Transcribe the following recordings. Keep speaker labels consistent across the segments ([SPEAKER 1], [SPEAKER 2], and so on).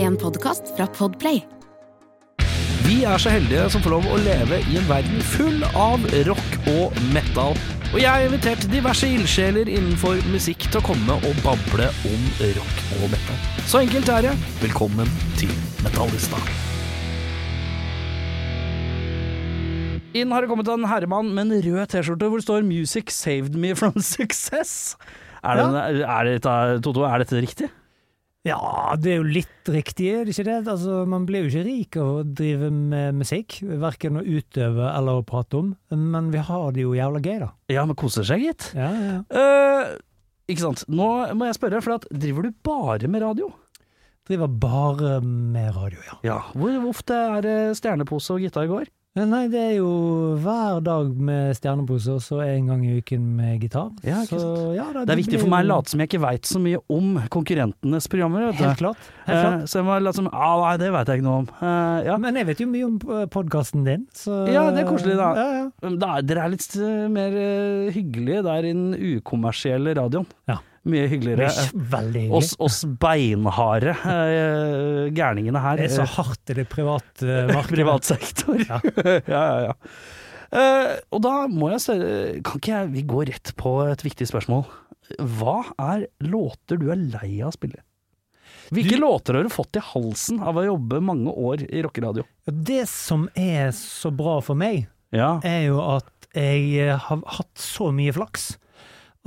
[SPEAKER 1] En podkast fra Podplay.
[SPEAKER 2] Vi er så heldige som får lov å leve i en verden full av rock og metal. Og jeg har invitert diverse ildsjeler innenfor musikk til å komme og bable om rock og metal. Så enkelt er det. Velkommen til Metallista. Inn har det kommet en herremann med en rød T-skjorte hvor det står 'Music saved me from success'. Er, det, er, dette- Toto, er dette riktig?
[SPEAKER 3] Ja, det er jo litt riktig, er det ikke det? Altså, man blir jo ikke rik av å drive med musikk, verken å utøve eller å prate om, men vi har det jo jævla gøy, da.
[SPEAKER 2] Ja, men koser seg, gitt.
[SPEAKER 3] Ja, ja.
[SPEAKER 2] Eh, ikke sant. Nå må jeg spørre, for at driver du bare med radio?
[SPEAKER 3] Driver bare med radio, ja.
[SPEAKER 2] Ja. Hvor ofte er det stjernepose og gitar i går?
[SPEAKER 3] Men Nei, det er jo hver dag med stjerneposer, så en gang i uken med gitar.
[SPEAKER 2] Ja, ikke sant.
[SPEAKER 3] Så, ja, da,
[SPEAKER 2] Det er viktig
[SPEAKER 3] blir
[SPEAKER 2] for meg å
[SPEAKER 3] jo-
[SPEAKER 2] late som jeg ikke veit så mye om konkurrentenes programmer.
[SPEAKER 3] Helt
[SPEAKER 2] Vet du.
[SPEAKER 3] klart. Helt klart.
[SPEAKER 2] Eh, så jeg må late som Ja, nei, det veit jeg ikke noe om. Eh, ja.
[SPEAKER 3] Men jeg vet jo mye om podkasten din, så
[SPEAKER 2] Ja, det er koselig, da.
[SPEAKER 3] Ja, ja.
[SPEAKER 2] Men da er- Dere er litt eh, mer eh, hyggelige der i den ukommersielle radioen.
[SPEAKER 3] Ja.
[SPEAKER 2] Mye hyggeligere.
[SPEAKER 3] Det er veldig hyggelig.
[SPEAKER 2] Oss, oss beinharde eh, gærningene her.
[SPEAKER 3] det er
[SPEAKER 2] eh,
[SPEAKER 3] så hardt i det private markedet.
[SPEAKER 2] Privat sektor. Ja,
[SPEAKER 3] Ja.
[SPEAKER 2] ja, ja. Eh, og da må jeg stille Kan ikke jeg, vi gå rett på et viktig spørsmål? Hva er låter du er lei av å spille? Hvilke låter har du fått i halsen av å jobbe mange år i rockeradio?
[SPEAKER 3] Det som er så bra for meg,
[SPEAKER 2] Ja.
[SPEAKER 3] er jo at jeg eh, har hatt så mye flaks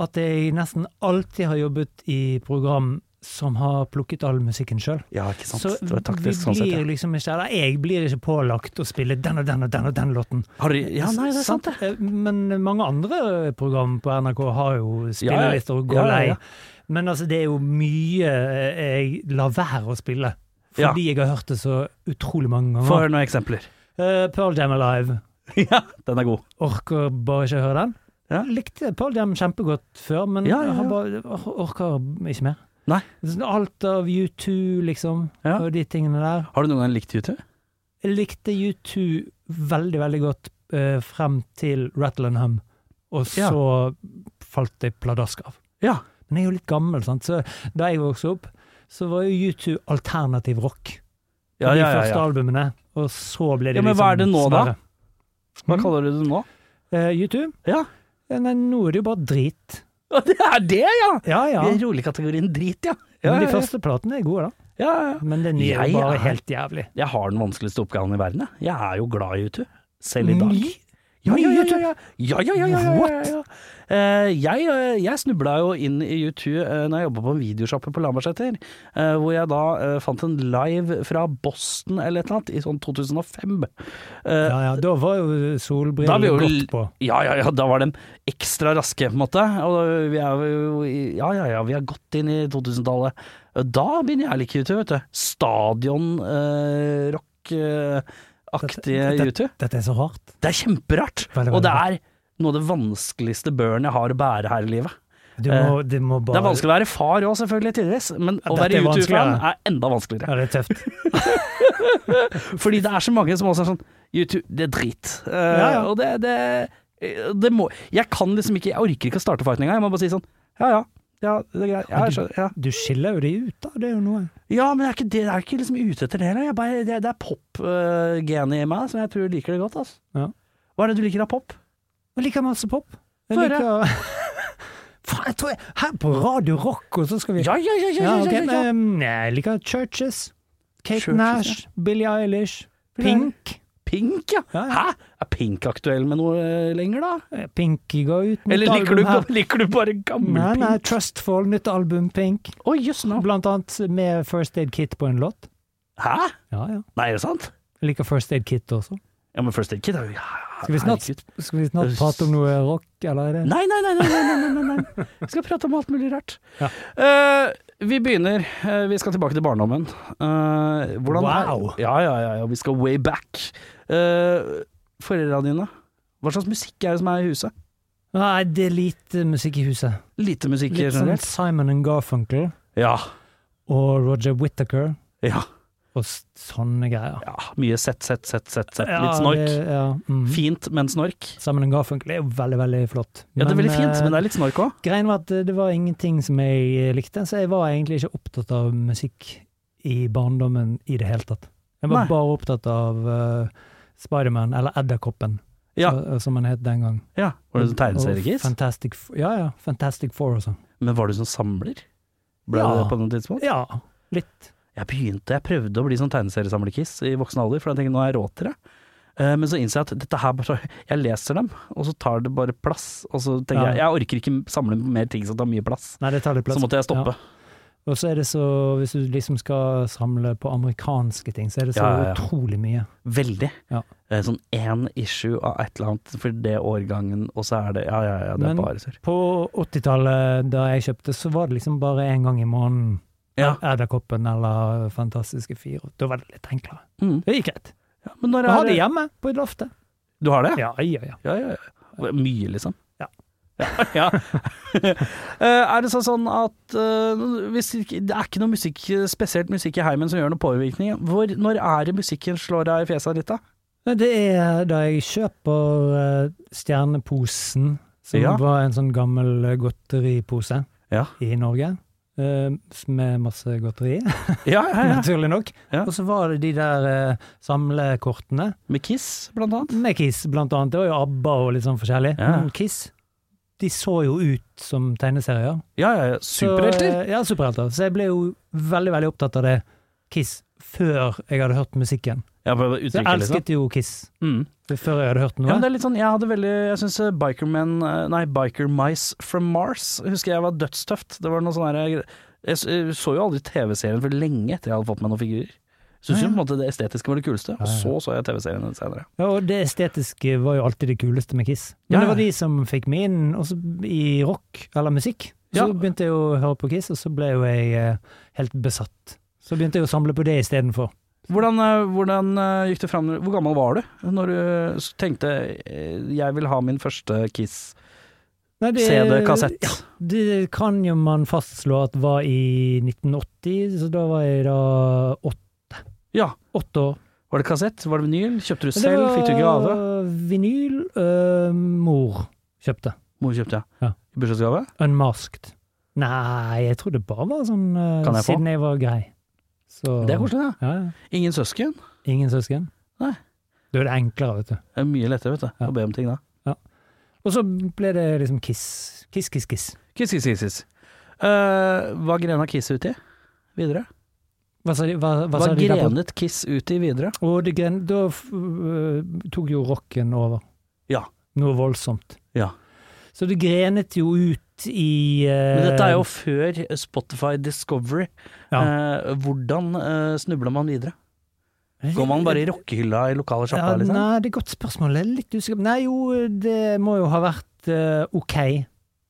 [SPEAKER 3] at jeg nesten alltid har jobbet i program som har plukket all musikken sjøl.
[SPEAKER 2] ja, ikke sant.
[SPEAKER 3] Så
[SPEAKER 2] det var
[SPEAKER 3] vi
[SPEAKER 2] taktisk sånn sett.
[SPEAKER 3] blir
[SPEAKER 2] Ja.
[SPEAKER 3] liksom ikke, eller jeg blir ikke pålagt å spille den og den og den og den låten. Eh,
[SPEAKER 2] Har du, ja, nei, det er sant, det.
[SPEAKER 3] Men mange andre program på NRK har jo spillelister og
[SPEAKER 2] Ja,
[SPEAKER 3] går
[SPEAKER 2] ja,
[SPEAKER 3] lei.
[SPEAKER 2] ja.
[SPEAKER 3] Men altså, det er jo mye eh, jeg lar være å spille.
[SPEAKER 2] Ja.
[SPEAKER 3] Fordi jeg har hørt det så utrolig mange ganger.
[SPEAKER 2] Få høre noen eksempler.
[SPEAKER 3] Eh, Pearl Jam Alive.
[SPEAKER 2] ja, den er god.
[SPEAKER 3] Orker bare ikke høre den.
[SPEAKER 2] Ja.
[SPEAKER 3] Likte Pearl Jam kjempegodt før, men
[SPEAKER 2] Ja, ja, ja.
[SPEAKER 3] jeg har bare, orker ikke mer.
[SPEAKER 2] Nei.
[SPEAKER 3] Sånn Alt av U2, liksom,
[SPEAKER 2] Ja.
[SPEAKER 3] og de tingene der.
[SPEAKER 2] Har du noen gang likt YouTube?
[SPEAKER 3] Jeg likte U2 veldig, veldig godt eh, frem til Rattle and Hum, og
[SPEAKER 2] Ja.
[SPEAKER 3] så falt jeg pladask av.
[SPEAKER 2] Ja.
[SPEAKER 3] Men jeg er jo litt gammel, sant? så da jeg vokste opp, så var jo U2 alternativ rock.
[SPEAKER 2] Ja, ja,
[SPEAKER 3] De
[SPEAKER 2] ja,
[SPEAKER 3] første
[SPEAKER 2] ja.
[SPEAKER 3] albumene, og så ble det
[SPEAKER 2] Ja, men
[SPEAKER 3] liksom
[SPEAKER 2] hva er det nå, da?
[SPEAKER 3] smarre.
[SPEAKER 2] Hva
[SPEAKER 3] Mm.
[SPEAKER 2] kaller du det nå?
[SPEAKER 3] Eh, U2?
[SPEAKER 2] Ja.
[SPEAKER 3] Eh, Nei, nå er det jo bare drit.
[SPEAKER 2] Det er det, ja!
[SPEAKER 3] Ja, ja.
[SPEAKER 2] I roligkategorien drit, ja. ja,
[SPEAKER 3] Men de
[SPEAKER 2] ja, ja.
[SPEAKER 3] første platene er gode, da.
[SPEAKER 2] ja, ja.
[SPEAKER 3] Men den nye
[SPEAKER 2] Jeg
[SPEAKER 3] er bare
[SPEAKER 2] er-
[SPEAKER 3] helt jævlig.
[SPEAKER 2] Jeg har den vanskeligste oppgaven i verden. Jeg, jeg er jo glad i YouTube. Selv i dag.
[SPEAKER 3] Ny?
[SPEAKER 2] Ja,
[SPEAKER 3] Ny
[SPEAKER 2] ja, ja,
[SPEAKER 3] YouTube?
[SPEAKER 2] ja, ja, ja, ja, ja, ja, ja, ja. Eh, jeg, eh, jeg snubla jo inn i YouTube uh, når jeg jobba på en videosjappe på Lambertseter, eh, hvor jeg da eh, fant en live fra Boston eller et eller annet, i sånn 2005. Eh,
[SPEAKER 3] Ja, ja, da var jo
[SPEAKER 2] Da er vi
[SPEAKER 3] solbrillene
[SPEAKER 2] jo
[SPEAKER 3] godt
[SPEAKER 2] l-
[SPEAKER 3] på.
[SPEAKER 2] ja, ja, ja, da var de ekstra raske, på en måte. Og vi er jo i- Ja, ja, ja, vi er godt inn i 2000-tallet. Da begynner jeg å like YouTube, vet du. eh, Stadionrock-aktige
[SPEAKER 3] Dette-
[SPEAKER 2] YouTube.
[SPEAKER 3] Dette er så rart.
[SPEAKER 2] Det er kjemperart.
[SPEAKER 3] Veldig, veldig
[SPEAKER 2] Og det er noe av det vanskeligste børen jeg har å bære her i livet.
[SPEAKER 3] Du må, du må
[SPEAKER 2] Eh, Det
[SPEAKER 3] bare
[SPEAKER 2] er vanskelig å være far òg, selvfølgelig, tidvis, men å
[SPEAKER 3] Ja,
[SPEAKER 2] være
[SPEAKER 3] dette er
[SPEAKER 2] YouTube-fan
[SPEAKER 3] vanskeligere.
[SPEAKER 2] er enda vanskeligere.
[SPEAKER 3] Ja, det er tøft.
[SPEAKER 2] Fordi det er så mange som også er sånn YouTube, det er drit. Eh,
[SPEAKER 3] ja.
[SPEAKER 2] Og det, det, eh, det må Jeg kan liksom ikke Jeg orker ikke å starte fighten engang. Jeg må bare si sånn Ja, ja. Ja, det er greit. Ja, jeg skjønner. Ja.
[SPEAKER 3] Du skiller jo de ut, da. Det er jo noe.
[SPEAKER 2] ja, men jeg er ikke, det jeg er ikke liksom ute etter det heller. Jeg bare- Det, det er pop-genet i meg som jeg tror liker det godt. Altså.
[SPEAKER 3] Ja.
[SPEAKER 2] Hva er det du liker av pop?
[SPEAKER 3] Jeg liker masse pop. Jeg
[SPEAKER 2] Få høre.
[SPEAKER 3] liker Faen, jeg tror jeg Her på Radio Rock, og så skal vi
[SPEAKER 2] Ja, ja, ja! ja, ja,
[SPEAKER 3] Ja,
[SPEAKER 2] ja,
[SPEAKER 3] ok,
[SPEAKER 2] ja, ja.
[SPEAKER 3] men, eh, Jeg liker Churches. Kate
[SPEAKER 2] Churches,
[SPEAKER 3] Nash. Billie Eilish.
[SPEAKER 2] Billie Eilish.
[SPEAKER 3] Pink.
[SPEAKER 2] Pink, ja.
[SPEAKER 3] Ja, ja.
[SPEAKER 2] Hæ? Er Pink aktuell med noe eh, lenger, da?
[SPEAKER 3] Eh, Pinky går ut nytt
[SPEAKER 2] Eller liker du,
[SPEAKER 3] album her.
[SPEAKER 2] liker du bare gammel
[SPEAKER 3] Nei, nei,
[SPEAKER 2] Pink?
[SPEAKER 3] Trustfall, nytt album, Pink.
[SPEAKER 2] Å, jøss nå.
[SPEAKER 3] Blant annet med First Aid Kit på en låt.
[SPEAKER 2] Hæ?
[SPEAKER 3] Ja, ja.
[SPEAKER 2] Nei, er det sant?
[SPEAKER 3] Jeg liker First Aid Kit også.
[SPEAKER 2] Ja, men First Aid Kid er jo ja,
[SPEAKER 3] Skal vi snart-
[SPEAKER 2] herregud.
[SPEAKER 3] Skal vi snart prate om noe rock, eller er det
[SPEAKER 2] Nei, nei, nei, nei, nei, nei, nei, nei, nei. Vi skal prate om alt mulig rart.
[SPEAKER 3] Ja.
[SPEAKER 2] Eh, vi begynner. eh, vi skal tilbake til barndommen. Eh, hvordan
[SPEAKER 3] Wow.
[SPEAKER 2] Er, ja, ja, ja, ja, vi skal way back. Uh, Foreldra dine, hva slags musikk er det som er i huset?
[SPEAKER 3] Nei, det er lite musikk i huset.
[SPEAKER 2] Lite musikk
[SPEAKER 3] Litt sånn
[SPEAKER 2] generelt?
[SPEAKER 3] Simon and Garfunkel
[SPEAKER 2] Ja.
[SPEAKER 3] og Roger Whittaker
[SPEAKER 2] ja.
[SPEAKER 3] og s- sånne greier.
[SPEAKER 2] ja. Mye sett, sett, sett, sett, sett.
[SPEAKER 3] Ja,
[SPEAKER 2] Litt snork.
[SPEAKER 3] det- Ja, mm.
[SPEAKER 2] Fint, men snork.
[SPEAKER 3] Simon and Garfunkel er jo veldig, veldig flott.
[SPEAKER 2] Ja, det er veldig fint, men det
[SPEAKER 3] eh,
[SPEAKER 2] er litt snork òg.
[SPEAKER 3] Greien var at det var ingenting som jeg likte, så jeg var egentlig ikke opptatt av musikk i barndommen i det hele tatt. Jeg var
[SPEAKER 2] Nei.
[SPEAKER 3] bare opptatt av uh, Spiderman, eller Edderkoppen,
[SPEAKER 2] Ja.
[SPEAKER 3] så- eh, som han het den gang.
[SPEAKER 2] Ja, Var det sånn
[SPEAKER 3] Og
[SPEAKER 2] tegneseriekis?
[SPEAKER 3] Fantastic, F- ja, ja, Fantastic Four og sånn.
[SPEAKER 2] Men var du sånn samler? Ble
[SPEAKER 3] Ja.
[SPEAKER 2] du det på noe tidspunkt?
[SPEAKER 3] Ja, litt.
[SPEAKER 2] Jeg begynte, jeg prøvde å bli sånn tegneseriesamlekiss i voksen alder, for jeg tenkte nå har jeg råd til det. Eh, Men så innser jeg at dette her bare, jeg leser dem, og så tar det bare plass. Og så tenker
[SPEAKER 3] Ja.
[SPEAKER 2] jeg jeg orker ikke samle mer ting som tar mye plass.
[SPEAKER 3] Nei, det tar litt plass.
[SPEAKER 2] Så måtte jeg stoppe.
[SPEAKER 3] Og så er det så, hvis du liksom skal samle på amerikanske ting, så er det så
[SPEAKER 2] Ja, ja, ja.
[SPEAKER 3] utrolig mye.
[SPEAKER 2] Veldig.
[SPEAKER 3] Ja.
[SPEAKER 2] Eh, Sånn én issue av et eller annet for det årgangen, og så er det ja, ja, ja, det er
[SPEAKER 3] Men-
[SPEAKER 2] bare surr.
[SPEAKER 3] På 80-tallet, da jeg kjøpte, så var det liksom bare én gang i måneden.
[SPEAKER 2] Ja.
[SPEAKER 3] Edderkoppen eller Fantastiske fire. Da var det litt enklere.
[SPEAKER 2] Mm.
[SPEAKER 3] Det gikk greit.
[SPEAKER 2] Ja, men når
[SPEAKER 3] Jeg har
[SPEAKER 2] er
[SPEAKER 3] det
[SPEAKER 2] det
[SPEAKER 3] hjemme, på loftet.
[SPEAKER 2] Du har det?
[SPEAKER 3] Ja, ja, ja.
[SPEAKER 2] Ja, ja, ja. Mye, liksom.
[SPEAKER 3] Ja.
[SPEAKER 2] ja. Eh, er det sånn sånn at eh, hvis ikke- det er ikke noe musikk, spesielt musikk i heimen som gjør noen påvirkning, hvor, når er det musikken slår deg i fjeset ditt, da?
[SPEAKER 3] Men Det er da jeg kjøper eh, Stjerneposen, som
[SPEAKER 2] Ja.
[SPEAKER 3] var en sånn gammel eh, godteripose
[SPEAKER 2] Ja.
[SPEAKER 3] i Norge, eh, med masse godteri,
[SPEAKER 2] Ja, ja,
[SPEAKER 3] naturlig nok.
[SPEAKER 2] Ja.
[SPEAKER 3] Og så var det de der eh, samlekortene,
[SPEAKER 2] Med Kiss, blant annet.
[SPEAKER 3] med Kiss blant annet. Det var jo ABBA og litt sånn forskjellig.
[SPEAKER 2] Ja.
[SPEAKER 3] Men Kiss, de så jo ut som tegneserier.
[SPEAKER 2] Ja, ja, ja.
[SPEAKER 3] Så,
[SPEAKER 2] Superhelter.
[SPEAKER 3] eh, Ja, superhelter. Så jeg ble jo veldig, veldig opptatt av det Kiss før jeg hadde hørt musikken.
[SPEAKER 2] Ja, bare
[SPEAKER 3] Så jeg
[SPEAKER 2] uttrykket, liksom.
[SPEAKER 3] elsket jo Kiss
[SPEAKER 2] Mm.
[SPEAKER 3] før jeg hadde hørt
[SPEAKER 2] Ja,
[SPEAKER 3] noe.
[SPEAKER 2] men det er litt sånn, jeg hadde veldig Jeg syns Biker Men eh, Nei, Biker Mice from Mars husker jeg var dødstøft. Det var noe sånn herre Jeg s- eh, så jo aldri TV-serien for lenge etter jeg hadde fått meg noen figurer. Syns
[SPEAKER 3] Ja,
[SPEAKER 2] jo
[SPEAKER 3] ja.
[SPEAKER 2] på en måte det estetiske var det kuleste, og
[SPEAKER 3] Ja, ja.
[SPEAKER 2] så så jeg TV-serien senere.
[SPEAKER 3] Ja, og det estetiske var jo alltid det kuleste med Kiss.
[SPEAKER 2] Ja,
[SPEAKER 3] Men det var
[SPEAKER 2] ja.
[SPEAKER 3] de som fikk meg inn også i rock eller musikk.
[SPEAKER 2] Ja.
[SPEAKER 3] Så begynte jeg å høre på Kiss, og så ble jo jeg eh, helt besatt. Så begynte jeg å samle på det istedenfor.
[SPEAKER 2] Hvordan, eh, hvordan eh, gikk det fram Hvor gammel var du når du s- tenkte eh, jeg vil ha min første
[SPEAKER 3] Nei, det-
[SPEAKER 2] Kiss-CD-kassett?
[SPEAKER 3] Ja, det kan jo man fastslå at var i 1980, så da var jeg da åt-
[SPEAKER 2] Ja.
[SPEAKER 3] åtte år.
[SPEAKER 2] Var det kassett? Var det vinyl? Kjøpte du
[SPEAKER 3] Men det
[SPEAKER 2] selv?
[SPEAKER 3] var
[SPEAKER 2] Fikk du gave?
[SPEAKER 3] Vinyl øh, mor kjøpte.
[SPEAKER 2] Mor kjøpte,
[SPEAKER 3] Ja.
[SPEAKER 2] ja. I bursdagsgave?
[SPEAKER 3] Unmasked. Nei, jeg tror det bare var sånn eh,
[SPEAKER 2] Kan jeg få?
[SPEAKER 3] siden jeg var grei. Så,
[SPEAKER 2] Det er koselig, da.
[SPEAKER 3] Ja, ja.
[SPEAKER 2] Ingen søsken?
[SPEAKER 3] Ingen søsken?
[SPEAKER 2] Nei.
[SPEAKER 3] Da er det enklere, vet du.
[SPEAKER 2] Det er mye lettere, vet du,
[SPEAKER 3] Ja.
[SPEAKER 2] å be om ting da.
[SPEAKER 3] Og så ble det liksom Kiss. Kiss, kiss, kiss.
[SPEAKER 2] Kiss, kiss, kiss, kiss. Eh, hva grena Kiss ut i videre?
[SPEAKER 3] Hva sa de? Hva, hva
[SPEAKER 2] Hva,
[SPEAKER 3] sa de der på?
[SPEAKER 2] grenet Kiss ut i videre?
[SPEAKER 3] Og det gren, da f- øh, tok jo rocken over.
[SPEAKER 2] Ja.
[SPEAKER 3] Noe voldsomt.
[SPEAKER 2] Ja.
[SPEAKER 3] Så det grenet jo ut i eh,
[SPEAKER 2] Men dette er jo før Spotify Discovery. Eh, hvordan eh, snubla man videre? Går man bare i rockehylla i lokale sjappa,
[SPEAKER 3] Ja,
[SPEAKER 2] liksom?
[SPEAKER 3] Nei, det er et godt spørsmål. Jeg er litt usikker. Nei, jo, det må jo ha vært eh, OK,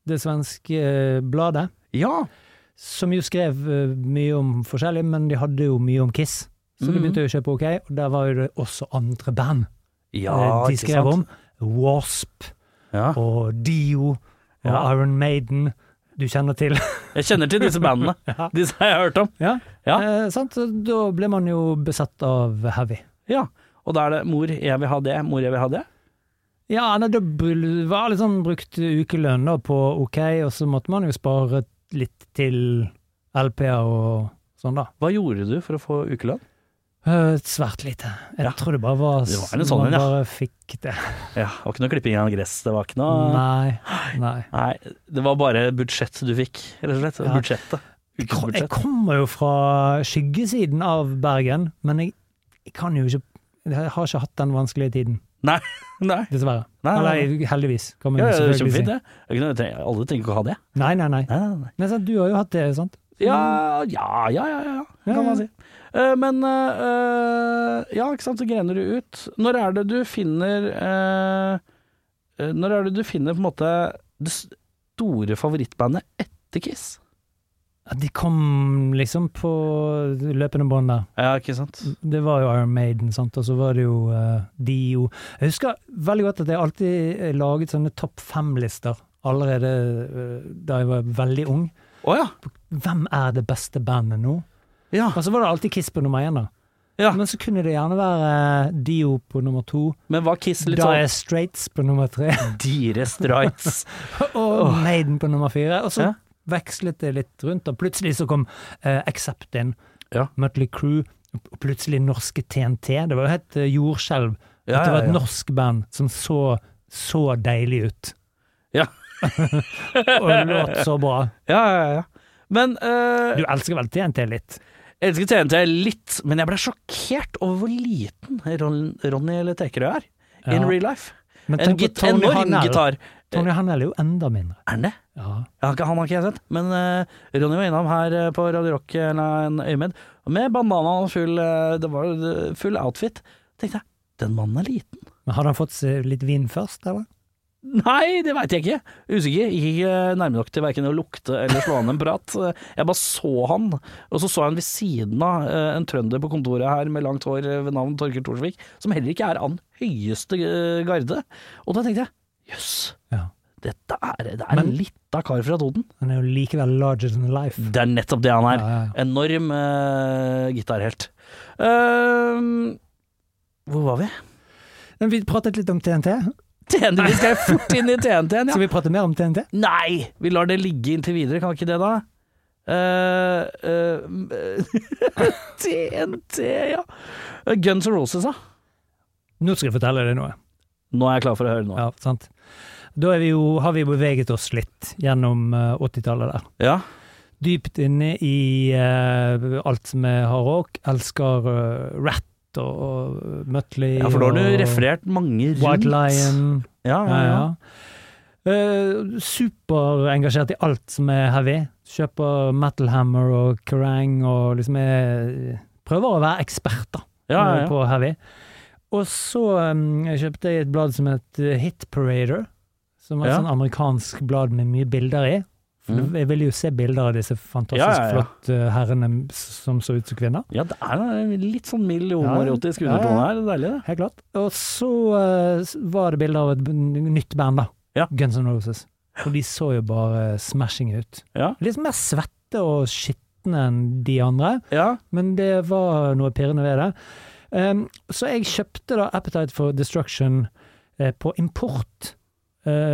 [SPEAKER 3] det svenske eh, bladet,
[SPEAKER 2] Ja!
[SPEAKER 3] som jo skrev eh, mye om forskjellig, men de hadde jo mye om Kiss. Så de
[SPEAKER 2] Mhm.
[SPEAKER 3] begynte jo å kjøpe OK, og der var jo det også andre band
[SPEAKER 2] ja
[SPEAKER 3] eh, de
[SPEAKER 2] ikke
[SPEAKER 3] skrev
[SPEAKER 2] sant?
[SPEAKER 3] om. Wasp
[SPEAKER 2] Ja.
[SPEAKER 3] og Dio og
[SPEAKER 2] Ja.
[SPEAKER 3] Iron Maiden, du kjenner til.
[SPEAKER 2] Jeg kjenner til disse bandene.
[SPEAKER 3] Ja.
[SPEAKER 2] Disse har jeg hørt om. Ja.
[SPEAKER 3] Eh, sant? Så Da ble man jo besatt av heavy.
[SPEAKER 2] Ja. Og da er det 'mor, jeg vil ha det', 'mor, jeg vil ha det'.
[SPEAKER 3] Ja, nei, det bl- var litt sånn brukt ukelønn da på OK, og så måtte man jo spare litt til LP-er og sånn, da.
[SPEAKER 2] Hva gjorde du for å få ukelønn?
[SPEAKER 3] Eh, Svært lite. Jeg
[SPEAKER 2] Ja.
[SPEAKER 3] tror det bare var
[SPEAKER 2] Det var en
[SPEAKER 3] s-
[SPEAKER 2] sånn en,
[SPEAKER 3] man
[SPEAKER 2] ja.
[SPEAKER 3] bare fikk det.
[SPEAKER 2] Ja, det var ikke noe klipping av gress, det var ikke noe
[SPEAKER 3] Nei. nei.
[SPEAKER 2] Nei, det var bare budsjett du fikk, rett og slett.
[SPEAKER 3] Ja.
[SPEAKER 2] Budsjettet.
[SPEAKER 3] Jeg kom- Jeg
[SPEAKER 2] Ukesbudsjett.
[SPEAKER 3] kommer jo fra skyggesiden av Bergen, men jeg, jeg kan jo ikke Jeg har ikke hatt den vanskelige tiden,
[SPEAKER 2] Nei.
[SPEAKER 3] dessverre.
[SPEAKER 2] Nei, nei, nei.
[SPEAKER 3] Eller heldigvis, kan man
[SPEAKER 2] Ah. Ja,
[SPEAKER 3] jo
[SPEAKER 2] ja, det er
[SPEAKER 3] selvfølgelig si.
[SPEAKER 2] kjempefint, det. det. er ikke noe- jeg trenger- Alle trenger ikke å ha det.
[SPEAKER 3] Nei, nei, nei.
[SPEAKER 2] Nei, nei, nei.
[SPEAKER 3] Men sant, du har jo hatt det, sant?
[SPEAKER 2] Ja, ja, ja, ja, ja, ja,
[SPEAKER 3] Ja,
[SPEAKER 2] kan
[SPEAKER 3] ja.
[SPEAKER 2] man si. Eh, men eh, eh, Ja, ikke sant, så grener du ut. Når er det du finner eh, eh, Når er det du finner på en måte det store favorittbandet etter Kiss?
[SPEAKER 3] Ja, De kom liksom på løpende bånd der.
[SPEAKER 2] Ja, ikke sant?
[SPEAKER 3] Det var jo Iron Maiden, sant, og så var det jo eh, Dio. Jeg husker veldig godt at jeg alltid eh, laget sånne topp fem-lister allerede eh, da jeg var veldig ung.
[SPEAKER 2] Å ja.
[SPEAKER 3] Hvem er det beste bandet nå?
[SPEAKER 2] ja.
[SPEAKER 3] Og så var det alltid Kiss på nummer én, da.
[SPEAKER 2] Ja.
[SPEAKER 3] Men så kunne det gjerne være eh, Dio på nummer to,
[SPEAKER 2] Men var Kiss litt sånn
[SPEAKER 3] Dire Straits på nummer tre
[SPEAKER 2] Dire Straits.
[SPEAKER 3] og Maiden på nummer fire. Og så
[SPEAKER 2] Ja.
[SPEAKER 3] vekslet det litt rundt, og plutselig så kom eh, Accept inn.
[SPEAKER 2] Ja.
[SPEAKER 3] Mutley Crew, og plutselig norske TNT. Det var jo helt eh, jordskjelv.
[SPEAKER 2] Ja,
[SPEAKER 3] at
[SPEAKER 2] ja,
[SPEAKER 3] det var et
[SPEAKER 2] ja.
[SPEAKER 3] norsk band som så så deilig ut,
[SPEAKER 2] Ja,
[SPEAKER 3] og låt så bra.
[SPEAKER 2] ja, ja. ja. Men eh,
[SPEAKER 3] Du elsker vel TNT litt?
[SPEAKER 2] Jeg elsker TNT litt, men jeg ble sjokkert over hvor liten Ron, Ronny eller Tekerø er in
[SPEAKER 3] Ja.
[SPEAKER 2] real life.
[SPEAKER 3] Men
[SPEAKER 2] En,
[SPEAKER 3] tenk på
[SPEAKER 2] git en
[SPEAKER 3] Tony
[SPEAKER 2] enorm
[SPEAKER 3] Harnell.
[SPEAKER 2] gitar.
[SPEAKER 3] Tony Hanell er jo enda mindre.
[SPEAKER 2] Er han det?
[SPEAKER 3] Ja.
[SPEAKER 2] Ja, ikke- han har ikke jeg sett, men eh, Ronny var innom her eh, på Radio Rock eller eh, en øyemed med bandana og full, eh, det var, eh, full outfit. tenkte jeg, den mannen er liten.
[SPEAKER 3] Men hadde han fått seg litt vin først, eller?
[SPEAKER 2] Nei, det veit jeg ikke. Usikker. Gikk ikke eh, nærme nok til verken å lukte eller slå an en prat. Eh, Jeg bare så han, og så så jeg han ved siden av eh, en trønder på kontoret her med langt hår eh, ved navn Torger Thorsvik, som heller ikke er av den høyeste eh, garde. Og da tenkte jeg jøss,
[SPEAKER 3] Ja.
[SPEAKER 2] dette er, det er en
[SPEAKER 3] Men-
[SPEAKER 2] lita kar fra Toten.
[SPEAKER 3] Han er jo likevel larger than life.
[SPEAKER 2] Det er nettopp det han er.
[SPEAKER 3] Ja, ja, ja.
[SPEAKER 2] Enorm eh, gitarhelt. Ehm, hvor var vi?
[SPEAKER 3] Men vi pratet litt om TNT.
[SPEAKER 2] TNT, vi skal fort inn i TNT-en, ja.
[SPEAKER 3] Skal vi prate mer om TNT?
[SPEAKER 2] Nei, vi lar det ligge inntil videre, kan vi ikke det da? Eh, eh, TNT, ja. Eh, Guns N' Roses, da.
[SPEAKER 3] Nå skal jeg fortelle deg noe.
[SPEAKER 2] Nå er jeg klar for å høre noe.
[SPEAKER 3] Ja, sant. Da er vi jo, har vi beveget oss litt gjennom eh, 80-tallet der.
[SPEAKER 2] Ja.
[SPEAKER 3] Dypt inne i eh, alt som er hardrock. Elsker eh, Rat og, og Mutley.
[SPEAKER 2] ja, for da har
[SPEAKER 3] og
[SPEAKER 2] du referert mange rundt.
[SPEAKER 3] White Lion.
[SPEAKER 2] Ja, ja,
[SPEAKER 3] Ja,
[SPEAKER 2] ja.
[SPEAKER 3] ja. Eh, Superengasjert i alt som er heavy. Kjøper Metal Hammer og Kerrang og liksom er Prøver å være ekspert, da
[SPEAKER 2] ja, ja, ja.
[SPEAKER 3] eh, på heavy. Og så um, jeg kjøpte jeg et blad som het uh, Hit Parader, som var et
[SPEAKER 2] Ja.
[SPEAKER 3] sånn amerikansk blad med mye bilder i. For
[SPEAKER 2] Mm.
[SPEAKER 3] Jeg ville jo se bilder av disse fantastisk
[SPEAKER 2] Ja, ja, ja.
[SPEAKER 3] flotte uh, herrene m- som så ut som kvinner.
[SPEAKER 2] ja, det er en litt sånn mild homoerotisk
[SPEAKER 3] Ja, ja.
[SPEAKER 2] undertone her. Det er deilig, det.
[SPEAKER 3] Helt klart. Og så uh, s- var det bilder av et b- n- nytt band, da.
[SPEAKER 2] Ja.
[SPEAKER 3] Guns N' Roses. Og de så jo bare smashing ut.
[SPEAKER 2] Ja.
[SPEAKER 3] Litt mer svette og skitne enn de andre.
[SPEAKER 2] Ja.
[SPEAKER 3] Men det var noe pirrende ved det. Um, så jeg kjøpte da Appetite for Destruction eh, på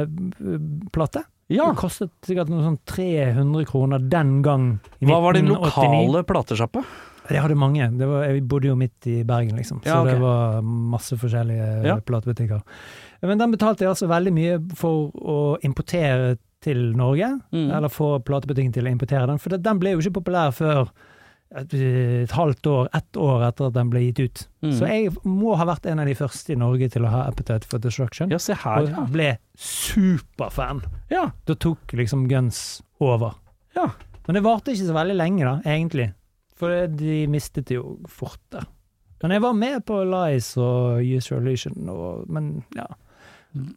[SPEAKER 3] importplate.
[SPEAKER 2] ja.
[SPEAKER 3] Det kostet sikkert noe sånn 300 kroner den gang. i
[SPEAKER 2] Hva var den
[SPEAKER 3] 1989.
[SPEAKER 2] lokale platesjappa?
[SPEAKER 3] Jeg hadde mange. Det var, jeg bodde jo midt i Bergen, liksom. Så
[SPEAKER 2] Ja, ok.
[SPEAKER 3] det var masse forskjellige eh,
[SPEAKER 2] Ja.
[SPEAKER 3] platebutikker. Men den betalte jeg altså veldig mye for å importere til Norge.
[SPEAKER 2] Mm.
[SPEAKER 3] Eller få platebutikken til å importere den. For det- den ble jo ikke populær før et, et halvt år, ett år etter at den ble gitt ut.
[SPEAKER 2] Mm.
[SPEAKER 3] Så jeg må ha vært en av de første i Norge til å ha Appetite for Destruction.
[SPEAKER 2] Ja, se her,
[SPEAKER 3] og
[SPEAKER 2] ja.
[SPEAKER 3] ble superfan.
[SPEAKER 2] Ja,
[SPEAKER 3] Da tok liksom Guns over.
[SPEAKER 2] ja.
[SPEAKER 3] Men det varte ikke så veldig lenge, da, egentlig. For de mistet det jo fort. da. Men jeg var med på Lies og User Illusion, og, men ja.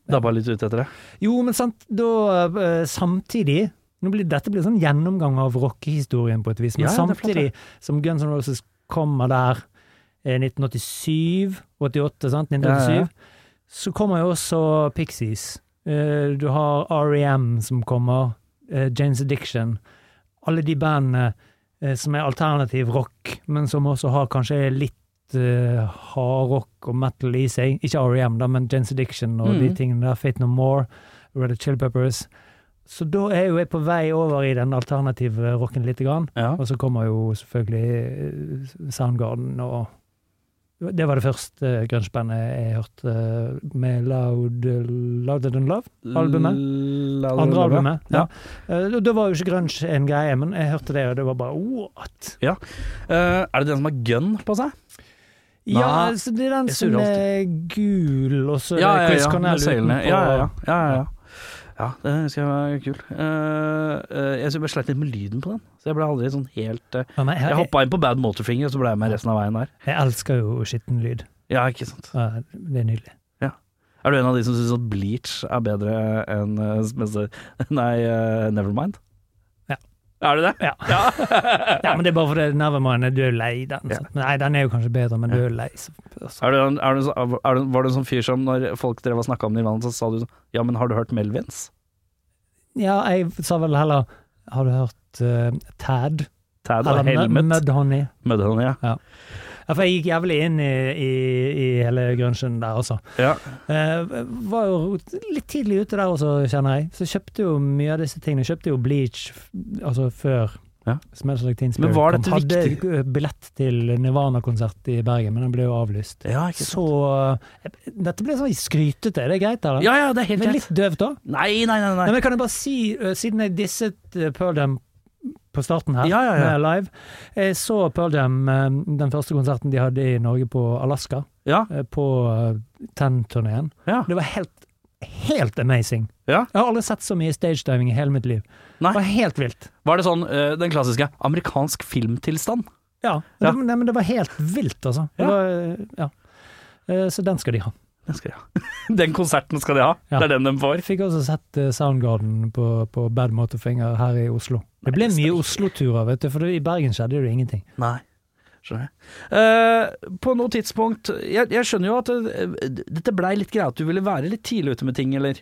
[SPEAKER 2] Dabba litt ut etter det.
[SPEAKER 3] Jo, men sant, da eh, samtidig nå blir, Dette blir sånn gjennomgang av rockehistorien på et vis, men
[SPEAKER 2] Ja, ja, det er flott,
[SPEAKER 3] samtidig
[SPEAKER 2] det.
[SPEAKER 3] som Guns N' Roses kommer der eh, 1987, 88, sant, 1987,
[SPEAKER 2] Ja, ja, ja.
[SPEAKER 3] så kommer jo også Pixies. Eh, du har REM som kommer, eh, James Addiction. Alle de bandene eh, som er alternativ rock, men som også har kanskje litt eh, hardrock og metal i seg. Ikke REM, da, men James Addiction og de
[SPEAKER 2] Mm.
[SPEAKER 3] tingene der. Fate No More, Red Hot Chili Peppers. Så da er jo jeg på vei over i den alternative rocken lite grann.
[SPEAKER 2] Ja.
[SPEAKER 3] Og så kommer jo selvfølgelig eh, Soundgarden og Det var det første eh, grunge-bandet jeg hørte eh, med Loud, Louder Than Love. Albumet? Andre albumet. Ja. Eh, Da da var jo ikke grunge en greie, men jeg hørte det, og det var bare what?
[SPEAKER 2] Eh, er det den som har gun på seg?
[SPEAKER 3] Ja,
[SPEAKER 2] Nei,
[SPEAKER 3] så det er den
[SPEAKER 2] jeg
[SPEAKER 3] som
[SPEAKER 2] surrer
[SPEAKER 3] er gul, og så er
[SPEAKER 2] Ja,
[SPEAKER 3] det
[SPEAKER 2] ja,
[SPEAKER 3] Chris
[SPEAKER 2] ja,
[SPEAKER 3] Cornell
[SPEAKER 2] med seilene.
[SPEAKER 3] utenpå.
[SPEAKER 2] Ja, ja, ja. ja, ja, ja. ja det husker jeg var kul. Eh, eh, jeg synes jeg ble sleit litt med lyden på den, så jeg ble aldri sånn helt eh,
[SPEAKER 3] Ja, men
[SPEAKER 2] Jeg
[SPEAKER 3] jeg, jeg,
[SPEAKER 2] hoppa inn på Bad Motorfinger, og så ble jeg med resten av veien der.
[SPEAKER 3] jeg elsker jo skitten lyd.
[SPEAKER 2] Ja, ikke sant.
[SPEAKER 3] Ja, Det er nydelig.
[SPEAKER 2] Er du en av de som syns at Bleach er bedre enn eh, Spencer- Nei, eh, Nevermind?
[SPEAKER 3] Ja.
[SPEAKER 2] Er du det?
[SPEAKER 3] Ja. Ja, men det er bare fordi Nevermind er du er jo lei den.
[SPEAKER 2] Ja.
[SPEAKER 3] sant? Men Nei, den er jo kanskje bedre, men du er jo lei. så- så-
[SPEAKER 2] Er du, en- er du, en sånn- er du, var du en sånn fyr som når folk drev og snakka om Nirvana, så sa du sånn Ja, men har du hørt Melvins?
[SPEAKER 3] Ja, jeg sa vel heller Har du hørt eh, Tad?
[SPEAKER 2] Tad og
[SPEAKER 3] Eller Mud-
[SPEAKER 2] Helmet?
[SPEAKER 3] Mudhoney?
[SPEAKER 2] Mudhoney, ja.
[SPEAKER 3] Ja, for jeg gikk jævlig inn i, i, i hele grunchen der, altså.
[SPEAKER 2] ja.
[SPEAKER 3] Eh, var jo litt tidlig ute der også, kjenner jeg. Så kjøpte jo mye av disse tingene. Kjøpte jo Bleach f- altså før
[SPEAKER 2] Ja.
[SPEAKER 3] Smells Like Teen Spirit.
[SPEAKER 2] Men var
[SPEAKER 3] De
[SPEAKER 2] dette
[SPEAKER 3] hadde
[SPEAKER 2] viktig?
[SPEAKER 3] eh, billett til Nirvana-konsert i Bergen, men den ble jo avlyst.
[SPEAKER 2] Ja, ikke sant?
[SPEAKER 3] Så eh, Dette ble sånn skrytete, er det greit, eller?
[SPEAKER 2] Ja, ja, det er helt
[SPEAKER 3] Men
[SPEAKER 2] greit.
[SPEAKER 3] litt døvt, da.
[SPEAKER 2] Nei, nei, nei.
[SPEAKER 3] Nei,
[SPEAKER 2] nei.
[SPEAKER 3] men kan jeg bare si, eh, siden jeg disset eh, Pearl Jam på starten her,
[SPEAKER 2] Ja, ja, ja.
[SPEAKER 3] med live Jeg så Pearl Jam, eh, den første konserten de hadde i Norge på Alaska,
[SPEAKER 2] Ja,
[SPEAKER 3] eh, på Ten-turneen.
[SPEAKER 2] ja.
[SPEAKER 3] Det var helt, helt amazing.
[SPEAKER 2] Ja.
[SPEAKER 3] Jeg har aldri sett så mye stagediving i hele mitt liv.
[SPEAKER 2] Nei.
[SPEAKER 3] Det var helt vilt.
[SPEAKER 2] Var det sånn eh, den klassiske amerikansk filmtilstand?
[SPEAKER 3] Ja,
[SPEAKER 2] Ja.
[SPEAKER 3] men Det, nei, men det var helt vilt, altså. Det
[SPEAKER 2] Ja.
[SPEAKER 3] var, eh, ja. Eh, Så den skal de ha.
[SPEAKER 2] Den skal de ha. Den konserten skal de ha.
[SPEAKER 3] Ja.
[SPEAKER 2] Det er den de får.
[SPEAKER 3] Jeg fikk også sett eh, Soundgarden på, på Bad Motorfinger her i Oslo. Det ble
[SPEAKER 2] Nei,
[SPEAKER 3] mye
[SPEAKER 2] stemmer.
[SPEAKER 3] Oslo-turer, vet du, for det- i Bergen skjedde jo ingenting.
[SPEAKER 2] Nei. Skjønner jeg. Eh, på noe tidspunkt Jeg, jeg skjønner jo at eh, dette blei litt greit at du ville være litt tidlig ute med ting, eller?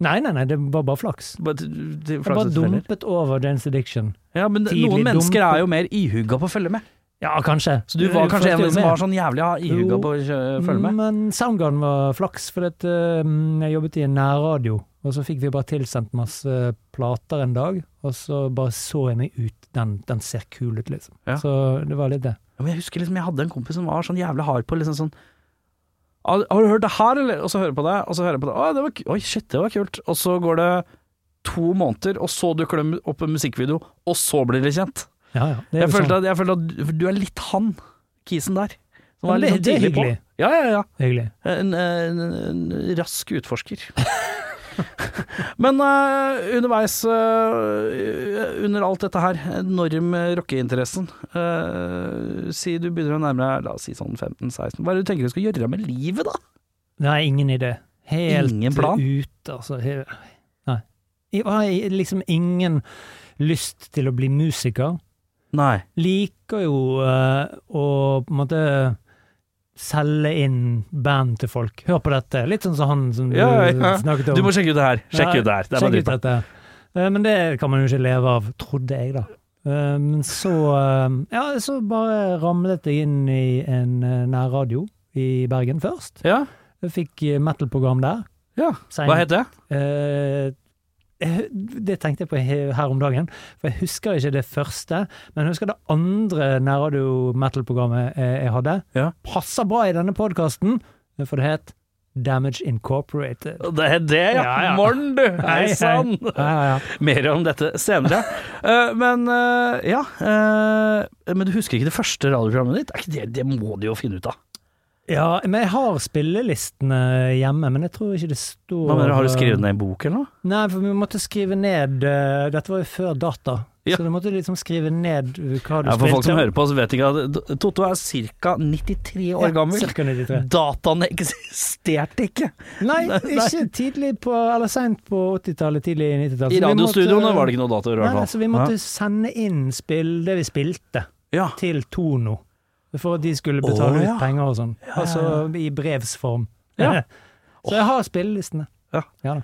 [SPEAKER 3] Nei, nei, nei, det var bare flaks.
[SPEAKER 2] Bare til- til-
[SPEAKER 3] Jeg bare
[SPEAKER 2] flaks at du feller.
[SPEAKER 3] dumpet over Jane's Addiction.
[SPEAKER 2] Ja, men
[SPEAKER 3] tidlig
[SPEAKER 2] noen mennesker
[SPEAKER 3] dump.
[SPEAKER 2] er jo mer ihugga på å følge med. Eh,
[SPEAKER 3] Ja, kanskje.
[SPEAKER 2] Så du var kanskje en av de som var sånn jævlig
[SPEAKER 3] Jo.
[SPEAKER 2] ihugga på å kjø- følge Eh, med?
[SPEAKER 3] Men Soundgarden var flaks, for at, eh, jeg jobbet i en nærradio. Og så fikk vi bare tilsendt masse plater en dag, og så bare så jeg meg ut. Den, den ser kul ut, liksom.
[SPEAKER 2] Ja.
[SPEAKER 3] Så det var litt det.
[SPEAKER 2] Ja, men jeg husker liksom, jeg hadde en kompis som var sånn jævlig hard på liksom sånn Har har du hørt det her, eller? Og så hører jeg på det, og så hører jeg på det. Å, det var, ku- oi, shit, det var kult. Og så går det to måneder, og så dukker det opp en musikkvideo, og så blir det kjent.
[SPEAKER 3] Ja, ja. Det er
[SPEAKER 2] Jeg
[SPEAKER 3] jo
[SPEAKER 2] følte,
[SPEAKER 3] sånn.
[SPEAKER 2] at, jeg følte at du- du er litt han, kisen der. Som
[SPEAKER 3] Ja,
[SPEAKER 2] var
[SPEAKER 3] men
[SPEAKER 2] litt sånn
[SPEAKER 3] det- det er
[SPEAKER 2] tidlig på.
[SPEAKER 3] hyggelig.
[SPEAKER 2] Ja, ja, ja.
[SPEAKER 3] Hyggelig.
[SPEAKER 2] En, en, en rask utforsker. Men eh, underveis, eh, under alt dette her, enorm rockeinteressen eh, Si du begynner å nærme deg la oss si sånn 15-16. Hva er det du tenker du skal gjøre med livet, da?
[SPEAKER 3] Nei, ingen idé. Helt
[SPEAKER 2] Ingen plan?
[SPEAKER 3] ut, altså. he- Nei. Jeg har liksom ingen lyst til å bli musiker.
[SPEAKER 2] Nei.
[SPEAKER 3] liker jo eh, å på en måte selge inn band til folk. Hør på dette. Litt sånn som han som du
[SPEAKER 2] Ja, ja, ja.
[SPEAKER 3] snakket om.
[SPEAKER 2] Du må sjekke ut det her. Sjekk
[SPEAKER 3] Nei,
[SPEAKER 2] ut det her. Det er
[SPEAKER 3] Sjekk
[SPEAKER 2] bare
[SPEAKER 3] ut
[SPEAKER 2] dritt.
[SPEAKER 3] dette. Eh, Men det kan man jo ikke leve av, trodde jeg, da. Eh, Men så eh, Ja, så bare ramlet jeg inn i en eh, nærradio i Bergen først.
[SPEAKER 2] Ja.
[SPEAKER 3] Jeg fikk eh, metal-program der.
[SPEAKER 2] ja. Hva het det?
[SPEAKER 3] Eh, jeg hu- det tenkte jeg på he- her om dagen, for jeg husker ikke det første. Men jeg husker det andre nærradio metal-programmet eh, jeg hadde.
[SPEAKER 2] Ja.
[SPEAKER 3] Passer bra i denne podkasten, for det het Damage Incorporated.
[SPEAKER 2] Det het det, ja.
[SPEAKER 3] Ja, ja.
[SPEAKER 2] Morn, du. Hei sann.
[SPEAKER 3] Ja, ja,
[SPEAKER 2] Mer om dette senere. Eh, men eh, ja eh, Men du husker ikke det første radioprogrammet ditt? Er ikke det, det må du jo finne ut av.
[SPEAKER 3] ja. ja, men jeg har spillelistene hjemme, men jeg tror ikke det står
[SPEAKER 2] Hva mener du, Har du skrevet ned i en bok eller noe?
[SPEAKER 3] Nei, for vi måtte skrive ned eh, Dette var jo før data,
[SPEAKER 2] Ja.
[SPEAKER 3] så du måtte liksom skrive ned hva du
[SPEAKER 2] Ja,
[SPEAKER 3] spilte.
[SPEAKER 2] for folk som hører på, så vet ikke at D- Totto er ca. 93 år gammel.
[SPEAKER 3] Cirka 93.
[SPEAKER 2] Dataene eksisterte ikke!
[SPEAKER 3] Nei,
[SPEAKER 2] Nei, nei.
[SPEAKER 3] ikke tidlig på, eller seint på 80-tallet, tidlig i 90-tallet.
[SPEAKER 2] I radiostudioene var det ikke noe datoer, i hvert
[SPEAKER 3] Nei,
[SPEAKER 2] fall.
[SPEAKER 3] så vi måtte sende inn spill, det vi spilte,
[SPEAKER 2] ja.
[SPEAKER 3] til Tono. For at de skulle betale
[SPEAKER 2] Å, ja.
[SPEAKER 3] ut penger og sånn.
[SPEAKER 2] ja,
[SPEAKER 3] Altså i brevsform.
[SPEAKER 2] Ja.
[SPEAKER 3] Så jeg har spillelistene.
[SPEAKER 2] Ja. Mm.
[SPEAKER 3] da.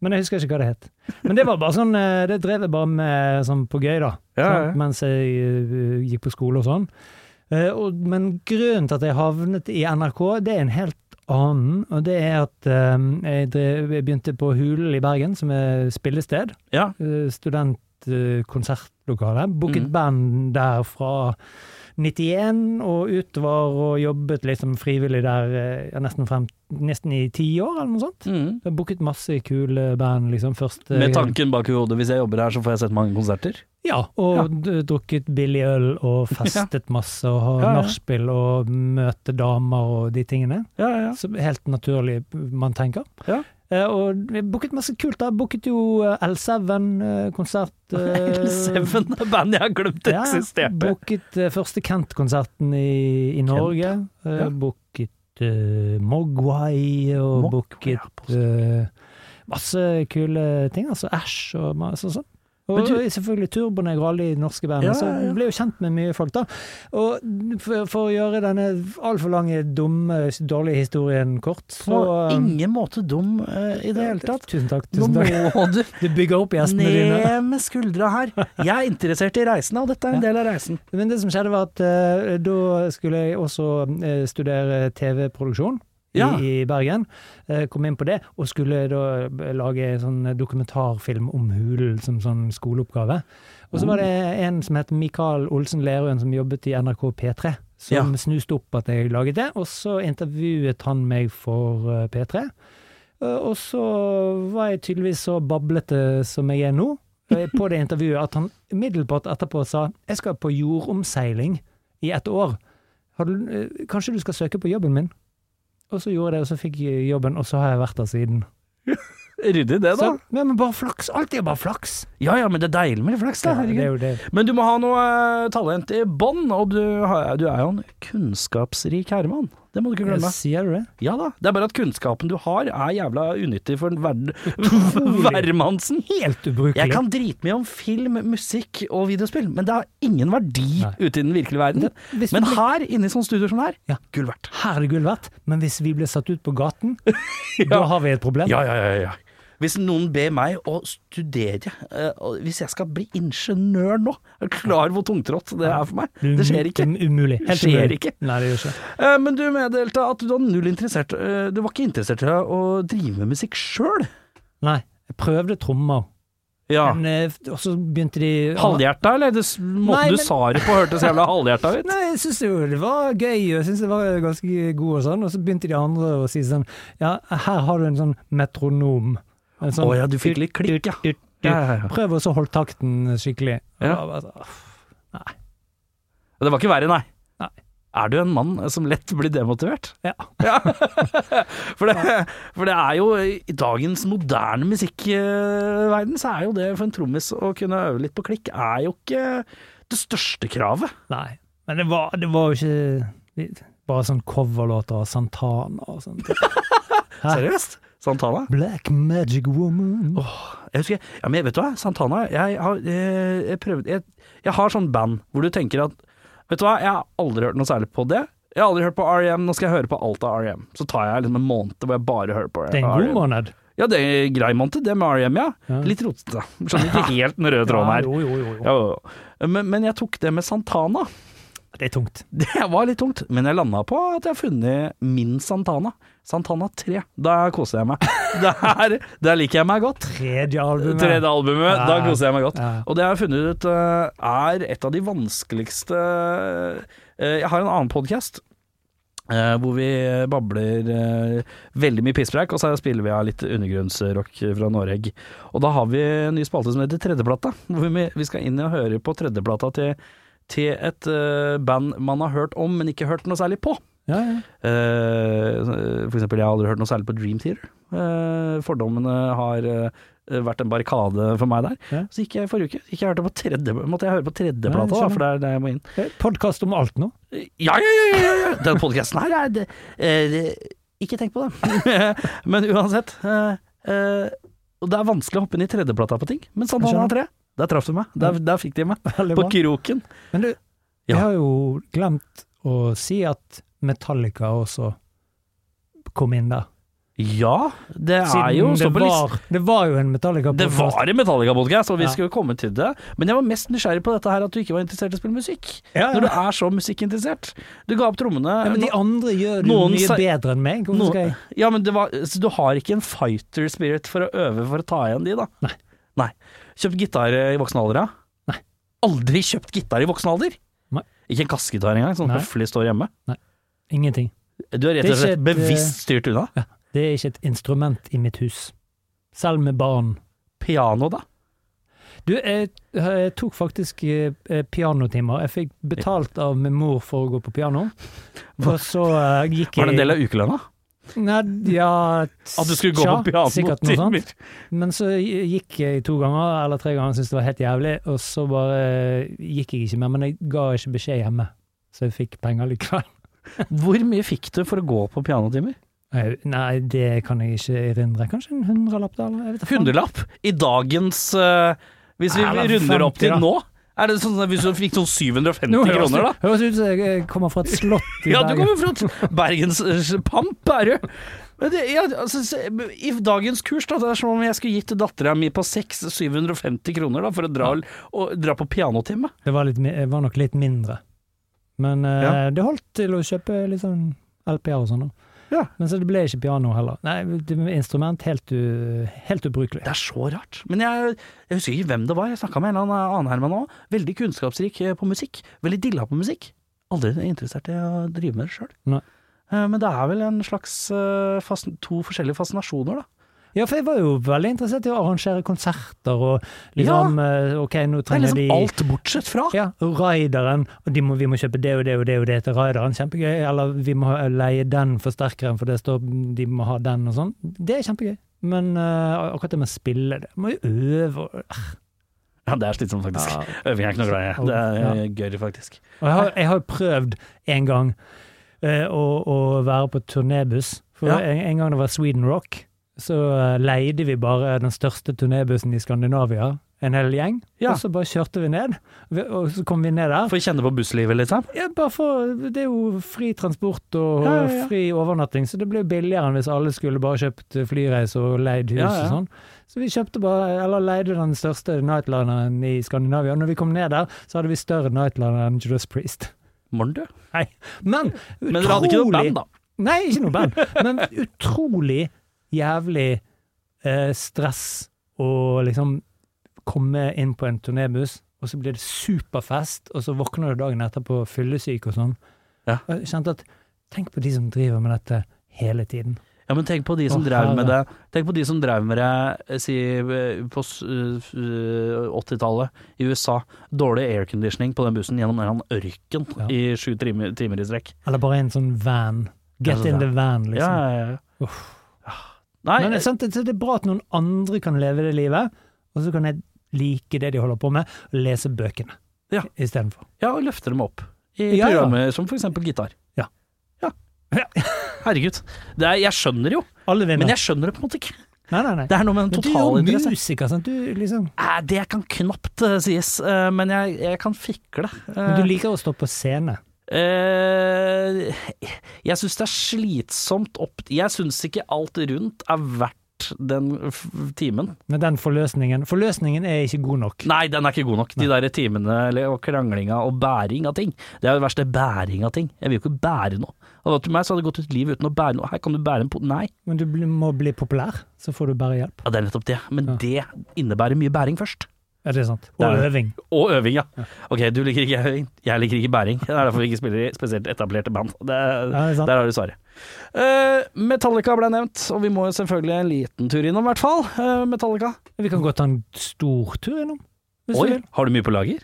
[SPEAKER 3] Men jeg husker ikke hva det het. Men det var bare sånn, eh, det drev jeg bare med sånn på gøy, da.
[SPEAKER 2] Ja, ja, ja.
[SPEAKER 3] Sant? Mens jeg eh, gikk på skole og sånn. Eh, og, men grunnen til at jeg havnet i NRK, det er en helt annen. Og det er at eh, jeg, drev, jeg begynte på Hulen i Bergen, som er spillested.
[SPEAKER 2] Ja.
[SPEAKER 3] Eh, Studentkonsertlokale. Booket
[SPEAKER 2] Mm.
[SPEAKER 3] band der fra 91 og utover, og jobbet liksom frivillig der eh, ja, nesten, frem, nesten i ti år, eller noe sånt.
[SPEAKER 2] Mm.
[SPEAKER 3] Jeg har booket masse kule band, liksom. Først eh,
[SPEAKER 2] Med tanken bak i hodet hvis jeg jobber her, så får jeg sett mange konserter.
[SPEAKER 3] Ja, og d- drukket billig øl og festet masse og har
[SPEAKER 2] Ja, ja.
[SPEAKER 3] nachspiel og møte damer og de tingene.
[SPEAKER 2] Ja, ja.
[SPEAKER 3] Som er helt naturlig eh, man tenker.
[SPEAKER 2] Ja.
[SPEAKER 3] Eh, og vi booket masse kult. da. Booket jo eh, L7-konsert. eh,
[SPEAKER 2] Seven er band jeg har glemt eksisterte.
[SPEAKER 3] Booket eh, første Kent-konserten i, i Norge. Eh,
[SPEAKER 2] Ja.
[SPEAKER 3] Booket eh, Mogwai og
[SPEAKER 2] Mogwai, ja,
[SPEAKER 3] booket eh, masse kule ting, altså Æsj og masse sånn. Og
[SPEAKER 2] Men du-
[SPEAKER 3] og selvfølgelig Turbonegger og alle de norske bandene.
[SPEAKER 2] Ja, ja, ja.
[SPEAKER 3] Så ble jo kjent med mye folk, da. Og for, for å gjøre denne altfor lange, dumme, dårlige historien kort,
[SPEAKER 2] På
[SPEAKER 3] så
[SPEAKER 2] ingen måte dum eh, i det hele tatt.
[SPEAKER 3] Tusen takk.
[SPEAKER 2] Nå
[SPEAKER 3] tusen takk.
[SPEAKER 2] må du
[SPEAKER 3] Du bygger opp gjestene dine.
[SPEAKER 2] ned med skuldra her. Jeg er interessert i reisene, og dette er en del av reisen.
[SPEAKER 3] Men det som skjedde var at eh, da skulle jeg også eh, studere TV-produksjon. i,
[SPEAKER 2] Ja.
[SPEAKER 3] i Bergen. Eh, kom inn på det, og skulle da lage en sånn dokumentarfilm om Hulen som sånn skoleoppgave. Og så var det
[SPEAKER 2] Oh.
[SPEAKER 3] en som het Mikael Olsen Lerøen, som jobbet i NRK P3, som
[SPEAKER 2] Ja.
[SPEAKER 3] snuste opp at jeg laget det. Og så intervjuet han meg for eh, P3. Eh, Og så var jeg tydeligvis så bablete som jeg er nå, eh, på det intervjuet, at han umiddelbart etterpå sa jeg skal på jordomseiling i et år. Har du, eh, kanskje du skal søke på jobben min? Og så gjorde jeg det, og så fikk jeg jobben, og så har jeg vært der siden.
[SPEAKER 2] Ryddig det, da.
[SPEAKER 3] Så, ja, men bare flaks! Alt er bare flaks!
[SPEAKER 2] Ja ja, men det er deilig med litt flaks, da.
[SPEAKER 3] Ja, det
[SPEAKER 2] herregud.
[SPEAKER 3] er jo det.
[SPEAKER 2] Men du må ha noe eh, talent i bånn, og du, har- du er jo en kunnskapsrik herremann. Det må du ikke glemme.
[SPEAKER 3] Sier du det?
[SPEAKER 2] Ja da. Det er bare at kunnskapen du har er jævla unyttig for den verd- hvermannsen.
[SPEAKER 3] Helt ubrukelig.
[SPEAKER 2] Jeg kan dritmye om film, musikk og videospill, men det har ingen verdi
[SPEAKER 3] Nei.
[SPEAKER 2] ute i den virkelige verden.
[SPEAKER 3] hvis
[SPEAKER 2] Men
[SPEAKER 3] du blir-
[SPEAKER 2] her, inne i sånne studioer som det her,
[SPEAKER 3] Ja.
[SPEAKER 2] gull verdt.
[SPEAKER 3] Her er det gull verdt, men hvis vi blir satt ut på gaten, da har vi et problem.
[SPEAKER 2] Ja, ja, ja, ja. Hvis noen ber meg å studere, eh, og hvis jeg skal bli ingeniør nå, er du klar hvor tungtrått det er for meg? Det skjer ikke.
[SPEAKER 3] Um- Umulig. Helt
[SPEAKER 2] Det skjer
[SPEAKER 3] umulig.
[SPEAKER 2] ikke.
[SPEAKER 3] Nei, det gjør ikke.
[SPEAKER 2] Eh, Men du meddelte at du var null interessert eh, Du var ikke interessert i å drive med musikk sjøl?
[SPEAKER 3] Nei. Jeg prøvde trommer,
[SPEAKER 2] Ja.
[SPEAKER 3] men, eh, og så begynte de
[SPEAKER 2] Halvhjerta, eller? Det, s- måten
[SPEAKER 3] Nei, men-
[SPEAKER 2] du sa det på hørtes jævla halvhjerta ut.
[SPEAKER 3] Nei, jeg syns jo det var gøy, og jeg syns det var ganske god og sånn, og så begynte de andre å si sånn Ja, her har du en sånn metronom. En sånn
[SPEAKER 2] Å ja, du fikk litt klikk, ja.
[SPEAKER 3] dyrt, dyrt.
[SPEAKER 2] Ja, ja, ja.
[SPEAKER 3] Prøv også å holde takten skikkelig. Og
[SPEAKER 2] Ja.
[SPEAKER 3] da bare så, «Åh,
[SPEAKER 2] Og Det var ikke verre, nei.
[SPEAKER 3] Nei.
[SPEAKER 2] Er du en mann som lett blir demotivert?
[SPEAKER 3] Ja.
[SPEAKER 2] For det, for det er jo i dagens moderne musikkverden, så er jo det for en trommis å kunne øve litt på klikk, er jo ikke det største kravet.
[SPEAKER 3] Nei. Men det var, det var jo ikke Bare sånn coverlåter av Santana og sånn. Hæ?
[SPEAKER 2] Seriøst? Santana?
[SPEAKER 3] Black Magic Woman.
[SPEAKER 2] Jeg husker, ja, men vet du hva, Santana, jeg har, eh, jeg, prøvd, jeg, jeg har sånn band hvor du tenker at Vet du hva, jeg har aldri hørt noe særlig på det. Jeg har aldri hørt på R.E.M., nå skal jeg høre på alt av R.E.M. Så tar jeg liksom en måned hvor jeg bare hører på E R.E.M.
[SPEAKER 3] Det er en god måned.
[SPEAKER 2] Ja, det er grei måned, det med R.E.M., ja.
[SPEAKER 3] Ja.
[SPEAKER 2] Litt rotete. Skjønner ikke helt den røde tråden
[SPEAKER 3] Ja,
[SPEAKER 2] her.
[SPEAKER 3] jo, jo, jo, jo.
[SPEAKER 2] Ja, jo, jo. Men, men jeg tok det med Santana.
[SPEAKER 3] Det er tungt.
[SPEAKER 2] Det var litt tungt, men jeg landa på at jeg har funnet min Santana. Santana 3. Da koser jeg meg. Der, der liker jeg meg godt.
[SPEAKER 3] Tredje albumet.
[SPEAKER 2] Tredje albumet,
[SPEAKER 3] Ja.
[SPEAKER 2] da koser jeg meg godt.
[SPEAKER 3] Ja.
[SPEAKER 2] Og det jeg har funnet ut eh, er et av de vanskeligste eh, Jeg har en annen podkast. hvor vi babler eh, veldig mye pisspreik, og så spiller vi av litt undergrunnsrock fra Noreg. Og da har vi en ny spalte som heter Tredjeplata, hvor vi, vi skal inn og høre på tredjeplata til, til et eh, band man har hørt om, men ikke hørt noe særlig på.
[SPEAKER 3] Ja, ja.
[SPEAKER 2] Eh, for eksempel, jeg har aldri hørt noe særlig på Dream Theater. Eh, fordommene har eh, vært en barrikade for meg der.
[SPEAKER 3] Ja.
[SPEAKER 2] Så gikk jeg i forrige uke. Gikk jeg hørte på tredje, måtte jeg høre på
[SPEAKER 3] Nei,
[SPEAKER 2] tredjeplata, da,
[SPEAKER 3] skjønner.
[SPEAKER 2] for det er der jeg må inn.
[SPEAKER 3] Podkast om alt nå.
[SPEAKER 2] Ja, ja, ja! ja, ja. Den podkasten her er det, eh, det- Ikke tenk på det. Men uansett. eh, eh, og det er vanskelig å hoppe inn i tredjeplata på ting, men Santana
[SPEAKER 3] Jeg skjønner.
[SPEAKER 2] 3, der traff du meg. Der, der fikk de meg.
[SPEAKER 3] Veldig
[SPEAKER 2] På
[SPEAKER 3] bra.
[SPEAKER 2] kroken.
[SPEAKER 3] Men du,
[SPEAKER 2] Ja.
[SPEAKER 3] jeg har jo glemt å si at Metallica også kom inn der.
[SPEAKER 2] Ja, det er
[SPEAKER 3] Siden
[SPEAKER 2] jo står
[SPEAKER 3] det,
[SPEAKER 2] på lista.
[SPEAKER 3] var, det var jo en metallica
[SPEAKER 2] Det var en Metallica-podkast, og vi
[SPEAKER 3] Ja.
[SPEAKER 2] skulle komme til det. Men jeg var mest nysgjerrig på dette her at du ikke var interessert i å spille musikk.
[SPEAKER 3] Ja, ja.
[SPEAKER 2] Når du er så musikkinteressert. Du ga opp trommene.
[SPEAKER 3] ja, men De andre gjør det jo
[SPEAKER 2] Noen
[SPEAKER 3] mye
[SPEAKER 2] sa-
[SPEAKER 3] bedre enn meg. Hvorfor
[SPEAKER 2] Noen-
[SPEAKER 3] skal jeg
[SPEAKER 2] ja, men det var, så du har ikke en fighter spirit for å øve for å ta igjen de, da?
[SPEAKER 3] Nei.
[SPEAKER 2] Nei. Kjøpt gitar eh, i voksen alder, ja?
[SPEAKER 3] Nei.
[SPEAKER 2] Aldri kjøpt gitar i voksen alder?
[SPEAKER 3] Nei.
[SPEAKER 2] Ikke en kassegitar engang, sånn
[SPEAKER 3] Nei.
[SPEAKER 2] høflig står hjemme?
[SPEAKER 3] Ingenting.
[SPEAKER 2] Du er rett
[SPEAKER 3] Det
[SPEAKER 2] og slett
[SPEAKER 3] skjedde-
[SPEAKER 2] bevisst styrt unna.
[SPEAKER 3] Det er ikke et instrument i mitt hus. Selv med barn.
[SPEAKER 2] Piano, da?
[SPEAKER 3] Du, jeg, jeg tok faktisk eh, eh, pianotimer. Jeg fikk betalt av min mor for å gå på piano. Og så eh, gikk
[SPEAKER 2] Var
[SPEAKER 3] jeg
[SPEAKER 2] det en del av ukelønna?
[SPEAKER 3] Nei, ja
[SPEAKER 2] At du skulle gå
[SPEAKER 3] tja,
[SPEAKER 2] på
[SPEAKER 3] sikkert noe sånt.
[SPEAKER 2] pianotimer?
[SPEAKER 3] Men så gikk jeg to ganger eller tre ganger, syntes det var helt jævlig, og så bare eh, gikk jeg ikke mer. Men jeg ga ikke beskjed hjemme, så jeg fikk penger likevel.
[SPEAKER 2] Hvor mye fikk du for å gå på pianotimer?
[SPEAKER 3] Eh, Nei, det kan jeg ikke erindre. Kanskje en hundrelapp, da? Eller? Jeg vet da faen.
[SPEAKER 2] hundrelapp i dagens eh, Hvis vi
[SPEAKER 3] Ja, det er
[SPEAKER 2] runder opp
[SPEAKER 3] 50
[SPEAKER 2] til
[SPEAKER 3] da.
[SPEAKER 2] nå? Er det sånn at Hvis du fikk sånn 750
[SPEAKER 3] Nå høres
[SPEAKER 2] kroner, da?
[SPEAKER 3] det- Høres ut som jeg eh, kommer fra et slott i
[SPEAKER 2] Ja, du
[SPEAKER 3] Bergen.
[SPEAKER 2] kommer fra et Bergens eh, pamp, er du. Men det, ja, altså, se- I dagens kurs, da, det er som om jeg skulle gitt dattera mi på 6 750 kroner da, for å dra, og, dra på pianotime.
[SPEAKER 3] Det var, litt, mi- eh, var nok litt mindre. Men eh,
[SPEAKER 2] Ja.
[SPEAKER 3] det holdt til å kjøpe litt sånn LP-er og sånn. da.
[SPEAKER 2] Ja.
[SPEAKER 3] Men så det ble ikke piano heller. Nei, det var instrument helt, u, helt ubrukelig.
[SPEAKER 2] Det er så rart. Men jeg, jeg husker ikke hvem det var. Jeg snakka med en eller annen annen Herman òg. Veldig kunnskapsrik eh, på musikk. Veldig dilla på musikk. Aldri interessert i å drive med det sjøl.
[SPEAKER 3] Nei.
[SPEAKER 2] Men det er vel en slags eh, fas to forskjellige fascinasjoner, da.
[SPEAKER 3] Ja, for jeg var jo veldig interessert i å arrangere konserter og
[SPEAKER 2] Ja.
[SPEAKER 3] liksom eh, Ok, nå
[SPEAKER 2] Det er
[SPEAKER 3] trenger
[SPEAKER 2] liksom
[SPEAKER 3] de
[SPEAKER 2] alt bortsett fra.
[SPEAKER 3] Ja, og Raideren, og de må, vi må kjøpe det og det og det og det til Raideren, kjempegøy. Eller vi må ha- leie den forsterkeren, for det står de må ha den og sånn. Det er kjempegøy. Men eh, akkurat det med å spille, det må jo øve og
[SPEAKER 2] Ja, det er slitsomt, faktisk. Øving er ikke noe glad i. Det er eh, gøy, faktisk.
[SPEAKER 3] Og jeg har, jeg har prøvd en gang eh, å, å være på turnébuss. For
[SPEAKER 2] Ja.
[SPEAKER 3] en, en gang det var Sweden Rock, så eh, leide vi bare den største turnébussen i Skandinavia. En hel gjeng.
[SPEAKER 2] Ja.
[SPEAKER 3] Og så bare kjørte vi ned. Vi- Og så kom vi ned der.
[SPEAKER 2] Får kjenne på busslivet, liksom.
[SPEAKER 3] Ja, bare for, det er jo fri transport og
[SPEAKER 2] Ja, ja, ja.
[SPEAKER 3] fri overnatting, så det ble jo billigere enn hvis alle skulle bare kjøpt flyreise og leid hus
[SPEAKER 2] Ja, ja.
[SPEAKER 3] og sånn. Så vi kjøpte bare, eller leide den største nightlineren i Skandinavia. Når vi kom ned der, så hadde vi større nightliner enn Judas Priest.
[SPEAKER 2] Morn, du.
[SPEAKER 3] Nei, men utrolig
[SPEAKER 2] Men dere hadde ikke noe band, da.
[SPEAKER 3] Nei, ikke noe band. Men utrolig jævlig eh, stress å liksom komme inn på en turnébuss, og så blir det superfest, og så våkner du dagen etterpå fyllesyk og sånn.
[SPEAKER 2] Ja.
[SPEAKER 3] Og Jeg kjente at Tenk på de som driver med dette hele tiden.
[SPEAKER 2] Ja, men tenk på de som
[SPEAKER 3] Å,
[SPEAKER 2] drev med det
[SPEAKER 3] herre.
[SPEAKER 2] Tenk på de som drev med det eh, si, eh, på s- eh, 80-tallet i USA. Dårlig airconditioning på den bussen gjennom en eller annen ørken
[SPEAKER 3] Ja.
[SPEAKER 2] i sju timer, timer i strekk.
[SPEAKER 3] Eller bare en sånn van. Get
[SPEAKER 2] Ja,
[SPEAKER 3] in the van,
[SPEAKER 2] Ja,
[SPEAKER 3] liksom.
[SPEAKER 2] ja, ja.
[SPEAKER 3] Uff.
[SPEAKER 2] Nei,
[SPEAKER 3] Men det er, sant, det- så det er bra at noen andre kan leve det livet, og så kan jeg like det de holder på med, og lese bøkene
[SPEAKER 2] Ja.
[SPEAKER 3] istedenfor.
[SPEAKER 2] ja, og løfter dem opp i
[SPEAKER 3] Ja, ja.
[SPEAKER 2] programmer som for eksempel gitar.
[SPEAKER 3] Ja.
[SPEAKER 2] Ja.
[SPEAKER 3] Ja.
[SPEAKER 2] Herregud. Det er, jeg skjønner jo,
[SPEAKER 3] Alle vinner.
[SPEAKER 2] men jeg skjønner det på en måte ikke.
[SPEAKER 3] Nei, nei, nei.
[SPEAKER 2] Det er noe med den
[SPEAKER 3] Men du er jo
[SPEAKER 2] totalinteressen.
[SPEAKER 3] musiker, sant? Du, liksom.
[SPEAKER 2] Eh, Det kan knapt eh, sies, eh, men jeg, jeg kan fikle.
[SPEAKER 3] Men du
[SPEAKER 2] Eh,
[SPEAKER 3] liker å stå på scene.
[SPEAKER 2] Eh, jeg syns det er slitsomt opp Jeg syns ikke alt rundt er verdt den f timen.
[SPEAKER 3] Men den forløsningen Forløsningen er ikke god nok.
[SPEAKER 2] Nei, den er ikke god nok. De der timene eller, og kranglinga og bæring av ting. Det er jo det verste. Bæring av ting. Jeg vil jo ikke bære noe. Hadde det vært meg, så hadde det gått ut liv uten å bære noe. Her kan du bære en po... Nei.
[SPEAKER 3] Men du bli- må bli populær, så får du bare hjelp.
[SPEAKER 2] Ja, det er nettopp det. Men
[SPEAKER 3] Ja.
[SPEAKER 2] det innebærer mye bæring først.
[SPEAKER 3] Er det sant?
[SPEAKER 2] Det
[SPEAKER 3] Og
[SPEAKER 2] er det.
[SPEAKER 3] øving.
[SPEAKER 2] Og øving, ja. Ok, du liker ikke øving. Jeg liker ikke bæring. Det er derfor vi ikke spiller i spesielt etablerte band. Det,
[SPEAKER 3] Ja, det er sant.
[SPEAKER 2] Der har du svaret. Eh, Metallica ble nevnt, og vi må jo selvfølgelig en liten tur innom, i hvert fall. eh, Metallica.
[SPEAKER 3] Vi kan godt ta en stor tur innom. Hvis du
[SPEAKER 2] Oi,
[SPEAKER 3] vil.
[SPEAKER 2] har du mye på lager?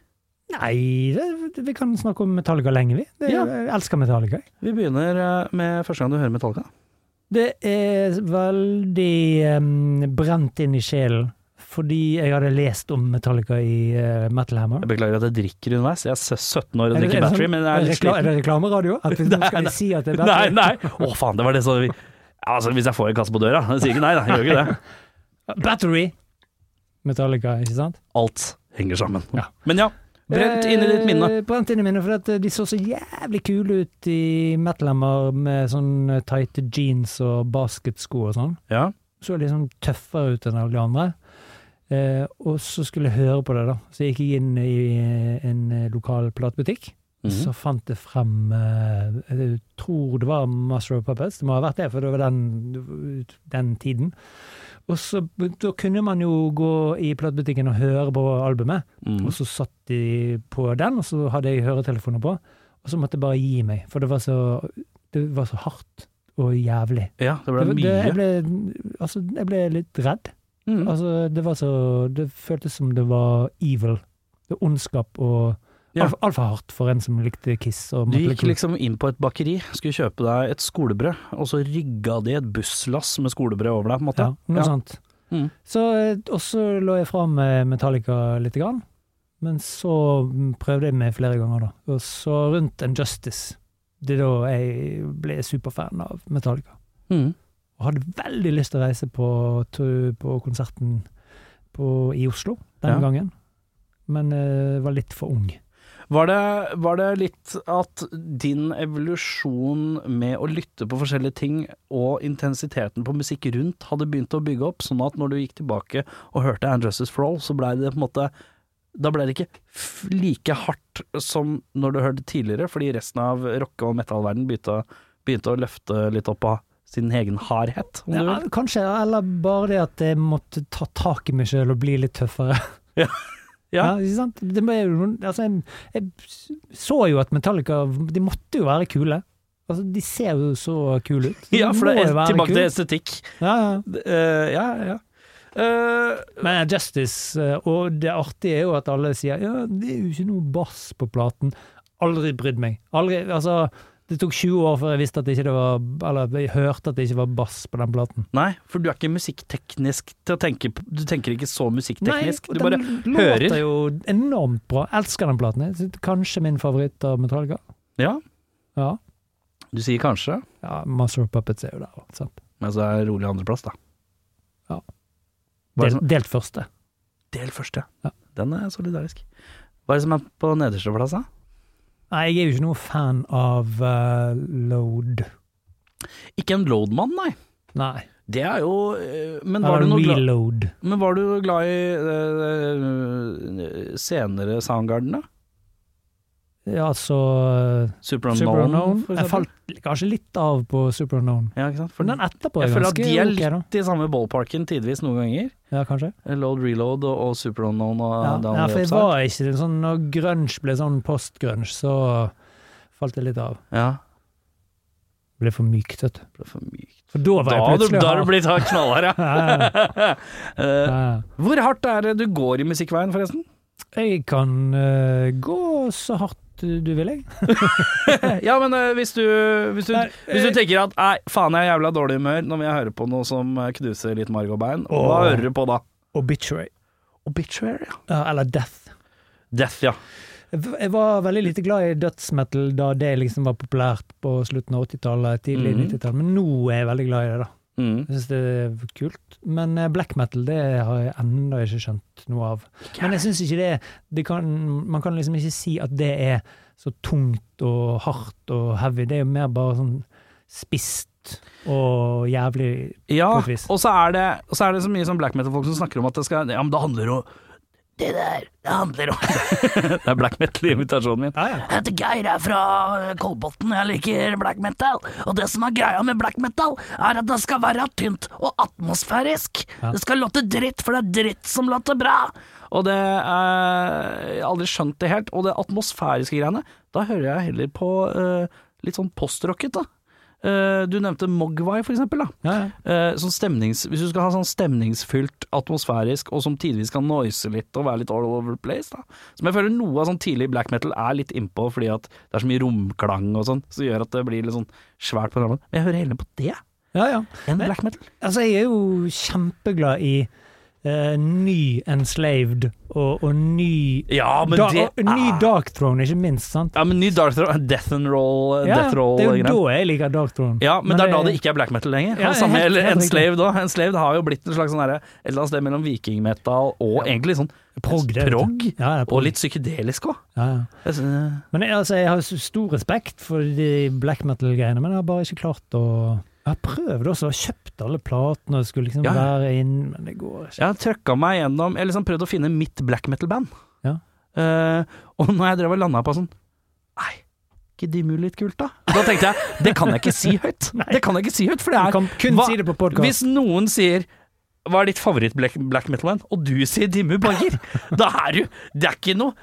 [SPEAKER 3] Nei, det, det- vi kan snakke om Metallica lenge, vi. Det,
[SPEAKER 2] Ja.
[SPEAKER 3] Jeg elsker Metallica. jeg.
[SPEAKER 2] Vi begynner eh, med første gang du hører Metallica.
[SPEAKER 3] Det er veldig em, brent inn i sjelen, fordi jeg hadde lest om Metallica i eh, Metal Hammer.
[SPEAKER 2] Jeg beklager at jeg drikker underveis. Jeg er sø- 17 år og
[SPEAKER 3] Er det-
[SPEAKER 2] drikker
[SPEAKER 3] er det
[SPEAKER 2] battery,
[SPEAKER 3] sånn-
[SPEAKER 2] men jeg er litt
[SPEAKER 3] rekla- Er
[SPEAKER 2] sliten.
[SPEAKER 3] det reklameradio? At vi, nå
[SPEAKER 2] Nei,
[SPEAKER 3] skal
[SPEAKER 2] nei.
[SPEAKER 3] vi si at det er
[SPEAKER 2] Nei,
[SPEAKER 3] battery?
[SPEAKER 2] nei! Å faen, det var det som vi Altså, hvis jeg får en kasse på døra Jeg sier ikke nei, da. Jeg gjør ikke det.
[SPEAKER 3] Battery! Metallica, ikke sant?
[SPEAKER 2] Alt henger sammen.
[SPEAKER 3] Ja.
[SPEAKER 2] Men ja, brent inn i ditt minne.
[SPEAKER 3] Eh, Brent inn i minnet, for at eh, de så så jævlig kule ut i Metalhammer med sånn eh, tighte jeans og basketsko og sånn.
[SPEAKER 2] Ja.
[SPEAKER 3] Så liksom tøffere ut enn alle de andre. Eh, og så skulle jeg høre på det, da. Så jeg gikk jeg inn i eh, en eh, lokal platebutikk.
[SPEAKER 2] Mhm.
[SPEAKER 3] Så fant jeg frem eh, Jeg tror det var Master of Puppets. Det må ha vært det, for det var den, den tiden. Og så da kunne man jo gå i platebutikken og høre på albumet.
[SPEAKER 2] Mhm.
[SPEAKER 3] Og så satt de på den, og så hadde jeg høretelefoner på. Og så måtte jeg bare gi meg, for det var så, det var så hardt og jævlig.
[SPEAKER 2] Ja, det
[SPEAKER 3] Det,
[SPEAKER 2] ble
[SPEAKER 3] var- det, jeg,
[SPEAKER 2] mye.
[SPEAKER 3] ble, altså, jeg ble litt redd.
[SPEAKER 2] Mhm.
[SPEAKER 3] Altså, det var så Det føltes som det var evil. Det var ondskap og
[SPEAKER 2] Ja.
[SPEAKER 3] alt- altfor hardt for en som likte Kiss. Og
[SPEAKER 2] Du
[SPEAKER 3] Motley
[SPEAKER 2] gikk
[SPEAKER 3] Crue.
[SPEAKER 2] liksom inn på et bakeri, skulle kjøpe deg et skolebrød, og så rygga de et busslass med skolebrød over deg, på en måte.
[SPEAKER 3] ja, noe
[SPEAKER 2] Ja.
[SPEAKER 3] sånt.
[SPEAKER 2] Mm.
[SPEAKER 3] Så, eh, og så lå jeg fra med Metallica lite grann. Men så mm, prøvde jeg meg flere ganger, da. Og så rundt Injustice. Det er da jeg ble superfan av Metallica.
[SPEAKER 2] Mm.
[SPEAKER 3] Og hadde veldig lyst til å reise på, tu- på konserten på, i Oslo
[SPEAKER 2] Ja.
[SPEAKER 3] den gangen. Men eh, var litt for ung.
[SPEAKER 2] Var, det, var det litt at din evolusjon med å lytte på forskjellige ting, og intensiteten på musikk rundt, hadde begynt å bygge opp, sånn at når du gikk tilbake og hørte And Justice for All, så blei det på en måte da ble det ikke f- like hardt som når du hørte tidligere, fordi resten av rocke- og metallverden begynte, begynte å løfte litt opp av sin egen hardhet, om du
[SPEAKER 3] Ja,
[SPEAKER 2] vil.
[SPEAKER 3] kanskje, eller bare det at jeg måtte ta tak i meg sjøl og bli litt tøffere.
[SPEAKER 2] Ja. Ja.
[SPEAKER 3] ikke sant? Det må jo noen- altså, jeg, jeg så jo at Metallica De måtte jo være kule. Altså, de ser jo så kule ut.
[SPEAKER 2] Ja, for det
[SPEAKER 3] De må
[SPEAKER 2] er
[SPEAKER 3] jo være
[SPEAKER 2] tilbake til
[SPEAKER 3] kule.
[SPEAKER 2] estetikk.
[SPEAKER 3] ja, ja.
[SPEAKER 2] Eh, ja, ja. Eh,
[SPEAKER 3] Men Justice, eh, og det artige er jo at alle sier ja, det er jo ikke noe bass på platen. Aldri brydd meg. Aldri, altså, det tok 20 år før jeg visste at det ikke var, eller jeg hørte at det ikke var bass på den platen.
[SPEAKER 2] nei, for du er ikke musikkteknisk til å tenke på Du tenker ikke så musikkteknisk.
[SPEAKER 3] Nei,
[SPEAKER 2] du bare
[SPEAKER 3] den
[SPEAKER 2] hører.
[SPEAKER 3] låter jo enormt bra. Jeg elsker den platen. Jeg synes Kanskje min favoritt av Metallica.
[SPEAKER 2] Ja,
[SPEAKER 3] Ja,
[SPEAKER 2] du sier kanskje,
[SPEAKER 3] ja Master of Puppets er jo der. også, Sant?
[SPEAKER 2] men så er det rolig andreplass, da.
[SPEAKER 3] Ja.
[SPEAKER 2] Hva er
[SPEAKER 3] Del,
[SPEAKER 2] det som,
[SPEAKER 3] delt første.
[SPEAKER 2] del første.
[SPEAKER 3] Ja.
[SPEAKER 2] Den er solidarisk. Hva er det som er på nederste plass, da?
[SPEAKER 3] Nei, jeg er jo ikke noen fan av eh, Load.
[SPEAKER 2] Ikke en loadman, nei.
[SPEAKER 3] Nei.
[SPEAKER 2] Det er jo eh, Men var
[SPEAKER 3] Eller
[SPEAKER 2] du noe glad
[SPEAKER 3] Reload.
[SPEAKER 2] Men var du glad i eh, eh, senere Soundgarden, da?
[SPEAKER 3] Ja, altså
[SPEAKER 2] Superunknown,
[SPEAKER 3] Superunknown.
[SPEAKER 2] for
[SPEAKER 3] Jeg
[SPEAKER 2] eksempel?
[SPEAKER 3] falt kanskje litt av på Superunknown.
[SPEAKER 2] Ja, ikke sant? For
[SPEAKER 3] Men
[SPEAKER 2] den
[SPEAKER 3] den etterpå
[SPEAKER 2] jeg
[SPEAKER 3] er
[SPEAKER 2] føler at
[SPEAKER 3] ganske
[SPEAKER 2] de er
[SPEAKER 3] ok, da.
[SPEAKER 2] litt i samme ballparken tidvis noen ganger.
[SPEAKER 3] Ja, kanskje.
[SPEAKER 2] Load Reload og, og Superunknown og
[SPEAKER 3] Ja,
[SPEAKER 2] Down
[SPEAKER 3] ja,
[SPEAKER 2] the
[SPEAKER 3] for jeg
[SPEAKER 2] Upside.
[SPEAKER 3] var ikke sånn Når grunge ble sånn post-grunge, så falt jeg litt av.
[SPEAKER 2] Ja,
[SPEAKER 3] Ble for mykt, vet du.
[SPEAKER 2] det ble for mykt.
[SPEAKER 3] For da var
[SPEAKER 2] Da
[SPEAKER 3] jeg
[SPEAKER 2] har du,
[SPEAKER 3] plutselig
[SPEAKER 2] da har du
[SPEAKER 3] hard.
[SPEAKER 2] blitt hard knallhard, ja.
[SPEAKER 3] Ja,
[SPEAKER 2] Eh,
[SPEAKER 3] ja, ja.
[SPEAKER 2] hvor hardt er det du går i musikkveien, forresten?
[SPEAKER 3] Jeg kan eh, gå så hardt eh, du vil, jeg.
[SPEAKER 2] Ja, men eh, hvis, du, hvis, du,
[SPEAKER 3] Nei,
[SPEAKER 2] hvis
[SPEAKER 3] eh,
[SPEAKER 2] du tenker at nei, faen jeg er jævla dårlig i humør, nå må jeg høre på noe som eh, knuser litt marg og bein, hva
[SPEAKER 3] Åh.
[SPEAKER 2] hører du på da?
[SPEAKER 3] Obituary.
[SPEAKER 2] Obituary, ja.
[SPEAKER 3] Ja, eller Death.
[SPEAKER 2] Death, ja.
[SPEAKER 3] Jeg v- jeg var veldig lite glad i dødsmetal da det liksom var populært på slutten av 80-tallet, tidlig
[SPEAKER 2] Mhm.
[SPEAKER 3] 90-tallet, men nå er jeg veldig glad i det, da.
[SPEAKER 2] Mm.
[SPEAKER 3] Jeg syns det er kult. Men eh, black metal det har jeg ennå ikke skjønt noe av. Men jeg syns ikke det, det kan, Man kan liksom ikke si at det er så tungt og hardt og heavy. Det er jo mer bare sånn spist og jævlig
[SPEAKER 2] Ja,
[SPEAKER 3] på et vis.
[SPEAKER 2] og så, er det, og så er det så mye sånn black metal-folk som snakker om at det skal Ja, men det handler om Det der, det handler om Det er black metal-invitasjonen min.
[SPEAKER 3] Ja, ja.
[SPEAKER 2] Jeg heter Geir, jeg er fra Kolbotn, jeg liker black metal. Og det som er greia med black metal, er at det skal være tynt og atmosfærisk.
[SPEAKER 3] Ja.
[SPEAKER 2] Det skal låte dritt, for det er dritt som låter bra. Og det eh, Jeg har aldri skjønt det helt. Og det atmosfæriske greiene, da hører jeg heller på eh, litt sånn postrocket, da. Eh, du nevnte Mogwai, for eksempel. Da.
[SPEAKER 3] Ja, ja.
[SPEAKER 2] Eh, sånn stemnings, hvis du skal ha sånn stemningsfylt, atmosfærisk, og som tidvis kan noise litt og være litt all over the place, da. Som jeg føler noe av sånn tidlig black metal er litt innpå, fordi at det er så mye romklang og sånn, som gjør at det blir litt sånn svært på rammen. Men jeg hører heller på det
[SPEAKER 3] ja, ja.
[SPEAKER 2] enn
[SPEAKER 3] Men-
[SPEAKER 2] black metal.
[SPEAKER 3] Altså, jeg er jo kjempeglad i eh, ny Enslaved og, og ny
[SPEAKER 2] Ja,
[SPEAKER 3] da, og, Ny Dark Throne, ikke minst. sant?
[SPEAKER 2] Ja, men ny Dark Throne, eh, Death and Roll, eh,
[SPEAKER 3] Ja,
[SPEAKER 2] Death Roll
[SPEAKER 3] det er jo
[SPEAKER 2] greier.
[SPEAKER 3] da jeg liker Dark Throne.
[SPEAKER 2] Ja, men, det er da det ikke er black metal lenger. Ja,
[SPEAKER 3] Ja,
[SPEAKER 2] samme
[SPEAKER 3] helt-
[SPEAKER 2] gjelder
[SPEAKER 3] helt
[SPEAKER 2] Enslaved òg. Enslaved har jo blitt en slags sånn derre- et eller annet sted mellom vikingmetal og egentlig sånn
[SPEAKER 3] Prog, det, vet du.
[SPEAKER 2] prog,
[SPEAKER 3] Ja, ja, prog.
[SPEAKER 2] og litt psykedelisk òg.
[SPEAKER 3] ja, ja. Men jeg, altså, jeg har s- stor respekt for de black metal-greiene, men jeg har bare ikke klart å Jeg har prøvd også, jeg har kjøpt alle platene og skulle liksom
[SPEAKER 2] Ja, ja.
[SPEAKER 3] være inn, men det går ikke.
[SPEAKER 2] Jeg har trøkka meg gjennom Jeg har liksom prøvd å finne mitt black metal-band.
[SPEAKER 3] Ja.
[SPEAKER 2] Eh, og når jeg drev og landa på sånn Nei, ikke de mulig litt kult, da? Da tenkte jeg det kan jeg ikke si høyt. Det kan jeg ikke si høyt, for det
[SPEAKER 3] Du
[SPEAKER 2] er
[SPEAKER 3] kan kun
[SPEAKER 2] hva-
[SPEAKER 3] si det på podkast.
[SPEAKER 2] Hvis noen sier hva er ditt favoritt-black black metal-band, og du sier Dimmu Borgir, da er du Det er ikke noe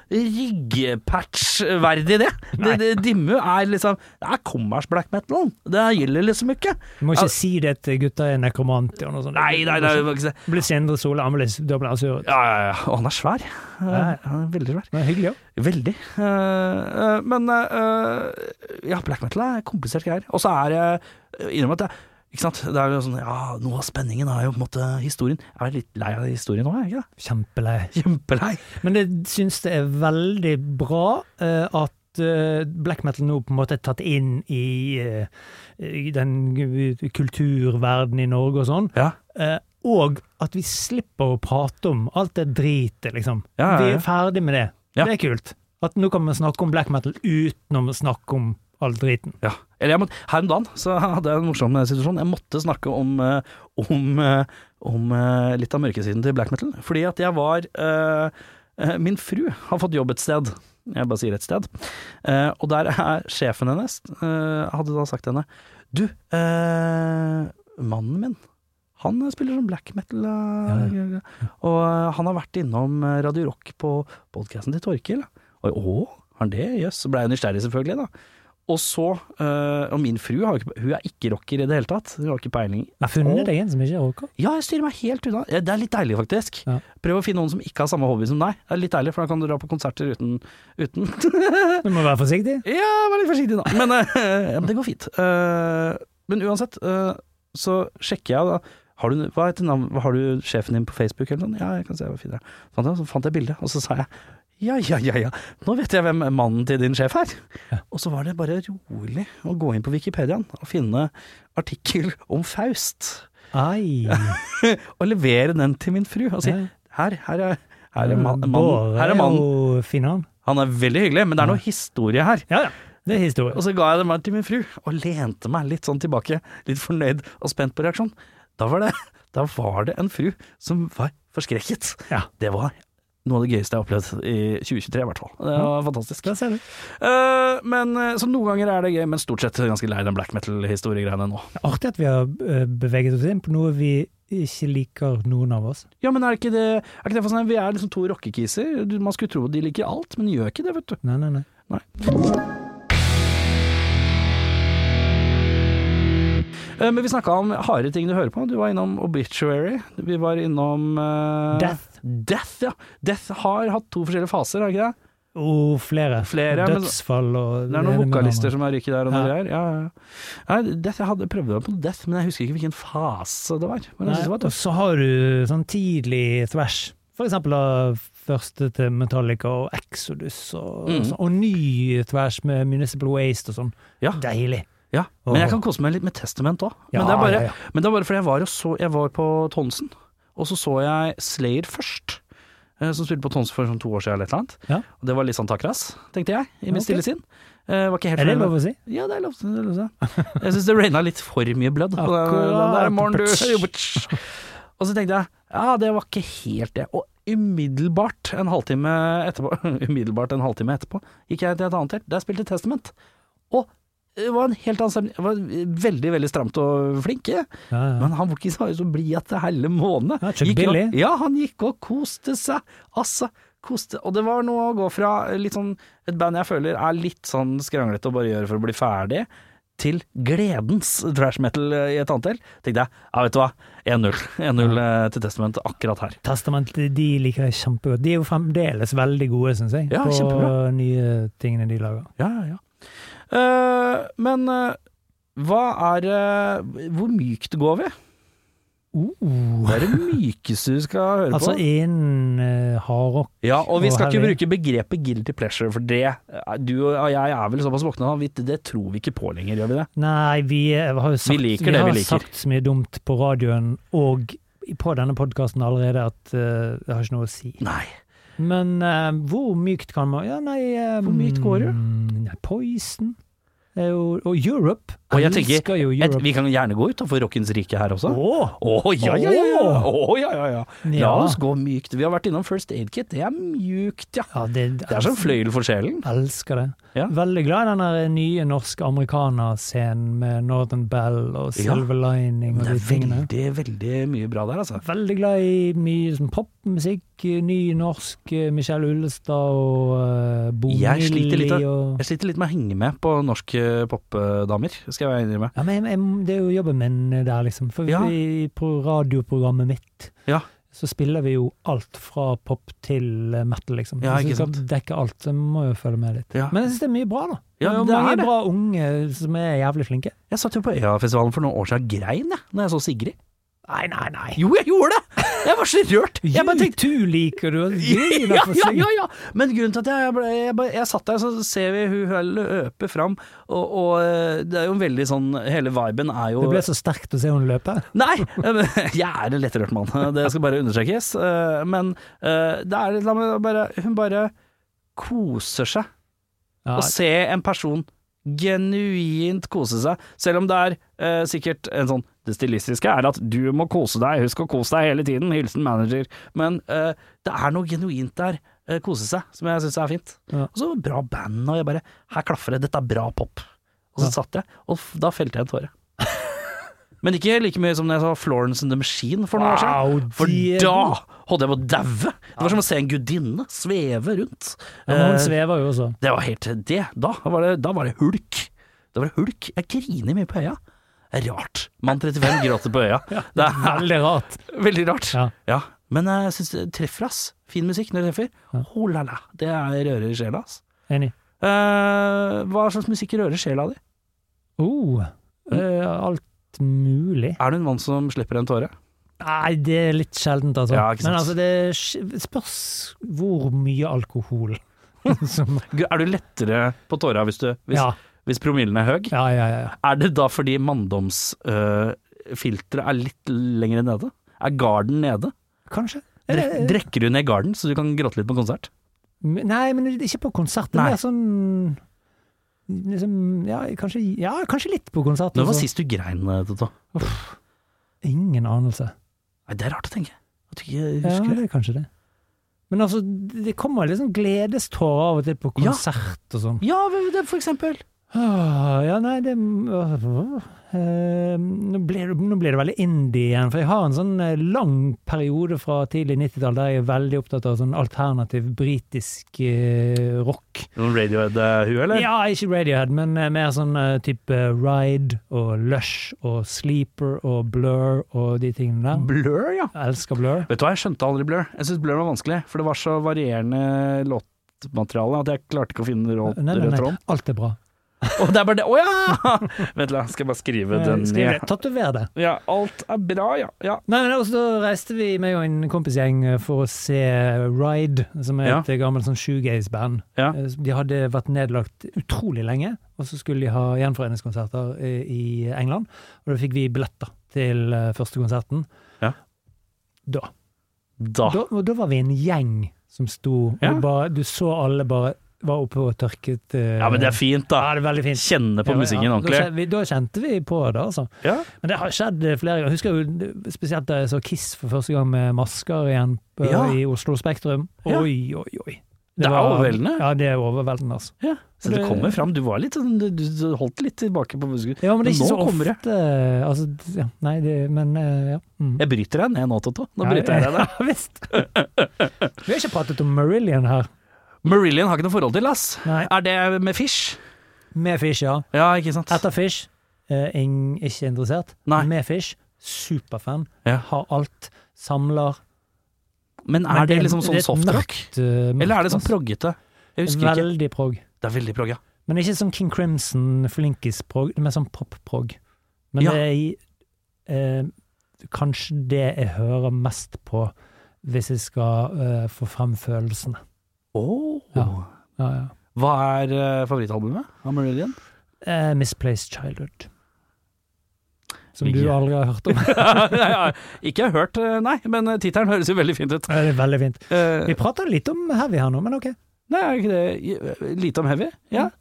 [SPEAKER 2] ryggpatch-verdig, det. det, det Dimmu er liksom Det er kommers-black metal. Det gjelder liksom ikke.
[SPEAKER 3] Du må ikke si det til gutta i Nekromantia og noe sånt.
[SPEAKER 2] Nei, nei, nei. det var ikke det.
[SPEAKER 3] Blir Sindre Sole Amelis, da blir han sur.
[SPEAKER 2] Ja, ja, ja. Og han er svær.
[SPEAKER 3] Ja.
[SPEAKER 2] Han er veldig svær.
[SPEAKER 3] Men det er hyggelig, ja.
[SPEAKER 2] Veldig. Eh, eh, men eh, ja, black metal er komplisert greier. Og så er det Innrøm at det ikke sant? Det er jo sånn, ja, Noe av spenningen er jo på en måte historien. Jeg er litt lei av historien nå, er jeg ikke det?
[SPEAKER 3] Kjempelei.
[SPEAKER 2] Kjempelei.
[SPEAKER 3] Men jeg syns det er veldig bra eh, at eh, black metal nå på en måte er tatt inn i, eh, i den gu- kulturverdenen i Norge og sånn.
[SPEAKER 2] Ja.
[SPEAKER 3] Eh, og at vi slipper å prate om alt det dritet, liksom.
[SPEAKER 2] Ja, ja, ja.
[SPEAKER 3] Vi er ferdig med det.
[SPEAKER 2] Ja.
[SPEAKER 3] Det er kult. At nå kan vi snakke om black metal utenom å snakke om all driten.
[SPEAKER 2] ja. Eller jeg måtte, her om dagen så hadde jeg en morsom eh, situasjon. Jeg måtte snakke om, eh, om, eh, om eh, litt av mørkesiden til black metal. Fordi at jeg var eh, eh, Min fru har fått jobb et sted. jeg bare sier et sted. Eh, og der er sjefen hennes, eh, hadde da sagt til henne Du, eh, mannen min, han spiller sånn black metal, eh, og eh, han har vært innom eh, Radio Rock på podkasten til Torkil. Og jeg, å, har han det? Jøss. Så ble jeg nysgjerrig, selvfølgelig, da. Og så, eh, og min fru har jo ikke, hun er ikke rocker i det hele tatt, hun har ikke peiling.
[SPEAKER 3] Jeg har funnet deg en som ikke er OK.
[SPEAKER 2] Ja, jeg styrer meg helt unna. Ja, Det er litt deilig, faktisk.
[SPEAKER 3] Ja.
[SPEAKER 2] Prøv å finne noen som ikke har samme hobby som deg. Det er litt deilig, for da kan du dra på konserter uten, uten.
[SPEAKER 3] Du må være forsiktig.
[SPEAKER 2] Ja, vær litt forsiktig da. Men eh, ja, men det går fint. Eh, men uansett, eh, så sjekker jeg da. Har du, hva heter navn, hva har du sjefen din på Facebook eller noe? Ja, jeg kan se hva fin det er. Fant jeg, så fant jeg bildet, og så sa jeg ja, ja, ja, ja, nå vet jeg hvem mannen til din sjef er. Og så var det bare rolig å gå inn på Wikipediaen og finne artikkel om Faust,
[SPEAKER 3] Ai.
[SPEAKER 2] og levere den til min fru og si
[SPEAKER 3] Ja.
[SPEAKER 2] her, her er, her er man- mannen.
[SPEAKER 3] Bård
[SPEAKER 2] Her er mannen.
[SPEAKER 3] jo fin han.
[SPEAKER 2] Han er veldig hyggelig, men det er noe historie her.
[SPEAKER 3] Ja, ja. Det er historie.
[SPEAKER 2] Og så ga jeg det meg til min fru, og lente meg litt sånn tilbake, litt fornøyd og spent på reaksjon. Da var det, da var det en fru som var forskrekket.
[SPEAKER 3] Ja.
[SPEAKER 2] Det var noe av det gøyeste jeg har opplevd i 2023, i hvert fall. Det var fantastisk.
[SPEAKER 3] Der ser du.
[SPEAKER 2] Eh, men, eh, så noen ganger er det gøy, men stort sett er jeg ganske lei den black metal-historiegreiene nå.
[SPEAKER 3] Det er Artig at vi har eh, beveget oss inn på noe vi ikke liker, noen av oss.
[SPEAKER 2] Ja, men er det ikke det, er ikke det fascinerende? Vi er liksom to rockekiser. Du- Man skulle tro de liker alt, men de gjør ikke det, vet du.
[SPEAKER 3] Nei, nei, nei.
[SPEAKER 2] Nei. Eh, Men vi snakka om harde ting du hører på. Du var innom Obituary. Vi var innom eh,
[SPEAKER 3] Death.
[SPEAKER 2] Death, ja. Death har hatt to forskjellige faser, har ikke det?
[SPEAKER 3] Oh, flere.
[SPEAKER 2] Flere, men-
[SPEAKER 3] Dødsfall og
[SPEAKER 2] Det er noen
[SPEAKER 3] ene med
[SPEAKER 2] vokalister
[SPEAKER 3] andre.
[SPEAKER 2] som har rykket der og noe
[SPEAKER 3] Ja.
[SPEAKER 2] greier. Ja, ja, ja. Nei, Death, jeg hadde prøvd meg på Death, men jeg husker ikke hvilken fase det var. Men jeg synes det
[SPEAKER 3] Nei,
[SPEAKER 2] var
[SPEAKER 3] og
[SPEAKER 2] tøft.
[SPEAKER 3] så har du sånn tidlig thrash. For eksempel av første til Metallica og Exodus, og, sånn.
[SPEAKER 2] Mm.
[SPEAKER 3] og ny thrash med Municipal Waste og sånn.
[SPEAKER 2] Ja.
[SPEAKER 3] Deilig.
[SPEAKER 2] Ja. Men jeg kan kose meg litt med Testament òg.
[SPEAKER 3] Ja,
[SPEAKER 2] men, det er bare-
[SPEAKER 3] ja, ja.
[SPEAKER 2] men det er bare fordi jeg var, og så, jeg var på Tonsen, og så så jeg Slayer først. eh, Som spilte på Tonsen for sånn to år siden eller et eller annet.
[SPEAKER 3] Ja.
[SPEAKER 2] Og det var litt sånn takras, tenkte jeg, i
[SPEAKER 3] Ok.
[SPEAKER 2] mitt stille sinn. Eh, var ikke helt
[SPEAKER 3] Er det
[SPEAKER 2] fornøyd med-
[SPEAKER 3] lov å si?
[SPEAKER 2] Ja, det er lov. Det er lov. Jeg syns det raina litt for mye blødd. på den-
[SPEAKER 3] Akkurat.
[SPEAKER 2] Den der morgenen, du. Og så tenkte jeg ja, det var ikke helt det. Og umiddelbart en halvtime etterpå, umiddelbart en halvtime etterpå gikk jeg til et annet helt. Der spilte Testament. Og det var en helt annen stemning. Det var veldig, veldig stramt og flinke.
[SPEAKER 3] Ja, ja.
[SPEAKER 2] Men han var ikke så, så blid etter hele måneden.
[SPEAKER 3] Ja, Chuck
[SPEAKER 2] Gikk
[SPEAKER 3] Billy.
[SPEAKER 2] og- Ja, han gikk og koste seg. Altså, koste. Og det var noe å gå fra litt sånn, et band jeg føler er litt sånn skranglete å bare gjøre for å bli ferdig, til gledens trash metal eh, i et annet del. Tenkte jeg, ja vet du hva, 1-0. 1-0 eh, til Testament akkurat her.
[SPEAKER 3] Testamentet de liker jeg kjempegodt. De er jo fremdeles veldig gode, syns jeg,
[SPEAKER 2] Ja,
[SPEAKER 3] på
[SPEAKER 2] kjempebra.
[SPEAKER 3] nye tingene de lager.
[SPEAKER 2] Ja, ja, ja. Eh, men eh, hva er det Hvor mykt går vi?
[SPEAKER 3] Uh.
[SPEAKER 2] Hva er det mykeste du skal høre
[SPEAKER 3] altså
[SPEAKER 2] på?
[SPEAKER 3] innen eh, hardrock
[SPEAKER 2] Ja, og vi
[SPEAKER 3] Og
[SPEAKER 2] skal
[SPEAKER 3] her
[SPEAKER 2] ikke
[SPEAKER 3] vi-
[SPEAKER 2] bruke begrepet guilty pleasure, for det eh, Du og jeg er vel såpass våkne at vi- det tror vi ikke på lenger, gjør vi det?
[SPEAKER 3] Nei, vi eh, har jo sagt,
[SPEAKER 2] Vi liker
[SPEAKER 3] vi
[SPEAKER 2] det vi
[SPEAKER 3] har
[SPEAKER 2] liker.
[SPEAKER 3] sagt så mye dumt på radioen og i- på denne podkasten allerede at eh, det har ikke noe å si.
[SPEAKER 2] Nei.
[SPEAKER 3] Men eh, hvor mykt kan man Ja, nei eh,
[SPEAKER 2] Hvor mykt går det?
[SPEAKER 3] mm, Nei, Poison er jo, Og Europe.
[SPEAKER 2] Og jeg tenker,
[SPEAKER 3] elsker jo
[SPEAKER 2] Et,
[SPEAKER 3] Europe.
[SPEAKER 2] vi kan gjerne gå utafor rockens rike her også. Å
[SPEAKER 3] Åh,
[SPEAKER 2] ja, ja, ja, ja. Å, ja, ja, ja. La
[SPEAKER 3] Ja.
[SPEAKER 2] oss gå mykt. Vi har vært innom First Aid Kit, det er mjukt, ja.
[SPEAKER 3] ja, altså, det,
[SPEAKER 2] Det er som fløyel for sjelen.
[SPEAKER 3] Elsker det.
[SPEAKER 2] Ja.
[SPEAKER 3] Veldig glad i den der nye norske amerikanerscenen med Northern Bell og
[SPEAKER 2] Ja.
[SPEAKER 3] Silver Lining og
[SPEAKER 2] Det
[SPEAKER 3] de
[SPEAKER 2] er
[SPEAKER 3] tingene.
[SPEAKER 2] veldig, veldig mye bra der, altså.
[SPEAKER 3] Veldig glad i mye sånn popmusikk, ny norsk, eh, Michelle Ullestad og uh, Bo
[SPEAKER 2] Jeg sliter litt av-
[SPEAKER 3] Millie og
[SPEAKER 2] Jeg sliter litt med å henge med på norske eh, popdamer, skal jeg innrømme.
[SPEAKER 3] ja, men jeg, jeg, Det er jo jobben min der, liksom. For
[SPEAKER 2] Ja.
[SPEAKER 3] vi, på radioprogrammet mitt
[SPEAKER 2] Ja.
[SPEAKER 3] så spiller vi jo alt fra pop til eh, metal, liksom.
[SPEAKER 2] Ja,
[SPEAKER 3] Hvis vi
[SPEAKER 2] ikke
[SPEAKER 3] skal dekke alt, så må jeg jo følge med litt.
[SPEAKER 2] Ja.
[SPEAKER 3] Men jeg syns det er mye bra, da.
[SPEAKER 2] Ja,
[SPEAKER 3] det er jo
[SPEAKER 2] det er
[SPEAKER 3] mange
[SPEAKER 2] det.
[SPEAKER 3] bra unge som er jævlig flinke.
[SPEAKER 2] Jeg satt jo på Øyafestivalen for noen år siden og grein, jeg, når jeg så Sigrid.
[SPEAKER 3] Nei, nei, nei.
[SPEAKER 2] Jo, jeg gjorde det! Jeg var så rørt. Jeg bare tenkte
[SPEAKER 3] U2 liker du, og griner
[SPEAKER 2] ja,
[SPEAKER 3] for
[SPEAKER 2] ja,
[SPEAKER 3] seg.
[SPEAKER 2] ja, ja. Men grunnen til at jeg, jeg, ble, jeg, bare- jeg satt der, så ser vi hun her løpe fram, og, og eh, det er jo en veldig sånn Hele viben er jo
[SPEAKER 3] Det ble så sterkt å se hun løpe.
[SPEAKER 2] Nei! men Jeg er en lettrørt mann, det skal bare understrekes. eh, Men eh, det er litt La meg bare Hun bare koser seg.
[SPEAKER 3] Ja,
[SPEAKER 2] Å se en person genuint kose seg, selv om det er eh, sikkert en sånn Det stilistiske er at du må kose deg, husk å kose deg hele tiden, hilsen manager. Men eh, det er noe genuint der. eh, kose seg, som jeg syns er fint.
[SPEAKER 3] Ja.
[SPEAKER 2] Og så bra band, og jeg bare Her klaffer det, dette er bra pop. Og så
[SPEAKER 3] Ja.
[SPEAKER 2] satt jeg, og f- da felte jeg en tåre. Men ikke like mye som da jeg så Florence and the Machine for noen år siden.
[SPEAKER 3] Wow,
[SPEAKER 2] For
[SPEAKER 3] de-
[SPEAKER 2] da holdt jeg på å daue! Det var som å se en gudinne sveve rundt.
[SPEAKER 3] Ja, men
[SPEAKER 2] Eh,
[SPEAKER 3] hun svever jo også.
[SPEAKER 2] det var helt det. Da var det, da var det hulk. Da var det hulk. Jeg griner mye på øya. Det er rart. Mann 35 gråter på øya. Det er
[SPEAKER 3] Veldig rart.
[SPEAKER 2] veldig rart.
[SPEAKER 3] Ja.
[SPEAKER 2] Ja. Men eh, jeg syns det treffer, ass. Fin musikk når det treffer.
[SPEAKER 3] Ja.
[SPEAKER 2] Oh la la. Det er rører i sjela, ass.
[SPEAKER 3] Enig.
[SPEAKER 2] Eh, hva slags musikk rører sjela di?
[SPEAKER 3] Oh,
[SPEAKER 2] Mm.
[SPEAKER 3] eh, alt mulig.
[SPEAKER 2] Er du en mann som slipper en tåre?
[SPEAKER 3] Nei, det er litt sjeldent, altså.
[SPEAKER 2] Ja, ikke sant.
[SPEAKER 3] Men altså, det er sj- spørs hvor mye alkohol som
[SPEAKER 2] G- Er du lettere på tåra hvis, du- hvis,
[SPEAKER 3] ja,
[SPEAKER 2] hvis promillen er høy?
[SPEAKER 3] ja, ja, ja.
[SPEAKER 2] Er det da fordi manndomsfilteret er litt lenger nede? Er garden nede?
[SPEAKER 3] Kanskje.
[SPEAKER 2] Drek, drekker du ned garden så du kan gråte litt på konsert?
[SPEAKER 3] Nei, men ikke på konsert. Det
[SPEAKER 2] Nei.
[SPEAKER 3] er mer sånn liksom, ja, kanskje, ja, kanskje litt på konsert.
[SPEAKER 2] Når var
[SPEAKER 3] altså.
[SPEAKER 2] sist du grein, eh, Toto?
[SPEAKER 3] Ingen anelse.
[SPEAKER 2] Nei, det er rart å tenke. At du ikke
[SPEAKER 3] Ja,
[SPEAKER 2] husker det.
[SPEAKER 3] det er kanskje det. Men altså, det kommer liksom gledestårer av og til på
[SPEAKER 2] Ja.
[SPEAKER 3] konsert og sånn.
[SPEAKER 2] Ja, hvem er det, for eksempel.
[SPEAKER 3] Åh, ja, nei, det åh, eh, nå, ble, det- nå ble det veldig indie igjen, for jeg har en sånn eh, lang periode fra tidlig 90-tall der jeg er veldig opptatt av sånn alternativ britisk eh, rock.
[SPEAKER 2] Noen Radiohead-hue, eller?
[SPEAKER 3] Ja, ikke Radiohead, men eh, mer sånn eh, type Ride og Lush og Sleeper og Blur og de tingene der.
[SPEAKER 2] Blur, ja.
[SPEAKER 3] Jeg elsker Blur.
[SPEAKER 2] Vet du hva, jeg skjønte aldri Blur. Jeg syntes Blur var vanskelig, for det var så varierende låtmateriale at jeg klarte ikke å finne rå-
[SPEAKER 3] Nei, nei,
[SPEAKER 2] rød
[SPEAKER 3] nei,
[SPEAKER 2] tråd.
[SPEAKER 3] alt er bra.
[SPEAKER 2] Og det er bare det Å ja! Vent, la skal jeg bare skrive
[SPEAKER 3] Eh,
[SPEAKER 2] den
[SPEAKER 3] Skriv
[SPEAKER 2] ned.
[SPEAKER 3] det. Tatover det.
[SPEAKER 2] Ja, alt er bra, ja. ja.
[SPEAKER 3] Nei, men også, Da reiste vi meg og en kompisgjeng eh, for å se Ride, som er
[SPEAKER 2] Ja.
[SPEAKER 3] et gammelt sånn shoegaze-band.
[SPEAKER 2] Ja.
[SPEAKER 3] Eh, De hadde vært nedlagt utrolig lenge, og så skulle de ha gjenforeningskonserter eh, i England. Og da fikk vi billetter til eh, første konserten.
[SPEAKER 2] Ja.
[SPEAKER 3] Da.
[SPEAKER 2] Da.
[SPEAKER 3] Da, og da var vi en gjeng som sto, og
[SPEAKER 2] Ah. Ja.
[SPEAKER 3] det bare, du så alle bare var oppe og tørket eh,
[SPEAKER 2] Ja, men det er fint,
[SPEAKER 3] Ja,
[SPEAKER 2] da.
[SPEAKER 3] det er veldig fint.
[SPEAKER 2] Kjenne på
[SPEAKER 3] Ja,
[SPEAKER 2] musikken
[SPEAKER 3] ja. Da,
[SPEAKER 2] ordentlig.
[SPEAKER 3] kjen- vi, da kjente vi på det, altså.
[SPEAKER 2] Ja.
[SPEAKER 3] Men det har skjedd flere ganger. Jeg husker jo spesielt da jeg så Kiss for første gang med masker igjen på,
[SPEAKER 2] Ja.
[SPEAKER 3] i Oslo Spektrum.
[SPEAKER 2] Ja.
[SPEAKER 3] Oi, oi, oi.
[SPEAKER 2] Det er
[SPEAKER 3] var-
[SPEAKER 2] overveldende.
[SPEAKER 3] Ja, det er overveldende, altså.
[SPEAKER 2] Ja, så det
[SPEAKER 3] Det-
[SPEAKER 2] kommer fram. Du var litt sånn, du, du holdt litt tilbake på buskene.
[SPEAKER 3] Ja, men
[SPEAKER 2] Men
[SPEAKER 3] det er
[SPEAKER 2] nå
[SPEAKER 3] ikke så
[SPEAKER 2] kommer
[SPEAKER 3] ofte
[SPEAKER 2] det.
[SPEAKER 3] altså, d- ja, Nei, det, men eh, ja. Mm.
[SPEAKER 2] Jeg bryter deg ned nå, Toto. Nå
[SPEAKER 3] Ja,
[SPEAKER 2] bryter jeg deg ned.
[SPEAKER 3] Ja, visst. Vi har ikke pratet om Marillion her.
[SPEAKER 2] Marillion har ikke noe forhold til, ass.
[SPEAKER 3] Nei.
[SPEAKER 2] Er det med Fish?
[SPEAKER 3] Med Fish, ja.
[SPEAKER 2] Ja, ikke sant?
[SPEAKER 3] Etter Fish, eh, ing, ikke interessert.
[SPEAKER 2] Nei.
[SPEAKER 3] Med Fish, superfan.
[SPEAKER 2] Ja.
[SPEAKER 3] Har alt. Samler.
[SPEAKER 2] Men er
[SPEAKER 3] Men
[SPEAKER 2] det,
[SPEAKER 3] det-
[SPEAKER 2] liksom sånn
[SPEAKER 3] det er et
[SPEAKER 2] softrock?
[SPEAKER 3] eh, mørkt,
[SPEAKER 2] Eller er det sånn
[SPEAKER 3] altså.
[SPEAKER 2] proggete? Jeg husker ikke.
[SPEAKER 3] Veldig prog.
[SPEAKER 2] Det er veldig progg, ja.
[SPEAKER 3] Men ikke sånn King Crimson, flinkis-prog, men sånn pop-prog. Men
[SPEAKER 2] Ja.
[SPEAKER 3] det er i, eh, kanskje det jeg hører mest på hvis jeg skal eh, få frem følelsene.
[SPEAKER 2] Åh.
[SPEAKER 3] Ja. Ja, ja.
[SPEAKER 2] Hva er eh, favorittalbumet av Marillion?
[SPEAKER 3] Eh, Misplaced Childhood. Som
[SPEAKER 2] Ligger.
[SPEAKER 3] du aldri har hørt om.
[SPEAKER 2] Ja, ikke hørt, eh, nei, men eh, tittelen høres jo veldig fint ut.
[SPEAKER 3] det er veldig fint.
[SPEAKER 2] Eh,
[SPEAKER 3] Vi prater litt om heavy her nå, men ok.
[SPEAKER 2] nei, er ikke det eh, lite om heavy? Ja. Mm.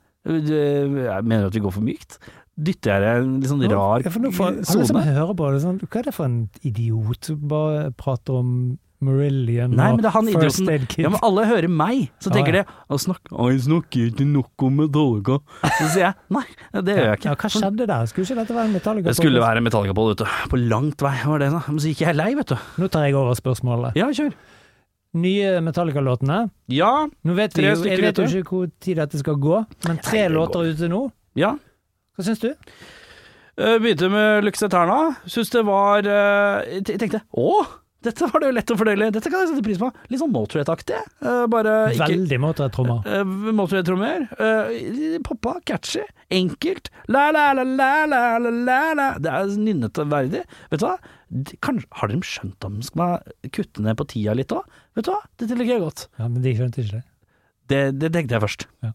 [SPEAKER 2] Du- Jeg mener at vi går for mykt. Dytter jeg deg i en litt sånn rar
[SPEAKER 3] Ja, for nå får- Alle som
[SPEAKER 2] sone?
[SPEAKER 3] hører på det, sånn, hva er det for en idiot som bare prater om Marillion
[SPEAKER 2] Nei, men
[SPEAKER 3] og
[SPEAKER 2] det er han
[SPEAKER 3] First
[SPEAKER 2] idioten-
[SPEAKER 3] Aid Kid?
[SPEAKER 2] Ja, men alle hører meg, så
[SPEAKER 3] Ja,
[SPEAKER 2] tenker
[SPEAKER 3] ja.
[SPEAKER 2] de å snakke, å, jeg snakker ikke nok om Metallica. Så sier jeg nei, det gjør jeg ikke. sånn-
[SPEAKER 3] Ja, hva skjedde der? Skulle ikke dette være en Metallica?
[SPEAKER 2] Det skulle være Metallica på, vet du. På langt vei var det, da. Men så gikk jeg lei, vet du.
[SPEAKER 3] Nå tar jeg over spørsmålet.
[SPEAKER 2] Ja, kjør.
[SPEAKER 3] Nye Metallica-låtene.
[SPEAKER 2] Ja,
[SPEAKER 3] Nå vet vi
[SPEAKER 2] Tre
[SPEAKER 3] jo, jeg
[SPEAKER 2] stykker
[SPEAKER 3] vet jo
[SPEAKER 2] ute.
[SPEAKER 3] ikke hvor tid dette skal gå, men tre
[SPEAKER 2] Nei, det
[SPEAKER 3] låter ute nå.
[SPEAKER 2] ja.
[SPEAKER 3] Hva syns du?
[SPEAKER 2] Eh, Begynte med Lux Eterna. Syns det var eh, Jeg te- tenkte å, dette var det jo lett å fordele. Dette kan jeg sette pris på. Litt sånn Motorhead-aktig. eh, Bare ikke
[SPEAKER 3] Veldig Motörhead-trommer.
[SPEAKER 2] Eh, Motorhead-trommer. eh, poppa, catchy, enkelt. La, la, la, la, la, la, la, la. Det er nynnete verdig. Vet du hva? De- Kanskje, har de skjønt at de skal kutte ned på tida litt òg? Vet du hva? Dette liker jeg godt.
[SPEAKER 3] Ja, men de skjønte ikke det.
[SPEAKER 2] Det, det tenkte jeg først.
[SPEAKER 3] Ja.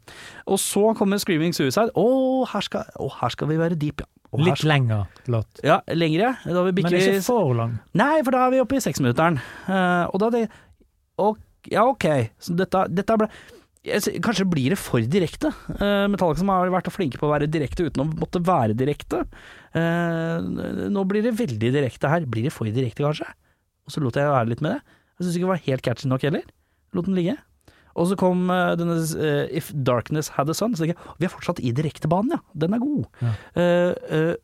[SPEAKER 2] Og så kommer Screaming Suicide. Å, her skal, å, her skal vi være deep, ja. Og her
[SPEAKER 3] Litt
[SPEAKER 2] skal,
[SPEAKER 3] lengre låt,
[SPEAKER 2] ja, lengre. Da vi
[SPEAKER 3] men
[SPEAKER 2] bikker
[SPEAKER 3] ikke for lang.
[SPEAKER 2] Nei, for da er vi oppe i seksminutteren. Uh, og da er det og, Ja, ok. Så dette, dette ble jeg sy- Kanskje blir det for direkte. Eh, Metallica som har vært flinke på å være direkte uten å måtte være direkte. Eh, nå blir det veldig direkte her. Blir det for direkte, kanskje? Og så lot jeg være litt med det. Jeg syns ikke det var helt catchy nok heller. Lot den ligge. Og så kom eh, denne eh, If Darkness Had A Sun, så tenker jeg vi er fortsatt i direktebanen, ja. Den er god.
[SPEAKER 3] Ja.
[SPEAKER 2] Eh, eh,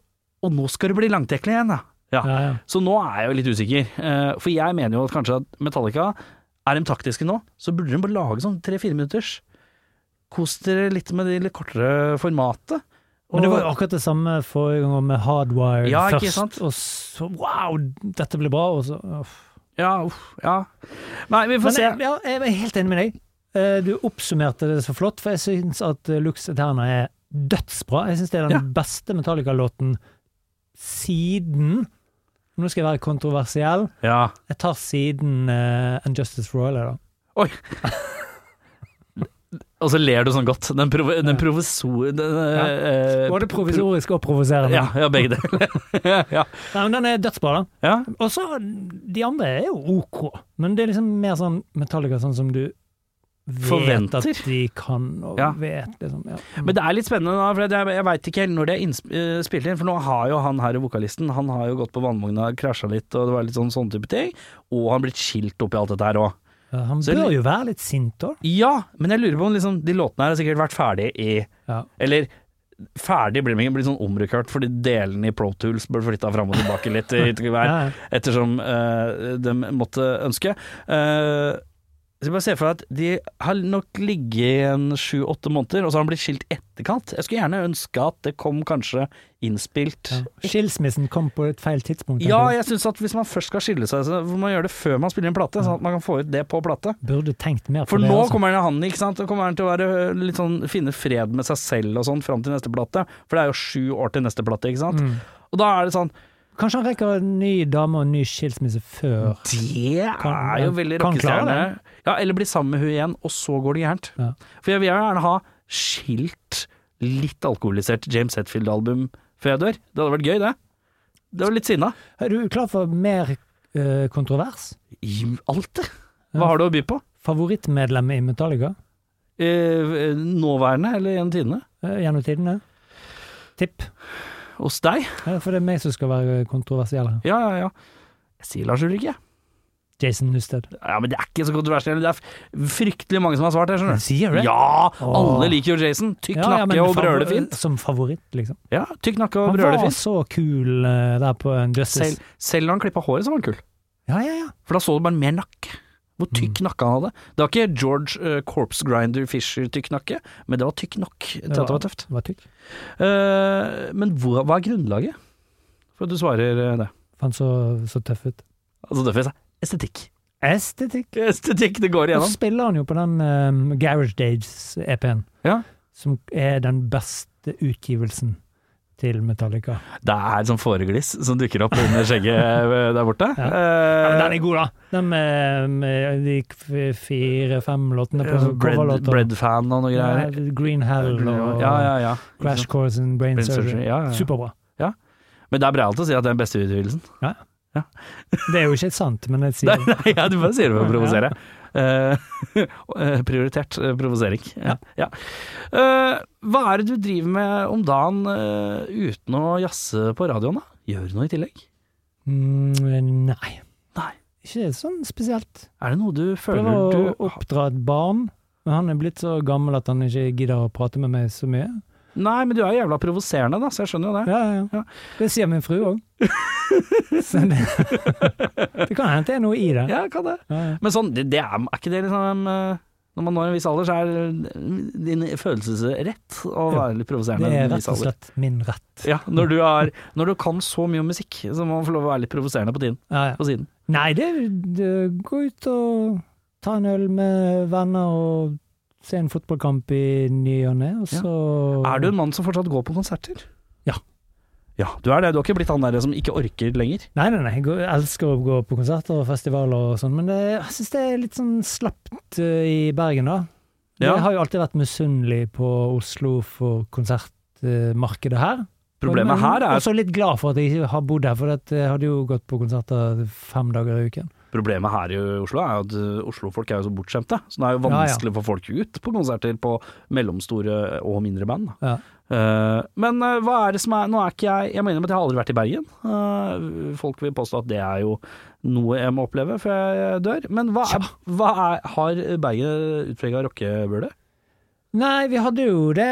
[SPEAKER 2] og nå skal det bli langtekkelig igjen, da. Ja.
[SPEAKER 3] Ja, ja.
[SPEAKER 2] Så nå er jeg jo litt usikker. eh, for jeg mener jo at kanskje at Metallica er de taktiske nå, så burde de bare lage sånn tre-fire minutters. Kos dere litt med det litt kortere formatet.
[SPEAKER 3] Men det var jo
[SPEAKER 2] Og-
[SPEAKER 3] akkurat det samme forrige gang med Hardwired
[SPEAKER 2] Ja, ikke sant?
[SPEAKER 3] først, og så wow, dette ble bra, og så uff.
[SPEAKER 2] Ja, uff, ja. Nei, vi får
[SPEAKER 3] Men
[SPEAKER 2] se.
[SPEAKER 3] jeg, ja, jeg er helt enig med deg. Eh, Du oppsummerte det så flott, for jeg syns at eh, Lux Eterna er dødsbra. Jeg syns det er den
[SPEAKER 2] Ja.
[SPEAKER 3] beste Metallica-låten siden Nå skal jeg være kontroversiell.
[SPEAKER 2] Ja.
[SPEAKER 3] Jeg tar siden eh, And Justice for All, jeg, da.
[SPEAKER 2] Og så ler du sånn godt. Den, provo den provisor... Den,
[SPEAKER 3] Ja.
[SPEAKER 2] eh,
[SPEAKER 3] Både provisorisk og provoserende.
[SPEAKER 2] Ja, ja, begge deler. ja.
[SPEAKER 3] Nei, men den er dødsbra, da.
[SPEAKER 2] ja.
[SPEAKER 3] Og så De andre er jo OK, men det er liksom mer sånn Metallica sånn som du vet
[SPEAKER 2] Forventer.
[SPEAKER 3] at de kan, og
[SPEAKER 2] Ja.
[SPEAKER 3] vet liksom ja.
[SPEAKER 2] Men det er litt spennende, da, for jeg, jeg veit ikke helt når det er innsp- eh, spilt inn. For nå har jo han her i vokalisten Han har jo gått på vannvogna, krasja litt, og det var litt sånn sånne type ting. Og han blitt skilt oppi alt dette her òg.
[SPEAKER 3] Ja, Han
[SPEAKER 2] så-
[SPEAKER 3] bør jo være litt sint, da.
[SPEAKER 2] Ja, men jeg lurer på om liksom, de låtene her har sikkert vært ferdig i
[SPEAKER 3] Ja.
[SPEAKER 2] Eller ferdig blir det ikke, blir sånn omrokert, fordi delene i Pro Tools ble flytta fram og tilbake litt i hit og gevær.
[SPEAKER 3] Ja, ja.
[SPEAKER 2] ettersom eh, de måtte ønske. Eh, så jeg bare ser for meg at de har nok ligget i en sju-åtte måneder, og så har han blitt skilt etterkant. Jeg skulle gjerne ønske at det kom kanskje innspilt.
[SPEAKER 3] Ja. Skilsmissen kom på et feil tidspunkt.
[SPEAKER 2] Ja,
[SPEAKER 3] jeg...
[SPEAKER 2] jeg syns at hvis man først skal skille seg, så får man gjøre det før man spiller en plate, sånn at man kan få ut det på plate.
[SPEAKER 3] Burde tenkt mer på
[SPEAKER 2] For
[SPEAKER 3] det.
[SPEAKER 2] nå
[SPEAKER 3] altså.
[SPEAKER 2] kommer han, han ikke sant? Da kommer han til å være litt sånn, finne fred med seg selv og sånn fram til neste plate. For det er jo sju år til neste plate, ikke sant.
[SPEAKER 3] Mm.
[SPEAKER 2] Og da er det sånn
[SPEAKER 3] Kanskje han rekker en ny dame og en ny skilsmisse
[SPEAKER 2] Mm.
[SPEAKER 3] før.
[SPEAKER 2] Det
[SPEAKER 3] Kan-
[SPEAKER 2] er jo veldig
[SPEAKER 3] kan klare
[SPEAKER 2] rockestjerne. Ja, eller bli sammen med hun igjen, og så går det gærent.
[SPEAKER 3] Ja.
[SPEAKER 2] For jeg vil gjerne ha skilt litt alkoholisert James Hetfield-album før jeg dør. Det hadde vært gøy, det. Det var litt sinna.
[SPEAKER 3] Er du klar for mer eh, kontrovers?
[SPEAKER 2] I alt, det.
[SPEAKER 3] Ja.
[SPEAKER 2] Hva har du å by på?
[SPEAKER 3] Favorittmedlem i Metallica
[SPEAKER 2] Eh, nåværende eller gjennom tidene?
[SPEAKER 3] eh, gjennom tidene? Tipp.
[SPEAKER 2] Hos deg?
[SPEAKER 3] Ja, for det er meg som skal være kontroversiell her.
[SPEAKER 2] Ja, ja, ja. Jeg sier Lars Ulrik, jeg.
[SPEAKER 3] Jason Nusted.
[SPEAKER 2] Ja, men det er ikke så kontroversielt. Det er f- fryktelig mange som har svart, jeg skjønner.
[SPEAKER 3] Sier det?
[SPEAKER 2] Ja!
[SPEAKER 3] Åh.
[SPEAKER 2] Alle liker jo Jason. Tykk nakke og brøle fint.
[SPEAKER 3] Som favoritt, liksom.
[SPEAKER 2] Ja, tykk nakke og
[SPEAKER 3] Han
[SPEAKER 2] brøle
[SPEAKER 3] var
[SPEAKER 2] fint.
[SPEAKER 3] så kul eh, der på en Justice.
[SPEAKER 2] Selv, selv når han klippa håret, så var han kul.
[SPEAKER 3] Ja, ja, ja.
[SPEAKER 2] For da så du bare mer nakke. Hvor
[SPEAKER 3] Mm.
[SPEAKER 2] tykk nakke han hadde. Det var ikke George eh, Corpse Grinder Fisher-tykk nakke, men det var tykk nok til at det var tøft.
[SPEAKER 3] Det var tykk.
[SPEAKER 2] Eh, men hva, hva er grunnlaget for at du svarer eh, det?
[SPEAKER 3] Han så, så tøff ut.
[SPEAKER 2] Altså, det får jeg si estetikk.
[SPEAKER 3] Estetikk.
[SPEAKER 2] Estetikk, det går
[SPEAKER 3] Og
[SPEAKER 2] igjennom.
[SPEAKER 3] så spiller han jo på den eh, Garage Days-EP-en,
[SPEAKER 2] Ja.
[SPEAKER 3] som er den beste utgivelsen til Metallica.
[SPEAKER 2] Det er sånn fåregliss som dukker opp under skjegget eh, der borte.
[SPEAKER 3] Ja.
[SPEAKER 2] Eh,
[SPEAKER 3] er god, da! Den med, med de f- fire-fem låtene på
[SPEAKER 2] eh, bread,
[SPEAKER 3] coverlåter.
[SPEAKER 2] Bread-fan og noe
[SPEAKER 3] Ja,
[SPEAKER 2] greier.
[SPEAKER 3] Green Hell og
[SPEAKER 2] Ja, ja, ja.
[SPEAKER 3] Crash Course and Brain,
[SPEAKER 2] Brain
[SPEAKER 3] Surgery.
[SPEAKER 2] Surgery, ja, ja.
[SPEAKER 3] Superbra.
[SPEAKER 2] Men det er breialt å si at det er den beste utgivelsen.
[SPEAKER 3] Det er jo ikke sant, men
[SPEAKER 2] Nei,
[SPEAKER 3] jeg sier
[SPEAKER 2] nei ja, du bare sier det for å provosere. Eh, prioritert eh, provosering. Ja. ja. Eh, hva er det du driver med om dagen eh, uten å jazze på radioen, da? Gjør du noe i tillegg?
[SPEAKER 3] mm, Nei.
[SPEAKER 2] Nei.
[SPEAKER 3] Ikke sånn spesielt.
[SPEAKER 2] Er det noe du føler
[SPEAKER 3] Prøver å
[SPEAKER 2] du
[SPEAKER 3] oppdra et barn, men han er blitt så gammel at han ikke gidder å prate med meg så mye.
[SPEAKER 2] Nei, men du er jo jævla provoserende, da, så jeg skjønner jo det.
[SPEAKER 3] Ja, ja, ja.
[SPEAKER 2] Ja.
[SPEAKER 3] Det sier min frue òg. det, det kan hende det er noe i det.
[SPEAKER 2] Ja, kan det.
[SPEAKER 3] Ja, ja.
[SPEAKER 2] Men sånn, det, det er, er ikke det liksom eh, Når man når en viss alder, så er din følelsesrett å
[SPEAKER 3] Ja.
[SPEAKER 2] være litt provoserende.
[SPEAKER 3] Det er
[SPEAKER 2] i en viss
[SPEAKER 3] rett og
[SPEAKER 2] alder.
[SPEAKER 3] slett min rett.
[SPEAKER 2] Ja, når du, er, når du kan så mye om musikk, så må man få lov å være litt provoserende på, tiden,
[SPEAKER 3] Ja, ja.
[SPEAKER 2] på siden.
[SPEAKER 3] Nei, det, det gå ut og ta en øl med venner og se en fotballkamp i ny og ne, og så
[SPEAKER 2] Er du en mann som fortsatt går på konserter?
[SPEAKER 3] Ja.
[SPEAKER 2] Ja, Du er det. Du har ikke blitt han der som ikke orker lenger?
[SPEAKER 3] Nei, nei, nei. Jeg går- elsker å gå på konserter og festivaler og sånn, men det, jeg syns det er litt sånn slapt eh, i Bergen, da.
[SPEAKER 2] Ja.
[SPEAKER 3] Jeg har jo alltid vært misunnelig på Oslo for konsertmarkedet her.
[SPEAKER 2] Problemet
[SPEAKER 3] Men
[SPEAKER 2] her er
[SPEAKER 3] eh, Også litt glad for at jeg ikke har bodd her, for at jeg hadde jo gått på konserter fem dager i uken.
[SPEAKER 2] Problemet her i Oslo er jo at eh, oslofolk er jo så bortskjemte, så det er jo vanskelig for folk ut på konserter på mellomstore og mindre band. da.
[SPEAKER 3] Ja.
[SPEAKER 2] Eh, men eh, hva er det som er Nå er ikke jeg Jeg må innrømme at jeg har aldri vært i Bergen. Eh, folk vil påstå at det er jo noe jeg må oppleve før jeg dør. Men hva, er, hva er, har Bergen utprega rockebøle?
[SPEAKER 3] Nei, vi hadde jo det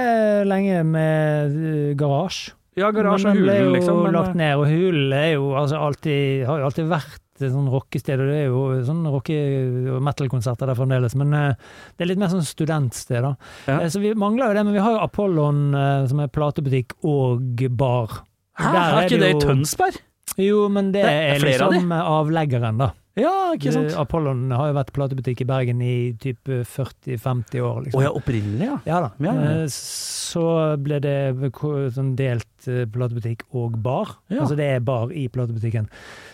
[SPEAKER 3] lenge med eh, garasje.
[SPEAKER 2] Ja, garasje og
[SPEAKER 3] Men eh, den ble
[SPEAKER 2] hulen,
[SPEAKER 3] jo
[SPEAKER 2] liksom. Men,
[SPEAKER 3] lagt ned, og hulen er jo altså alltid, har jo alltid vært et sånn rockested, og det er jo sånn rocke- og metal-konserter der fremdeles, men eh, det er litt mer sånn studentsted, da.
[SPEAKER 2] Ja.
[SPEAKER 3] Eh, Så vi mangler jo det, men vi har jo Apollon, eh, som er platebutikk og bar.
[SPEAKER 2] hæ,
[SPEAKER 3] Der
[SPEAKER 2] er ikke det i
[SPEAKER 3] jo-
[SPEAKER 2] Tønsberg?
[SPEAKER 3] Jo, men det
[SPEAKER 2] Det er
[SPEAKER 3] er
[SPEAKER 2] flere av de.
[SPEAKER 3] liksom av avleggeren, da.
[SPEAKER 2] Ja,
[SPEAKER 3] Det-
[SPEAKER 2] ikke sant?
[SPEAKER 3] Apollon har jo vært platebutikk i Bergen i typ 40-50 år, liksom.
[SPEAKER 2] Å ja, opprinnelig, ja.
[SPEAKER 3] Ja da.
[SPEAKER 2] Ja, ja, ja.
[SPEAKER 3] Eh, Så ble det ko- sånn delt eh, platebutikk og bar.
[SPEAKER 2] Ja.
[SPEAKER 3] Altså det er bar i platebutikken.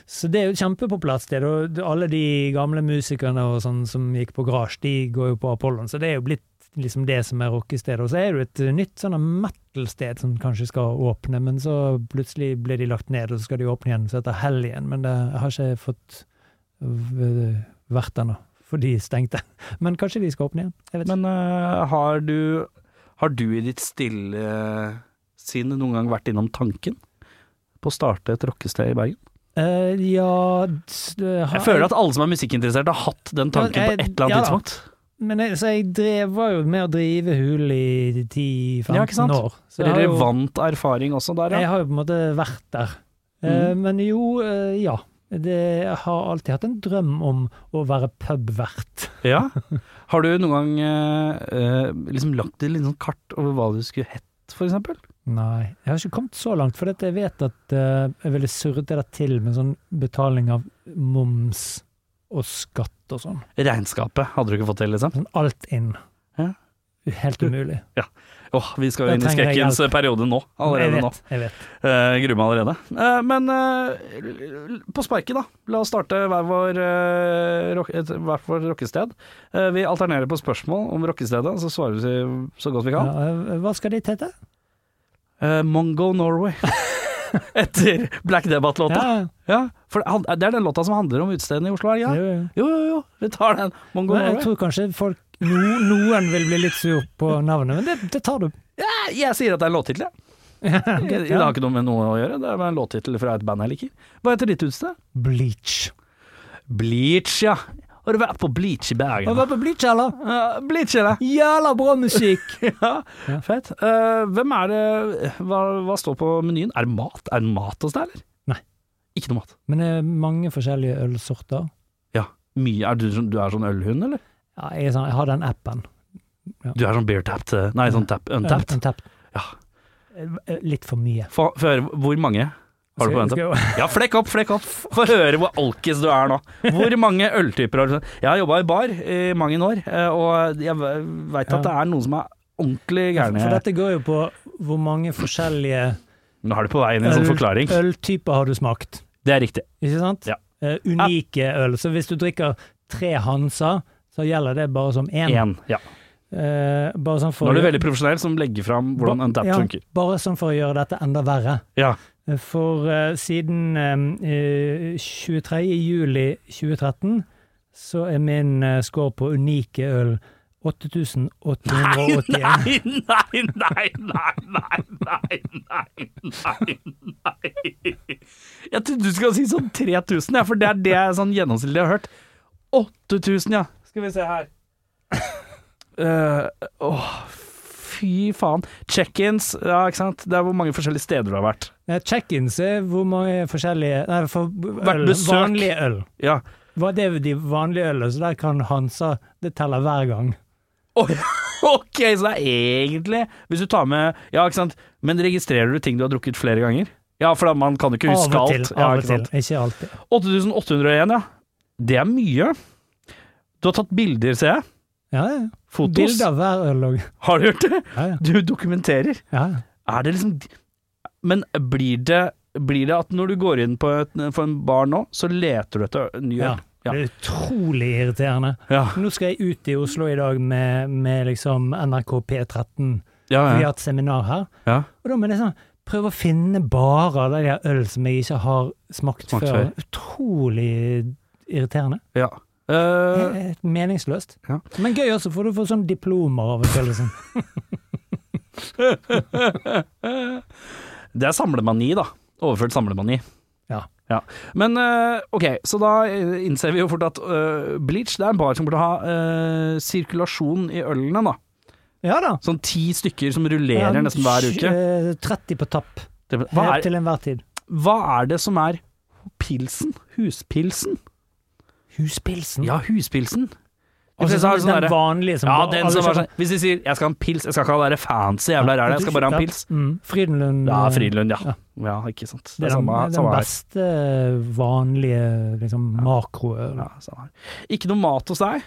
[SPEAKER 3] Så det er jo et kjempepopulært sted. Og det- alle de gamle musikerne og sånn som gikk på Garage, de går jo på Apollon. Så det er jo blitt liksom det som er rockestedet. Og så er det jo et eh, nytt sånn metal-sted som kanskje skal åpne, men så plutselig ble de lagt ned, og så skal de åpne igjen så etter helgen. Men det jeg har ikke fått eh, vært der nå, for de stengte. Men kanskje de skal åpne igjen. Jeg vet ikke.
[SPEAKER 2] Men eh, har, du, har du i ditt stille eh, sinn noen gang vært innom tanken på å starte et rockested i Bergen?
[SPEAKER 3] Eh, ja s- det har-
[SPEAKER 2] Jeg føler at alle som er musikkinteressert har hatt den tanken
[SPEAKER 3] Ja,
[SPEAKER 2] på
[SPEAKER 3] jeg-
[SPEAKER 2] et eller annet
[SPEAKER 3] ja da.
[SPEAKER 2] tidspunkt.
[SPEAKER 3] Men jeg, så jeg drev, var jo med å drive hul i 10-15
[SPEAKER 2] Ja, ikke sant?
[SPEAKER 3] år. Så jeg har, jo,
[SPEAKER 2] Relevant erfaring også der, Mm.
[SPEAKER 3] jeg
[SPEAKER 2] ja.
[SPEAKER 3] har jo på en måte vært der. Eh, Men jo, eh, ja. Det, jeg har alltid hatt en drøm om å være pubvert.
[SPEAKER 2] ja. Har du noen gang eh, eh, liksom lagt et litt sånn kart over hva du skulle hett, for eksempel?
[SPEAKER 3] Nei, jeg har ikke kommet så langt, for jeg vet at eh, jeg ville surret det der til med sånn betaling av moms og skatt og sånn.
[SPEAKER 2] Regnskapet hadde du ikke fått til, liksom.
[SPEAKER 3] Sånn alt inn.
[SPEAKER 2] Ja.
[SPEAKER 3] Helt umulig.
[SPEAKER 2] Åh, vi skal jo
[SPEAKER 3] Da
[SPEAKER 2] inn i
[SPEAKER 3] trenger jeg
[SPEAKER 2] skrekkens periode nå.
[SPEAKER 3] jeg
[SPEAKER 2] Allerede nå.
[SPEAKER 3] vet, jeg vet.
[SPEAKER 2] Eh, Jeg gruer meg allerede. Eh, men eh, l- l- på sparket, da. La oss starte hver vår, eh, rock, et, hvert vår rockested. Eh, vi alternerer på spørsmål om rockestedet, så svarer vi så godt vi kan.
[SPEAKER 3] Ja, eh, hva skal ditt hete?
[SPEAKER 2] Eh, Mongo Norway. Etter Black Debate-låta. Ja.
[SPEAKER 3] Ja,
[SPEAKER 2] for han- det er den låta som handler om utestedene i Oslo, er det
[SPEAKER 3] ja.
[SPEAKER 2] ikke?
[SPEAKER 3] Jo, jo.
[SPEAKER 2] Jo, jo, jo. Vi tar den. Mongo
[SPEAKER 3] Men jeg
[SPEAKER 2] Norway.
[SPEAKER 3] tror kanskje folk, no, noen vil bli litt sur på navnet, men det, det tar du.
[SPEAKER 2] Eh, Jeg sier at det er en låttittel, jeg. Det det har ikke noe med noe å gjøre. Det er bare en låttittel fra et band jeg liker. Hva heter ditt utested?
[SPEAKER 3] Bleach.
[SPEAKER 2] Bleach, ja. Har du vært på Bleach i Bergen?
[SPEAKER 3] Har du vært på Bleach, eller?
[SPEAKER 2] Eh, Bleach, eller?
[SPEAKER 3] Jævla bra musikk!
[SPEAKER 2] Ja,
[SPEAKER 3] Ja.
[SPEAKER 2] fett. Eh, hvem er det hva, hva står på menyen? Er det mat? Er det mat hos deg, eller?
[SPEAKER 3] Nei.
[SPEAKER 2] Ikke noe mat.
[SPEAKER 3] Men det er mange forskjellige ølsorter.
[SPEAKER 2] Mye, er du, sånn- du er sånn ølhund, eller?
[SPEAKER 3] Ja, jeg, er sånn, jeg har den appen.
[SPEAKER 2] Du er sånn beer tapped eh, Nei, sånn tap, untapped.
[SPEAKER 3] Untapped.
[SPEAKER 2] Ja.
[SPEAKER 3] Eh, Litt for mye.
[SPEAKER 2] Få få høre hvor mange har du på untapped? Ja, flekk opp, flekk opp. Få høre hvor alkis du er nå. Hvor mange øltyper har du? sånn? Jeg har jobba i bar i mange år, eh, og jeg veit
[SPEAKER 3] Ja.
[SPEAKER 2] at det er noen som er ordentlig
[SPEAKER 3] For
[SPEAKER 2] gærne.
[SPEAKER 3] dette går jo på hvor mange forskjellige
[SPEAKER 2] Nå er du på vei inn i en sånn
[SPEAKER 3] øl-
[SPEAKER 2] forklaring.
[SPEAKER 3] øltyper har du smakt.
[SPEAKER 2] Det er riktig.
[SPEAKER 3] Ikke sant?
[SPEAKER 2] Ja.
[SPEAKER 3] Eh, unike øl. Så hvis du drikker tre Hansa, så gjelder det bare som én.
[SPEAKER 2] Én. Ja.
[SPEAKER 3] Eh, bare sånn for
[SPEAKER 2] Nå er du veldig profesjonell som legger fram hvordan
[SPEAKER 3] Ba-
[SPEAKER 2] untapped
[SPEAKER 3] ja,
[SPEAKER 2] funker.
[SPEAKER 3] Bare sånn for å gjøre dette enda verre.
[SPEAKER 2] Ja.
[SPEAKER 3] For eh, siden eh, 23. juli 2013 så er min eh, score på unike øl 8881.
[SPEAKER 2] Nei, nei, nei, nei, nei, nei, nei, nei, nei. Jeg trodde du skulle si sånn 3000, ja, for det er det jeg sånn gjennomsnittlig har hørt. 8000, ja. Skal vi se her. Eh, Åh, fy faen. Check-ins, ja, ikke sant. Det er hvor mange forskjellige steder du har vært.
[SPEAKER 3] Nei, Check-ins er Eh, hvor mange forskjellige Nei, for
[SPEAKER 2] Hvert
[SPEAKER 3] øl,
[SPEAKER 2] besøk.
[SPEAKER 3] vanlige øl.
[SPEAKER 2] Ja.
[SPEAKER 3] Hva- Det er jo de vanlige ølene, så der kan Hansa Det teller hver gang.
[SPEAKER 2] Oi, ok, så det er egentlig Hvis du tar med Ja, ikke sant. Men registrerer du ting du har drukket flere ganger? Ja, for da, man kan jo ikke huske
[SPEAKER 3] Av og til.
[SPEAKER 2] alt. Ja,
[SPEAKER 3] Av og
[SPEAKER 2] ikke sant?
[SPEAKER 3] til. Ikke alltid.
[SPEAKER 2] 8801, ja. Det er mye. Du har tatt bilder, ser jeg.
[SPEAKER 3] Ja, ja.
[SPEAKER 2] Fotos.
[SPEAKER 3] Bilde av hver øl òg.
[SPEAKER 2] Har du gjort det?
[SPEAKER 3] Ja, ja.
[SPEAKER 2] Du dokumenterer.
[SPEAKER 3] ja. ja.
[SPEAKER 2] Er det liksom Men blir det, blir det at når du går inn på et, for en bar nå, så leter du etter ny
[SPEAKER 3] Ja.
[SPEAKER 2] øl? Ja.
[SPEAKER 3] Det er utrolig irriterende.
[SPEAKER 2] Ja.
[SPEAKER 3] Nå skal jeg ut i Oslo i dag med, med liksom NRK P13.
[SPEAKER 2] Ja,
[SPEAKER 3] Vi
[SPEAKER 2] ja.
[SPEAKER 3] har et seminar her.
[SPEAKER 2] Ja.
[SPEAKER 3] Og da må jeg sånn, prøve å finne barer der de har øl som jeg ikke har smakt,
[SPEAKER 2] Smakt
[SPEAKER 3] før. Utrolig irriterende.
[SPEAKER 2] Ja. Eh,
[SPEAKER 3] Helt meningsløst.
[SPEAKER 2] Ja.
[SPEAKER 3] Men gøy også, for du får sånn diplomer av og til. Liksom.
[SPEAKER 2] det er samlemani, da. Overført samlemani.
[SPEAKER 3] Ja.
[SPEAKER 2] Ja. Men eh, ok, så da eh, innser vi jo fort at eh, Bleach det er en bar som burde ha eh, sirkulasjon i ølene, da.
[SPEAKER 3] ja da.
[SPEAKER 2] Sånn ti stykker som rullerer nesten hver uke.
[SPEAKER 3] Eh, 30 på tapp,
[SPEAKER 2] Det- Hva
[SPEAKER 3] helt
[SPEAKER 2] er,
[SPEAKER 3] til enhver tid.
[SPEAKER 2] hva er det som er pilsen? Huspilsen?
[SPEAKER 3] Huspilsen.
[SPEAKER 2] Ja, huspilsen. De
[SPEAKER 3] Altså,
[SPEAKER 2] fleste har
[SPEAKER 3] den
[SPEAKER 2] sånn derre-
[SPEAKER 3] vanlige som
[SPEAKER 2] Ja,
[SPEAKER 3] bare-
[SPEAKER 2] den
[SPEAKER 3] alle
[SPEAKER 2] som var
[SPEAKER 3] kjøper-
[SPEAKER 2] sånn Hvis de sier 'jeg skal ha en pils', jeg skal ikke ha det der fancy jævla rælet, jeg skal bare ha en pils.
[SPEAKER 3] Mm. Frydenlund.
[SPEAKER 2] Ja,
[SPEAKER 3] eh,
[SPEAKER 2] Frydenlund, ja.
[SPEAKER 3] Ja.
[SPEAKER 2] Ja, ikke sant.
[SPEAKER 3] Det er den,
[SPEAKER 2] samme,
[SPEAKER 3] den
[SPEAKER 2] samme her.
[SPEAKER 3] beste vanlige liksom, makroøl.
[SPEAKER 2] Ja, samme her. Ikke noe mat hos deg?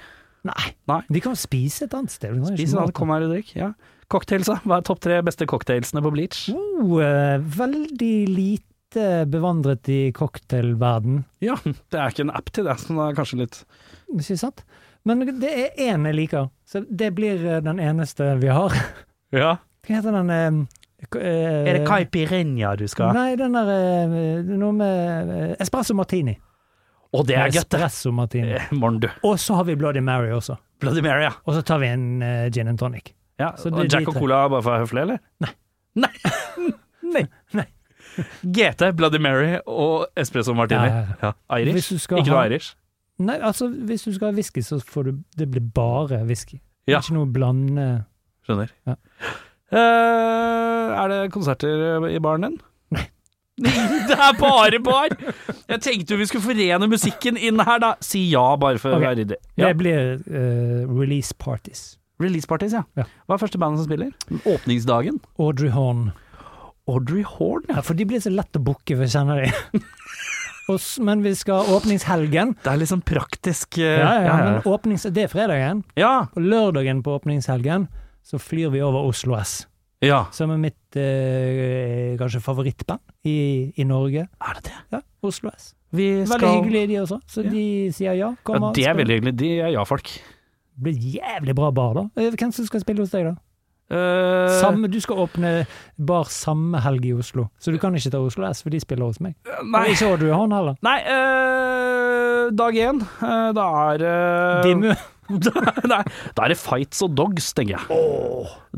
[SPEAKER 3] Nei.
[SPEAKER 2] Nei.
[SPEAKER 3] De kan spise et annet sted.
[SPEAKER 2] Spis en annen, kom her og drikk. Ja. Cocktails, da? Hva er topp tre beste cocktailsene på Bleach?
[SPEAKER 3] Oh, eh, veldig lite bevandret i cocktailverden,
[SPEAKER 2] Ja, det er ikke en app til det, så det er kanskje litt
[SPEAKER 3] ikke sant? Men det er én jeg liker, så det blir eh, den eneste vi har.
[SPEAKER 2] Ja.
[SPEAKER 3] Hva heter den eh, k- eh,
[SPEAKER 2] Er det caipirinha du skal ha?
[SPEAKER 3] Nei, den der eh, Noe med eh, espresso martini.
[SPEAKER 2] Å, det er godt!
[SPEAKER 3] Espresso martini.
[SPEAKER 2] Eh, Morn, du.
[SPEAKER 3] Og så har vi Bloody Mary også.
[SPEAKER 2] Bloody Mary, ja.
[SPEAKER 3] Og så tar vi en eh, gin and tonic.
[SPEAKER 2] ja.
[SPEAKER 3] Så
[SPEAKER 2] og
[SPEAKER 3] det er
[SPEAKER 2] Jack
[SPEAKER 3] de
[SPEAKER 2] og
[SPEAKER 3] tre.
[SPEAKER 2] Cola bare for høflig, eller? Nei. Nei.
[SPEAKER 3] Nei.
[SPEAKER 2] GT, Bloody Mary og Espresso Martini.
[SPEAKER 3] Ja, ja,
[SPEAKER 2] Ja.
[SPEAKER 3] Hvis
[SPEAKER 2] Irish.
[SPEAKER 3] du skal
[SPEAKER 2] Ikke
[SPEAKER 3] ha-
[SPEAKER 2] noe Irish.
[SPEAKER 3] Nei, altså hvis du skal ha whisky, så får du Det blir bare whisky.
[SPEAKER 2] Ja.
[SPEAKER 3] Ikke noe blande
[SPEAKER 2] Skjønner.
[SPEAKER 3] Ja.
[SPEAKER 2] Eh, er det konserter i baren din? Nei. det er bare bar! Jeg tenkte jo vi skulle forene musikken inn her, da. Si ja, bare for
[SPEAKER 3] Ok.
[SPEAKER 2] å være ryddig. Ja.
[SPEAKER 3] Det blir eh, release parties.
[SPEAKER 2] Release parties, ja.
[SPEAKER 3] Ja.
[SPEAKER 2] Hva er første bandet som spiller? Åpningsdagen.
[SPEAKER 3] Audrey Horn.
[SPEAKER 2] Audrey Horn, ja.
[SPEAKER 3] Ja, for de blir så lett å booke, for jeg kjenner de. Og s- men vi skal ha åpningshelgen.
[SPEAKER 2] Det er liksom praktisk eh,
[SPEAKER 3] Ja, ja, ja,
[SPEAKER 2] ja,
[SPEAKER 3] men åpnings, det er fredagen.
[SPEAKER 2] ja.
[SPEAKER 3] På lørdagen på åpningshelgen så flyr vi over Oslo S,
[SPEAKER 2] ja.
[SPEAKER 3] som er mitt eh, kanskje favorittband i, i Norge.
[SPEAKER 2] Er det det?
[SPEAKER 3] Ja, Oslo S.
[SPEAKER 2] Vi skal
[SPEAKER 3] Veldig hyggelige de også, så
[SPEAKER 2] Ja.
[SPEAKER 3] de sier ja. Kom
[SPEAKER 2] Ja,
[SPEAKER 3] og
[SPEAKER 2] det er
[SPEAKER 3] spill.
[SPEAKER 2] veldig hyggelig. De er ja-folk.
[SPEAKER 3] Det blir jævlig bra bar, da. Eh, Hvem som skal spille hos deg, da?
[SPEAKER 2] Eh,
[SPEAKER 3] Samme, du skal åpne bar samme helg i Oslo, så du kan ikke ta Oslo S, for de spiller hos meg.
[SPEAKER 2] Nei,
[SPEAKER 3] Og ikke Audrey Horn heller.
[SPEAKER 2] nei eh, dag én. eh, da er eh,
[SPEAKER 3] De mø-
[SPEAKER 2] da, nei, da er det fights og dogs, tenker jeg.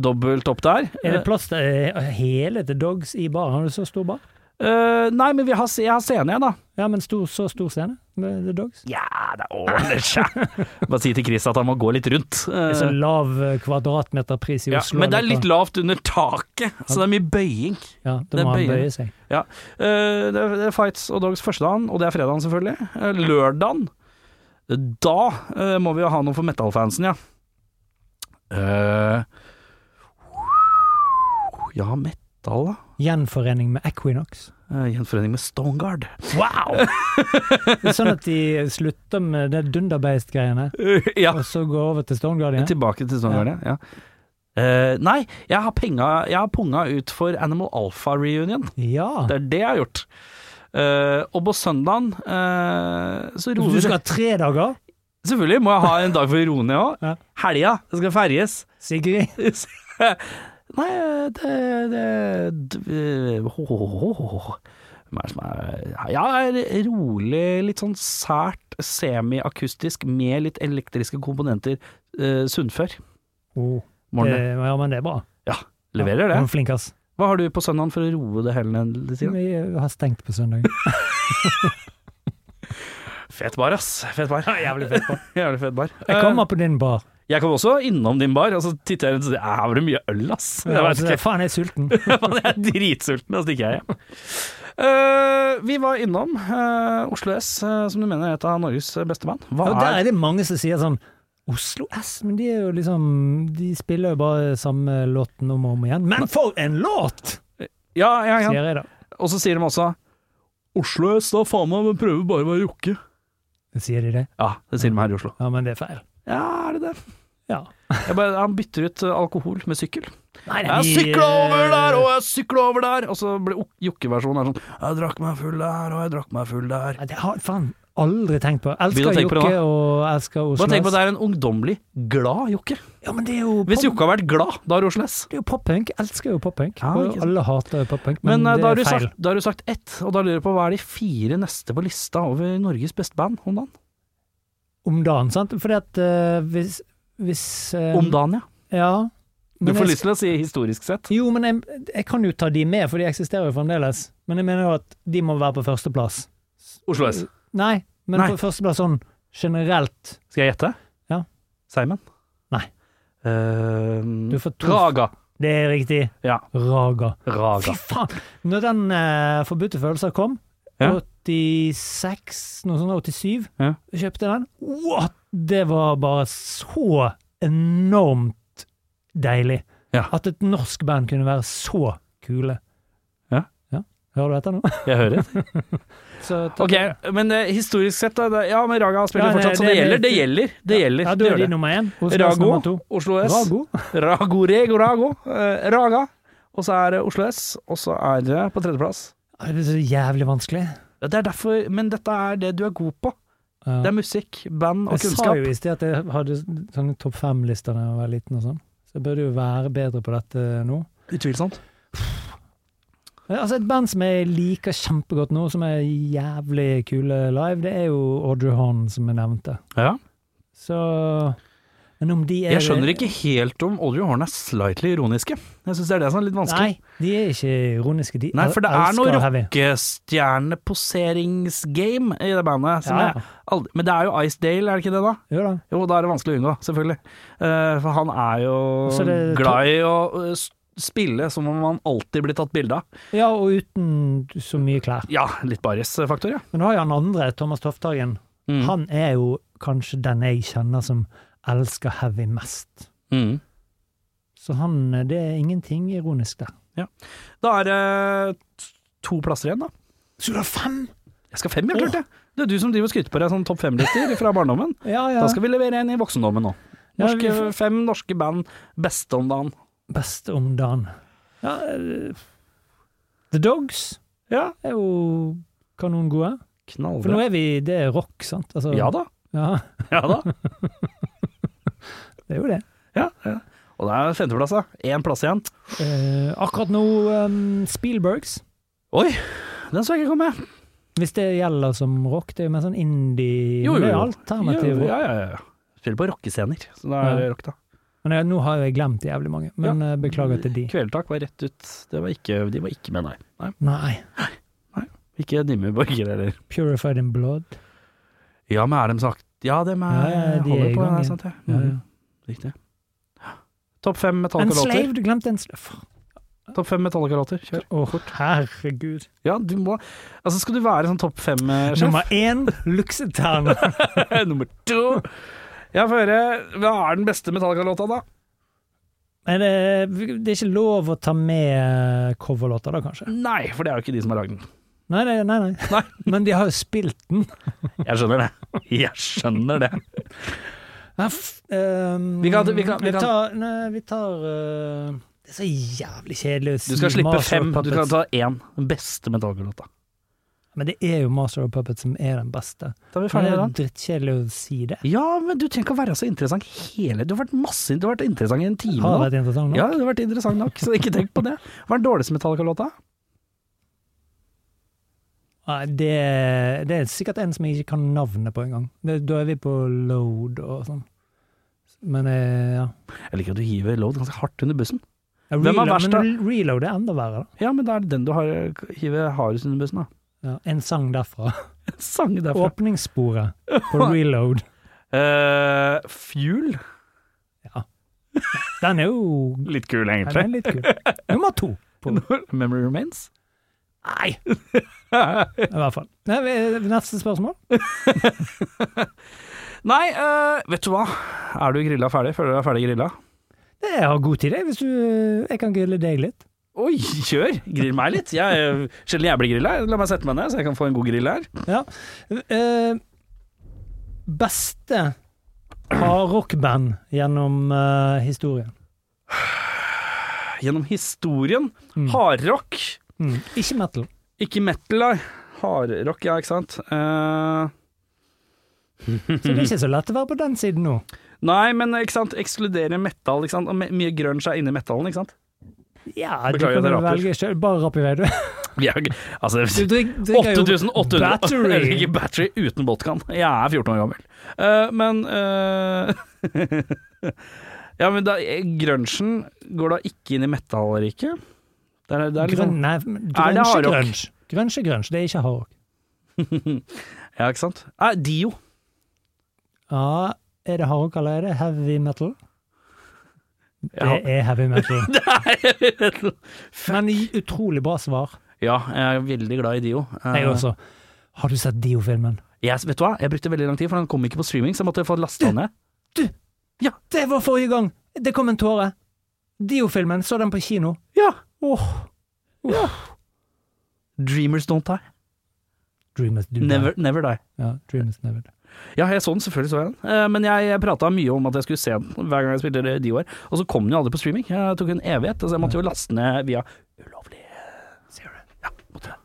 [SPEAKER 2] Dobbelt opp der.
[SPEAKER 3] er det plass til eh, hele til dogs i baren? Har du så stor bar?
[SPEAKER 2] Eh, nei, men vi har, se- jeg har scene igjen, da.
[SPEAKER 3] Ja, men stor, så stor scene med The Dogs?
[SPEAKER 2] Ja, det ordner seg. Bare si til Chris at han må gå litt rundt. Eh,
[SPEAKER 3] Det er så lav eh, kvadratmeterpris i
[SPEAKER 2] ja,
[SPEAKER 3] Oslo.
[SPEAKER 2] men det er litt lavt under taket, så det er mye bøying.
[SPEAKER 3] Ja,
[SPEAKER 2] det er
[SPEAKER 3] da må han
[SPEAKER 2] bøyende.
[SPEAKER 3] bøye seg.
[SPEAKER 2] Ja. Eh, det, er, det er fights og dogs første dagen, og det er fredagen selvfølgelig. Eh, lørdagen, da eh, må vi jo ha noe for metal-fansen, ja. Eh, ja, metal, da.
[SPEAKER 3] Gjenforening med Equinox.
[SPEAKER 2] Eh, gjenforening med Stoneguard.
[SPEAKER 3] Wow! det er sånn at de slutter med det dunderbeist-greiene,
[SPEAKER 2] ja.
[SPEAKER 3] og så går over til Stone Guardian.
[SPEAKER 2] Tilbake til Stone Guardian, ja. Eh, nei, jeg har, penga, jeg har punga ut for Animal Alpha Reunion.
[SPEAKER 3] Ja!
[SPEAKER 2] Det er det jeg har gjort. Eh, og på søndagen eh, så
[SPEAKER 3] Så
[SPEAKER 2] roer
[SPEAKER 3] Du skal
[SPEAKER 2] vi
[SPEAKER 3] ha tre dager?
[SPEAKER 2] Selvfølgelig må jeg ha en dag for å roe ned òg.
[SPEAKER 3] Ja.
[SPEAKER 2] Helga, det skal ferges.
[SPEAKER 3] Sigrid?
[SPEAKER 2] Nei, det, det, d- eh, hå, hå, hå, hå, hå. Hvem er det som er Ja, er rolig, litt sånn sært semiakustisk med litt elektriske komponenter. Uh, Sundfør.
[SPEAKER 3] Oh, det,
[SPEAKER 2] Morgen.
[SPEAKER 3] ja, men det er bra.
[SPEAKER 2] Leverer det.
[SPEAKER 3] Hun er flink, ass.
[SPEAKER 2] Hva har du på søndagen for å roe det hele ned litt? grann?
[SPEAKER 3] Vi har stengt på søndag.
[SPEAKER 2] Fet bar, ass. Fet bar.
[SPEAKER 3] Jævlig fett på.
[SPEAKER 2] Jævlig fet bar.
[SPEAKER 3] Jeg kommer på din bar.
[SPEAKER 2] Eh, jeg kom også innom din bar, og så titter jeg rundt og sier her var det mye øl, ass. Jeg vet
[SPEAKER 3] Altså,
[SPEAKER 2] ikke.
[SPEAKER 3] Faen, jeg er sulten.
[SPEAKER 2] Faen, jeg er dritsulten, altså, og så stikker jeg hjem. Eh, vi var innom eh, Oslo S, eh, som du mener er et av Norges beste band. Hva
[SPEAKER 3] Og der
[SPEAKER 2] er
[SPEAKER 3] er det mange som sier sånn Oslo S, men de er jo liksom De spiller jo bare samme låten om og om igjen. Men for en låt!
[SPEAKER 2] Ja, ja, ja.
[SPEAKER 3] Sier jeg da.
[SPEAKER 2] Og så sier de også Oslo S, da faen meg, men prøver bare å være jokke.
[SPEAKER 3] Sier de det?
[SPEAKER 2] Ja, det sier de her i Oslo.
[SPEAKER 3] Ja, men det er feil.
[SPEAKER 2] Ja, er det det?
[SPEAKER 3] Ja.
[SPEAKER 2] Jeg bare, han bytter ut eh, alkohol med sykkel.
[SPEAKER 3] Nei, nei,
[SPEAKER 2] Jeg
[SPEAKER 3] vi,
[SPEAKER 2] sykla over der, og
[SPEAKER 3] eh,
[SPEAKER 2] jeg sykla over der! Og så ble ok- jokkeversjonen er sånn Jeg drakk meg full der, og jeg drakk meg full der.
[SPEAKER 3] nei, Det har jeg faen aldri tenkt på.
[SPEAKER 2] Begynn å
[SPEAKER 3] Elsker
[SPEAKER 2] tenke på det
[SPEAKER 3] Jokke og elsker Oslo
[SPEAKER 2] Bare tenk på at
[SPEAKER 3] S.
[SPEAKER 2] det er en ungdommelig glad jokke.
[SPEAKER 3] Ja, men det er jo
[SPEAKER 2] Hvis
[SPEAKER 3] pop-
[SPEAKER 2] jokke har vært glad, da er det Oslo S.
[SPEAKER 3] Det er jo poppunk. Elsker jo poppunk.
[SPEAKER 2] Ja, ikke
[SPEAKER 3] og
[SPEAKER 2] sant.
[SPEAKER 3] alle hater jo poppunk, men,
[SPEAKER 2] Men eh, da, har du
[SPEAKER 3] det er feil.
[SPEAKER 2] sagt, da har du sagt ett, og da lurer jeg på hva er de fire neste på lista over Norges beste band om dagen?
[SPEAKER 3] om dagen, sant? Fordi at eh, hvis, hvis eh,
[SPEAKER 2] Om dagen, ja.
[SPEAKER 3] Ja.
[SPEAKER 2] Du
[SPEAKER 3] Men
[SPEAKER 2] får
[SPEAKER 3] jeg-
[SPEAKER 2] lyst til å si historisk sett.
[SPEAKER 3] Jo, men jeg, jeg kan jo ta de med, for de eksisterer jo fremdeles. Men jeg mener jo at de må være på førsteplass.
[SPEAKER 2] Oslo S.
[SPEAKER 3] Nei, men
[SPEAKER 2] Nei.
[SPEAKER 3] på førsteplass sånn generelt.
[SPEAKER 2] Skal jeg gjette?
[SPEAKER 3] Ja.
[SPEAKER 2] Simon?
[SPEAKER 3] Nei.
[SPEAKER 2] Ehm,
[SPEAKER 3] Du får to.
[SPEAKER 2] Raga.
[SPEAKER 3] Det er riktig.
[SPEAKER 2] Ja.
[SPEAKER 3] Raga. Fy
[SPEAKER 2] Raga.
[SPEAKER 3] faen! Når den eh, forbudte følelser kom,
[SPEAKER 2] Ja.
[SPEAKER 3] 86, noe sånt, 87,
[SPEAKER 2] Ja.
[SPEAKER 3] kjøpte den. What?! Det var bare så enormt deilig.
[SPEAKER 2] Ja.
[SPEAKER 3] At et norsk band kunne være så kule.
[SPEAKER 2] Ja.
[SPEAKER 3] Hører du etter nå?
[SPEAKER 2] Jeg hører.
[SPEAKER 3] Så takk.
[SPEAKER 2] Ok, men eh, historisk sett, da. det- Ja, men Raga spiller
[SPEAKER 3] Ja,
[SPEAKER 2] fortsatt, så det
[SPEAKER 3] det-
[SPEAKER 2] gjelder.
[SPEAKER 3] det-
[SPEAKER 2] Det gjelder. Det gjelder.
[SPEAKER 3] Ja,
[SPEAKER 2] det
[SPEAKER 3] da er
[SPEAKER 2] gjør
[SPEAKER 3] de
[SPEAKER 2] det.
[SPEAKER 3] nummer én. Hos oss nummer
[SPEAKER 2] Rago,
[SPEAKER 3] to.
[SPEAKER 2] Oslo S.
[SPEAKER 3] Rago.
[SPEAKER 2] Rago, Rego, Rago. eh, Raga. Og så er det Oslo S. Og så er det på tredjeplass.
[SPEAKER 3] Ja, Det er så jævlig vanskelig.
[SPEAKER 2] Ja, Det er derfor, men dette er det du er god på.
[SPEAKER 3] Ja.
[SPEAKER 2] Det er musikk, band og
[SPEAKER 3] Jeg sa
[SPEAKER 2] kunnskap.
[SPEAKER 3] jo i sted at jeg hadde sånne topp fem-lister da jeg var liten og sånn. Så jeg burde jo være bedre på dette nå.
[SPEAKER 2] Utvilsomt.
[SPEAKER 3] Men Altså Et band som jeg liker kjempegodt nå, som er jævlig kule live, det er jo Audrey Horn, som jeg nevnte.
[SPEAKER 2] Ja.
[SPEAKER 3] Så Men om de er
[SPEAKER 2] Jeg skjønner ikke helt om Audrey Horn er slightly ironiske. Jeg syns det er det som er litt vanskelig.
[SPEAKER 3] Nei, de er ikke ironiske. De
[SPEAKER 2] Nei, for det er
[SPEAKER 3] elsker
[SPEAKER 2] noe
[SPEAKER 3] heavy.
[SPEAKER 2] rockestjerneposeringsgame i det bandet. Som
[SPEAKER 3] Ja,
[SPEAKER 2] jeg aldri, men det er jo Ice Dale, er det ikke det, da?
[SPEAKER 3] jo da.
[SPEAKER 2] Jo, da er det vanskelig å unngå, selvfølgelig. Eh, for han er jo
[SPEAKER 3] Så det-
[SPEAKER 2] glad i å eh, s- spille som om han alltid blir tatt bilde av.
[SPEAKER 3] Ja, og uten så mye klær.
[SPEAKER 2] Ja, litt barisfaktor, ja.
[SPEAKER 3] Men nå har jo han andre, Thomas Tofthagen,
[SPEAKER 2] Mm.
[SPEAKER 3] Han er jo kanskje den jeg kjenner som elsker heavy mest.
[SPEAKER 2] Mm.
[SPEAKER 3] Så han, det er ingenting ironisk der.
[SPEAKER 2] Da er det t- to plasser igjen, da.
[SPEAKER 3] Så du har fem?!
[SPEAKER 2] Jeg skal fem, ja, klart det. Det er du som driver og skryter på deg sånn topp fem-lister fra barndommen.
[SPEAKER 3] Ja, ja.
[SPEAKER 2] Da skal vi levere en i voksendommen nå.
[SPEAKER 3] Ja, vi
[SPEAKER 2] Norske,
[SPEAKER 3] får-
[SPEAKER 2] fem norske band beste om dagen.
[SPEAKER 3] Best om dagen. Ja, eh, The Dogs
[SPEAKER 2] Ja,
[SPEAKER 3] er jo kanongode. For nå
[SPEAKER 2] knallbra.
[SPEAKER 3] er vi Det er rock, sant? Altså,
[SPEAKER 2] Ja da.
[SPEAKER 3] ja,
[SPEAKER 2] Ja da.
[SPEAKER 3] det er jo det.
[SPEAKER 2] Ja, ja. Og det er femteplass, da. Én plass igjen.
[SPEAKER 3] Eh, akkurat nå eh, Spielbergs.
[SPEAKER 2] Oi, den så jeg ikke komme.
[SPEAKER 3] Hvis det gjelder som rock, det er jo mer sånn indie
[SPEAKER 2] Jo, jo,
[SPEAKER 3] Det er
[SPEAKER 2] jo.
[SPEAKER 3] alternativ rock.
[SPEAKER 2] Ja, ja, ja. Spiller på rockescener, så da er det rock, da.
[SPEAKER 3] Men jeg, nå har jeg glemt jævlig mange, men eh, beklager til de.
[SPEAKER 2] Kvelertak var rett ut. Det var ikke, de var ikke med, nei. nei.
[SPEAKER 3] Nei.
[SPEAKER 2] Ikke Dimmu Borger heller.
[SPEAKER 3] Purified in blood.
[SPEAKER 2] Ja, men er de sagt Ja, dem er,
[SPEAKER 3] Ja, ja, de
[SPEAKER 2] holder
[SPEAKER 3] er i
[SPEAKER 2] på,
[SPEAKER 3] gang
[SPEAKER 2] det er
[SPEAKER 3] igjen.
[SPEAKER 2] sant, ja.
[SPEAKER 3] Ja, ja.
[SPEAKER 2] Mm, Riktig. Topp fem
[SPEAKER 3] En
[SPEAKER 2] Metallica-låter.
[SPEAKER 3] slave, du glemte en slave.
[SPEAKER 2] Topp fem Metallica-låter, kjør.
[SPEAKER 3] Å, herregud.
[SPEAKER 2] Ja, du må Altså, skal du være sånn topp fem-sjef?
[SPEAKER 3] Nummer én, Luxeterne.
[SPEAKER 2] Nummer to. Ja, få høre. Hva er den beste Metallica-låta, da?
[SPEAKER 3] Men det, det er ikke lov å ta med eh, coverlåter, da, kanskje?
[SPEAKER 2] Nei, for det er jo ikke de som har lagd den.
[SPEAKER 3] Nei, nei, nei. nei. Men de har jo spilt den.
[SPEAKER 2] Jeg skjønner det. Jeg skjønner det.
[SPEAKER 3] Ja, f- ehm,
[SPEAKER 2] Vi kan- vi kan- vi kan-
[SPEAKER 3] tar, nei, vi tar eh, Det er så jævlig kjedelig å si
[SPEAKER 2] Du skal slippe
[SPEAKER 3] Master of
[SPEAKER 2] fem. Du
[SPEAKER 3] Puppets.
[SPEAKER 2] kan ta én. Den beste Metallica-låta.
[SPEAKER 3] Men det er jo Master of Puppets som er den beste.
[SPEAKER 2] Da er vi
[SPEAKER 3] Men det
[SPEAKER 2] ferdige
[SPEAKER 3] er
[SPEAKER 2] med
[SPEAKER 3] jo
[SPEAKER 2] den.
[SPEAKER 3] drittkjedelig å si det.
[SPEAKER 2] Ja, men du trenger ikke å være så interessant hele Du har vært masse Du har vært interessant i en time
[SPEAKER 3] Har
[SPEAKER 2] nå.
[SPEAKER 3] vært interessant nå.
[SPEAKER 2] Ja, du har vært interessant nok, så ikke tenk på det. Hva er den dårligste Metallica-låta?
[SPEAKER 3] Nei, det, det er sikkert en som jeg ikke kan navnet på engang. Det- Da er vi på load og sånn. Men eh, ja.
[SPEAKER 2] Jeg liker at du hiver Load ganske hardt under bussen.
[SPEAKER 3] ja
[SPEAKER 2] Hvem er
[SPEAKER 3] reload,
[SPEAKER 2] verst, da?
[SPEAKER 3] Men reload er enda verre, da.
[SPEAKER 2] Ja, men da er det den du har, hiver hardest under bussen, da.
[SPEAKER 3] Ja, en sang derfra.
[SPEAKER 2] Sang derfra.
[SPEAKER 3] Åpningssporet på reload.
[SPEAKER 2] Eh, fuel.
[SPEAKER 3] Den er jo
[SPEAKER 2] Litt kul,
[SPEAKER 3] den er litt kul. Nummer to,
[SPEAKER 2] Memory Remains.
[SPEAKER 3] Nei. i hvert fall. Nei, vi- Neste spørsmål.
[SPEAKER 2] Nei, eh, vet du hva. Er du grilla ferdig? Føler du deg ferdig grilla?
[SPEAKER 3] Det har god tid, jeg, hvis du eh, Jeg kan grille deg litt.
[SPEAKER 2] Oi, kjør! Grill meg litt. Jeg, eh, sjelden jeg blir grilla. La meg sette meg ned, så jeg kan få en god grill her.
[SPEAKER 3] Ja. Eh, beste hardrockband gjennom eh, historien.
[SPEAKER 2] Gjennom historien.
[SPEAKER 3] Mm.
[SPEAKER 2] Hardrock.
[SPEAKER 3] Mm. Ikke metal.
[SPEAKER 2] Ikke metal, da. Hardrock, ja, ikke sant. Eh,
[SPEAKER 3] Så det er ikke så lett å være på den siden nå.
[SPEAKER 2] nei, men ikke sant, ekskludere metal, ikke sant. Og me mye grunge er inni metallen, ikke sant.
[SPEAKER 3] Ja,
[SPEAKER 2] Beklager at
[SPEAKER 3] du
[SPEAKER 2] jeg
[SPEAKER 3] kan jo
[SPEAKER 2] raper.
[SPEAKER 3] velge selv. Bare rapp i vei, du.
[SPEAKER 2] Vi er jo ikke Altså,
[SPEAKER 3] Du drikk- drikker jo
[SPEAKER 2] 8800
[SPEAKER 3] Battery.
[SPEAKER 2] Jeg drikker battery uten vodkaen. Jeg er 14 år gammel. Eh, men eh, Ja, men da, eh, grunchen går da ikke inn i metallriket? Det er, det er liksom
[SPEAKER 3] Grønn, sånn- nei,
[SPEAKER 2] Er det
[SPEAKER 3] grønsje
[SPEAKER 2] hardrock?
[SPEAKER 3] grønsj. Grønsje grønsj, det er ikke hardrock.
[SPEAKER 2] Ja, ikke sant? Nei, Dio.
[SPEAKER 3] Ja, er det hardrock eller er det heavy metal?
[SPEAKER 2] Ja.
[SPEAKER 3] Det er heavy metal.
[SPEAKER 2] Nei.
[SPEAKER 3] Men i- utrolig bra svar.
[SPEAKER 2] ja, jeg er veldig glad i Dio. Eh,
[SPEAKER 3] Jeg også. Har du sett Dio-filmen?
[SPEAKER 2] jeg, vet du hva? jeg brukte veldig lang tid, for den kom ikke på streaming, så jeg måtte få lasta den ned.
[SPEAKER 3] Det var forrige gang! Det kom en tåre. Dio-filmen, så den på kino.
[SPEAKER 2] Ja.
[SPEAKER 3] Åh,
[SPEAKER 2] Dreamers Don't Die.
[SPEAKER 3] Dreamers do
[SPEAKER 2] Never, never Die.
[SPEAKER 3] Die. Ja, Dreamers never die.
[SPEAKER 2] Ja, jeg så den, selvfølgelig så jeg den. Eh, Men jeg, jeg prata mye om at jeg skulle se den hver gang jeg spilte det Dio her. Og så kom den jo aldri på streaming. Jeg tok en evighet, så jeg måtte jo laste ned via ulovlig eh, Zero. Ja, måtte jeg.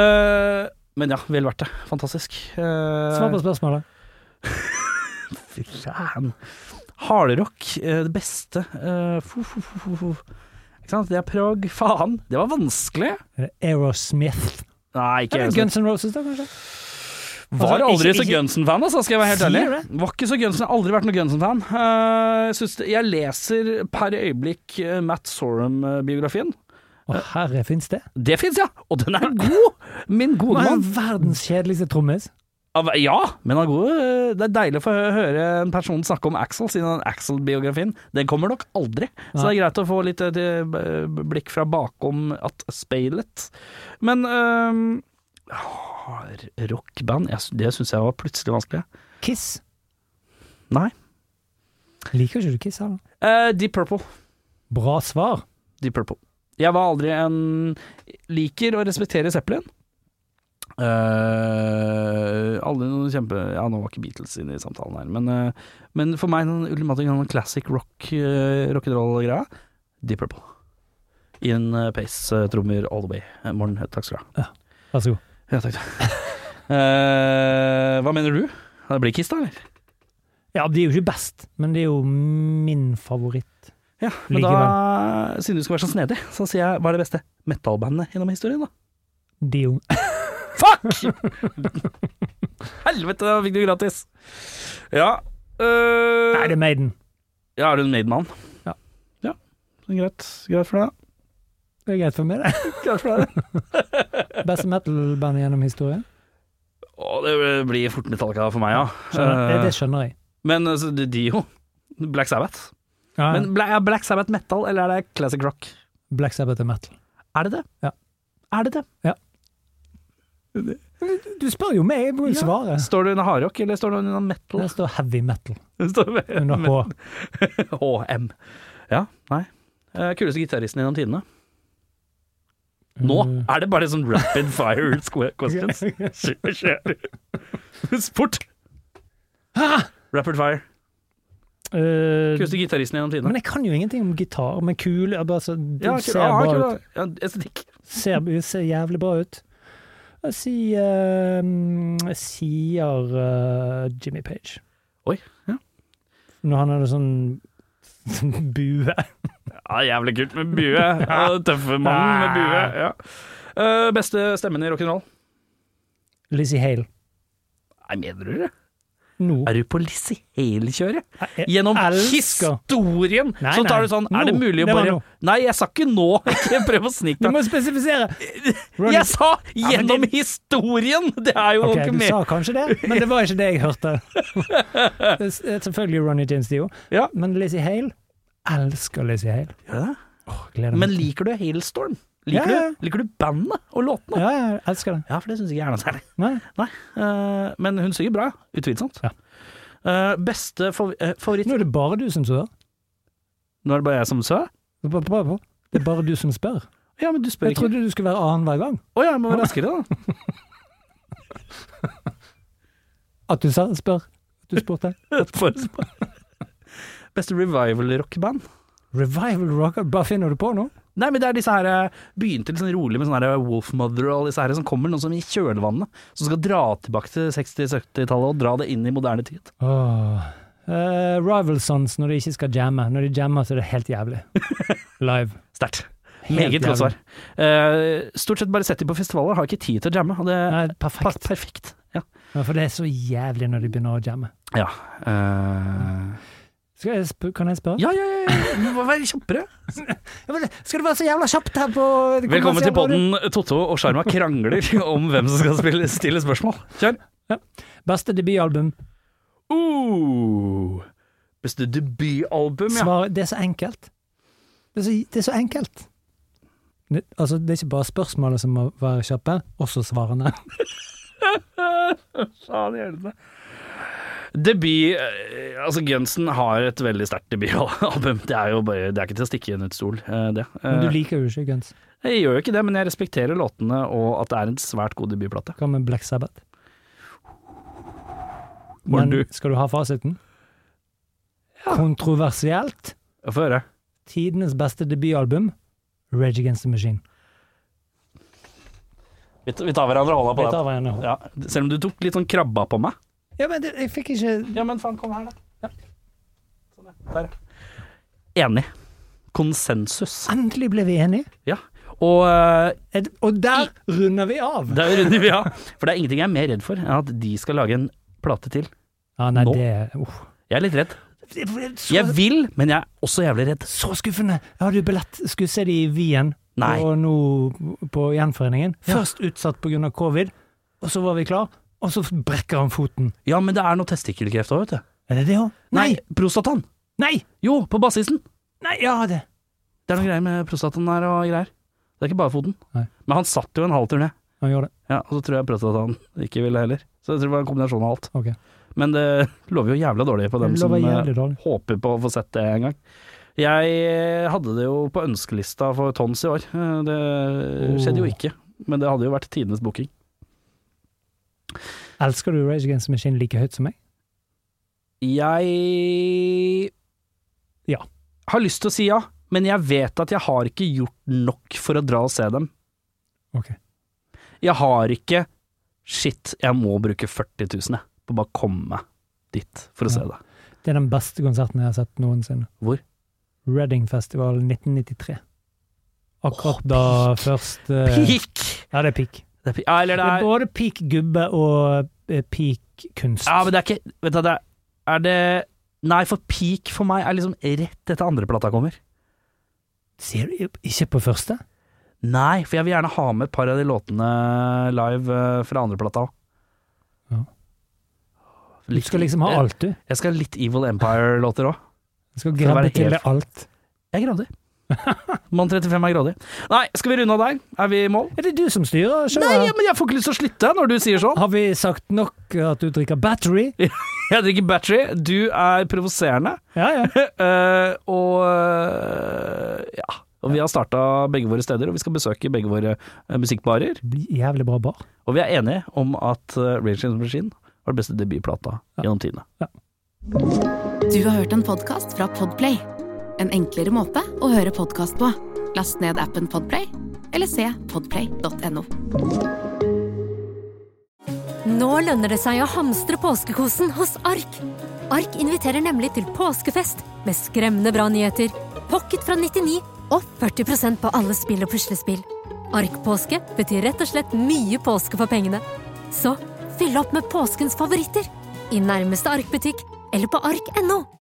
[SPEAKER 2] Eh, men ja, vel verdt det. Fantastisk.
[SPEAKER 3] Svar på
[SPEAKER 2] Uh,
[SPEAKER 3] spørsmålet.
[SPEAKER 2] Hardrock, eh, det beste eh, fu, fu, fu, fu, fu. Ikke sant? Det er Prag. Faen, det var vanskelig!
[SPEAKER 3] Er det Aerosmith.
[SPEAKER 2] Nei, ikke
[SPEAKER 3] Eller
[SPEAKER 2] jeg.
[SPEAKER 3] Guns N' Roses, da, kanskje?
[SPEAKER 2] Var
[SPEAKER 3] Altså,
[SPEAKER 2] aldri
[SPEAKER 3] ikke-
[SPEAKER 2] så
[SPEAKER 3] ikke-
[SPEAKER 2] Gunsen-fan, altså, skal jeg være helt
[SPEAKER 3] Sier
[SPEAKER 2] ærlig.
[SPEAKER 3] det?
[SPEAKER 2] Var ikke så Gunsen, har aldri vært noen Gunsen-fan. Eh, jeg synes det- jeg leser per øyeblikk eh, Matt Sorum-biografien.
[SPEAKER 3] Å, herre, fins det?
[SPEAKER 2] Det fins, ja! Og den er god! Min gode
[SPEAKER 3] Han er
[SPEAKER 2] mann.
[SPEAKER 3] verdens kjedeligste trommis.
[SPEAKER 2] Av- Ja, men han er god. Eh, Det er deilig å få hø- høre en person snakke om Axel, siden den Axel-biografien Den kommer nok aldri. Så det er greit å få litt eh, til, eh, blikk fra bakom at speilet. Men um, rockband, jeg, det syns jeg var plutselig vanskelig.
[SPEAKER 3] Kiss.
[SPEAKER 2] Nei.
[SPEAKER 3] Liker ikke du Kiss, heller?
[SPEAKER 2] Eh, Deep Purple.
[SPEAKER 3] Bra svar.
[SPEAKER 2] Deep Purple. Jeg var aldri en Liker å respektere Zeppelin. Eh, aldri noen kjempe Ja, nå var ikke Beatles inne i samtalen her, men, eh, men for meg den ultimate den classic rock, uh, rock'n'roll-greia, Deep Purple. In eh, pace, eh, trommer all the way. Eh, Morten, eh, takk skal du ha.
[SPEAKER 3] Vær så god.
[SPEAKER 2] Ja, takk. Eh, hva mener du? Det blir Kiss, da, eller?
[SPEAKER 3] Ja, de er jo ikke best, men det er jo min favoritt.
[SPEAKER 2] Ja, men
[SPEAKER 3] Likevel.
[SPEAKER 2] da, siden du skal være så snedig, så sier jeg hva er det beste metal-bandet gjennom historien, da?
[SPEAKER 3] Dio.
[SPEAKER 2] Fuck! Helvete, da fikk du gratis. Ja øh,
[SPEAKER 3] Nei, det er Maiden.
[SPEAKER 2] Ja, er du en Maiden-mann?
[SPEAKER 3] Ja.
[SPEAKER 2] ja. så Greit. Greit for deg.
[SPEAKER 3] Det er greit for meg, det.
[SPEAKER 2] Greit for deg.
[SPEAKER 3] Beste metal-bandet gjennom historien.
[SPEAKER 2] Å, det blir fort Metallica for meg, ja.
[SPEAKER 3] Skjønner. Det,
[SPEAKER 2] Eh,
[SPEAKER 3] det skjønner jeg.
[SPEAKER 2] Men altså, det- de jo. Black Sabbath.
[SPEAKER 3] Ja,
[SPEAKER 2] Men Bla- er Black Sabbath metal, eller er det classic rock?
[SPEAKER 3] Black Sabbath er metal.
[SPEAKER 2] Er det det?
[SPEAKER 3] Ja.
[SPEAKER 2] Er det det?
[SPEAKER 3] Du spør jo meg, jeg må jo
[SPEAKER 2] Ja.
[SPEAKER 3] svare.
[SPEAKER 2] Står du under hardrock, eller står du under metal?
[SPEAKER 3] Der står heavy metal
[SPEAKER 2] Står du
[SPEAKER 3] under H.
[SPEAKER 2] HM. Ja, nei. Eh, Kuleste gitaristen gjennom tidene? Nå
[SPEAKER 3] Mm.
[SPEAKER 2] er det bare sånn rapid fire squ- questions. Kjør, kjør. Sport! Rapid fire.
[SPEAKER 3] Eh,
[SPEAKER 2] Kuleste gitaristen gjennom tidene.
[SPEAKER 3] men jeg kan jo ingenting om gitar, men kul jeg bare, så, Du
[SPEAKER 2] Ja,
[SPEAKER 3] ser
[SPEAKER 2] kul- ja,
[SPEAKER 3] bra
[SPEAKER 2] kul-
[SPEAKER 3] ut.
[SPEAKER 2] ja, Estetikk.
[SPEAKER 3] Ser, du ser jævlig bra ut. Jeg sier, eh, jeg sier eh, Jimmy Page.
[SPEAKER 2] Oi, ja.
[SPEAKER 3] Når han hadde sånn sånn bue.
[SPEAKER 2] Ja, jævlig kult med bue. Ja, tøffe mannen med bue. Ja. Eh, beste stemmen i rock'n'roll?
[SPEAKER 3] Lizzie Hale.
[SPEAKER 2] Nei, mener du det?
[SPEAKER 3] Nå.
[SPEAKER 2] Er du på Lizzie Hale-kjøret?
[SPEAKER 3] Jeg
[SPEAKER 2] Gjennom
[SPEAKER 3] elsker
[SPEAKER 2] historien!
[SPEAKER 3] Nei,
[SPEAKER 2] så tar
[SPEAKER 3] nei.
[SPEAKER 2] du sånn Er det
[SPEAKER 3] Nå.
[SPEAKER 2] mulig å
[SPEAKER 3] Det var
[SPEAKER 2] bare
[SPEAKER 3] nå.
[SPEAKER 2] Nei, jeg sa ikke nå! Ikke prøv å snike
[SPEAKER 3] Du
[SPEAKER 2] deg.
[SPEAKER 3] må spesifisere!
[SPEAKER 2] Jeg sa
[SPEAKER 3] men
[SPEAKER 2] gjennom historien! Det er jo
[SPEAKER 3] Ok,
[SPEAKER 2] ikke
[SPEAKER 3] du
[SPEAKER 2] mer.
[SPEAKER 3] sa kanskje det, men det var ikke det jeg hørte. Det er Selvfølgelig Ronny James Dio,
[SPEAKER 2] Ja.
[SPEAKER 3] men Lizzie Hale elsker Lizzie Hale.
[SPEAKER 2] Gjør det?
[SPEAKER 3] Åh, gleder
[SPEAKER 2] Men
[SPEAKER 3] meg.
[SPEAKER 2] liker du Hailstorm?
[SPEAKER 3] Ja,
[SPEAKER 2] Liker,
[SPEAKER 3] ja, ja.
[SPEAKER 2] Du, liker du bandet og låtene?
[SPEAKER 3] Ja, jeg elsker det.
[SPEAKER 2] Ja, for det syns ikke jeg er noe særlig.
[SPEAKER 3] Nei.
[SPEAKER 2] Nei, eh, men hun synger bra, utvilsomt.
[SPEAKER 3] Ja.
[SPEAKER 2] Eh, beste fav eh, favoritt
[SPEAKER 3] Nå er det bare du som spør.
[SPEAKER 2] Nå er det bare jeg som sø?
[SPEAKER 3] Bra, bra, bra. Det er bare du som spør.
[SPEAKER 2] Ja, men du spør
[SPEAKER 3] Jeg
[SPEAKER 2] ikke. Å
[SPEAKER 3] trodde du skulle være annenhver gang.
[SPEAKER 2] ja, jeg må være raskere, da.
[SPEAKER 3] At du sa spør. At du spurte.
[SPEAKER 2] For å spørre. beste revival-rockband?
[SPEAKER 3] Revival rocker, bare finner du på nå?
[SPEAKER 2] Nei, men det er disse her eh, Begynte litt sånn rolig med sånne her Wolfmother og alle disse her som kommer, noen som i kjølvannet. Som skal dra tilbake til 60-70-tallet og dra det inn i moderne tid.
[SPEAKER 3] Åh. Eh, rival sons når de ikke skal jamme. Når de jammer, så er det helt jævlig. Live.
[SPEAKER 2] Sterkt. Meget godt
[SPEAKER 3] jævlig.
[SPEAKER 2] svar. Eh, stort sett bare sett dem på festivaler, har ikke tid til å jamme. Og det er
[SPEAKER 3] Nei,
[SPEAKER 2] pa-
[SPEAKER 3] perfekt.
[SPEAKER 2] perfekt. Ja.
[SPEAKER 3] Ja, For det er så jævlig når de begynner å jamme.
[SPEAKER 2] Ja. eh,
[SPEAKER 3] Skal jeg sp kan jeg spørre?
[SPEAKER 2] ja, ja, ja, ja. Du må være kjappere.
[SPEAKER 3] Ja, men Skal det være så jævla kjapt her på
[SPEAKER 2] Velkommen til podden Totto og Sjarma krangler om hvem som skal spille, stille spørsmål. Kjør.
[SPEAKER 3] Beste debutalbum.
[SPEAKER 2] Uh, beste debutalbum, ja.
[SPEAKER 3] Svar, det er så enkelt. Det er så, det er så enkelt. Det, altså, det er ikke bare spørsmålet som må være kjappe, også svarene.
[SPEAKER 2] Faen i helvete. Debut eh, Altså, Gunsen har et veldig sterkt debutalbum. Det er jo bare Det er ikke til å stikke under et stol, eh, det.
[SPEAKER 3] Men du
[SPEAKER 2] Eh,
[SPEAKER 3] liker jo ikke Guns.
[SPEAKER 2] Jeg gjør jo ikke det, men jeg respekterer låtene og at det er en svært god debutplate.
[SPEAKER 3] Hva med Black Sabbath?
[SPEAKER 2] Morten,
[SPEAKER 3] Men
[SPEAKER 2] du.
[SPEAKER 3] skal du ha fasiten? Kontroversielt.
[SPEAKER 2] Få høre.
[SPEAKER 3] Tidenes beste debutalbum, Rage Against the Machine.
[SPEAKER 2] Vi vi tar hverandre hånda
[SPEAKER 3] Jeg tar hva jeg nå.
[SPEAKER 2] Ja, selv om du tok litt sånn krabba på meg.
[SPEAKER 3] Ja, men det, jeg fikk ikke
[SPEAKER 2] Ja, men faen, kom her, da. Sånn, ja. Der. Enig. Konsensus.
[SPEAKER 3] Endelig ble vi enige.
[SPEAKER 2] Ja. Og eh,
[SPEAKER 3] Et- Og der runder vi av!
[SPEAKER 2] der runder vi av. For det er ingenting jeg er mer redd for enn at de skal lage en plate til.
[SPEAKER 3] Ja, nei,
[SPEAKER 2] Nå.
[SPEAKER 3] det uff.
[SPEAKER 2] Jeg er litt redd.
[SPEAKER 3] Det ble så,
[SPEAKER 2] Jeg vil, men jeg er også jævlig redd.
[SPEAKER 3] så skuffende! Jeg hadde jo billett, skulle se de i Wien,
[SPEAKER 2] Nei.
[SPEAKER 3] og nå på Gjenforeningen. Først utsatt pga. covid, og så var vi klar, og så brekker han foten.
[SPEAKER 2] Ja, men det er noe testikkelkreft òg, vet du.
[SPEAKER 3] Er det det òg? Nei!
[SPEAKER 2] Prostatan.
[SPEAKER 3] Nei!
[SPEAKER 2] Jo, på bassisen.
[SPEAKER 3] Nei, ja, det
[SPEAKER 2] Det er noe greier med prostataen der og greier. Det er ikke bare foten.
[SPEAKER 3] Nei.
[SPEAKER 2] Men han satt jo en halv turné.
[SPEAKER 3] Han gjorde det.
[SPEAKER 2] Ja, og så tror jeg prostataen ikke ville heller. Så jeg tror det var en kombinasjon av alt.
[SPEAKER 3] Ok.
[SPEAKER 2] Men det lover jo jævla dårlig på dem
[SPEAKER 3] Det
[SPEAKER 2] som
[SPEAKER 3] lover
[SPEAKER 2] eh,
[SPEAKER 3] jævlig dårlig.
[SPEAKER 2] håper på å få sett det en gang. Jeg eh, hadde det jo på ønskelista for Tons i år. Eh, Det skjedde jo
[SPEAKER 3] Oh.
[SPEAKER 2] ikke, men det hadde jo vært tidenes booking.
[SPEAKER 3] Elsker du Rage Against the Machine like høyt som meg?
[SPEAKER 2] Jeg
[SPEAKER 3] Ja.
[SPEAKER 2] har lyst til å si ja, men jeg vet at jeg har ikke gjort nok for å dra og se dem.
[SPEAKER 3] Ok.
[SPEAKER 2] Jeg har ikke Shit, jeg må bruke 40 000 jeg, på å bare komme dit for å
[SPEAKER 3] Ja.
[SPEAKER 2] se det.
[SPEAKER 3] Det er den beste konserten jeg har sett noensinne.
[SPEAKER 2] Hvor?
[SPEAKER 3] Reading Festival 1993. Akkurat da først eh,
[SPEAKER 2] Peak!
[SPEAKER 3] Ja, det er peak.
[SPEAKER 2] Det er peak. Ja, eller
[SPEAKER 3] Det
[SPEAKER 2] det
[SPEAKER 3] er
[SPEAKER 2] er
[SPEAKER 3] både peak gubbe og eh, peak kunst.
[SPEAKER 2] Ja, men det er ikke Vet du, det er, er det Nei, for peak for meg er liksom rett etter andreplata kommer.
[SPEAKER 3] Ser du ikke på første?
[SPEAKER 2] Nei, for jeg vil gjerne ha med et par av de låtene live eh, fra andreplata òg.
[SPEAKER 3] Ja. Du skal liksom ha alt, du.
[SPEAKER 2] Jeg skal ha litt Evil Empire-låter òg.
[SPEAKER 3] Du skal
[SPEAKER 2] være
[SPEAKER 3] grabbe til
[SPEAKER 2] helt-
[SPEAKER 3] deg alt.
[SPEAKER 2] Jeg er grådig. Mann 35 er grådig. Nei, skal vi runde av der? Er vi i mål?
[SPEAKER 3] Er det du som styrer
[SPEAKER 2] Nei,
[SPEAKER 3] showet?
[SPEAKER 2] men jeg får ikke lyst til å slutte når du sier sånn.
[SPEAKER 3] Har vi sagt nok at du drikker battery?
[SPEAKER 2] Jeg drikker battery, du er provoserende,
[SPEAKER 3] Ja, ja.
[SPEAKER 2] eh, og eh, ja. Og vi har starta begge våre steder, og vi skal besøke begge våre eh, musikkbarer.
[SPEAKER 3] Bli- Jævlig bra bar.
[SPEAKER 2] Og vi er enige om at uh, Rage Against the Machine var den beste debutplata gjennom tidene.
[SPEAKER 1] Du har hørt en podkast fra Podplay. En enklere måte å høre podkast på. Last ned appen Podplay, eller se podplay.no.
[SPEAKER 4] Nå lønner det seg å hamstre påskekosen hos Ark. Ark inviterer nemlig til påskefest med skremmende bra nyheter, pocket fra 99 og 40 på alle spill og puslespill. Ark-påske betyr rett og slett mye påske for pengene. Så fyll opp med påskens favoritter i nærmeste Ark-butikk eller på ark.no.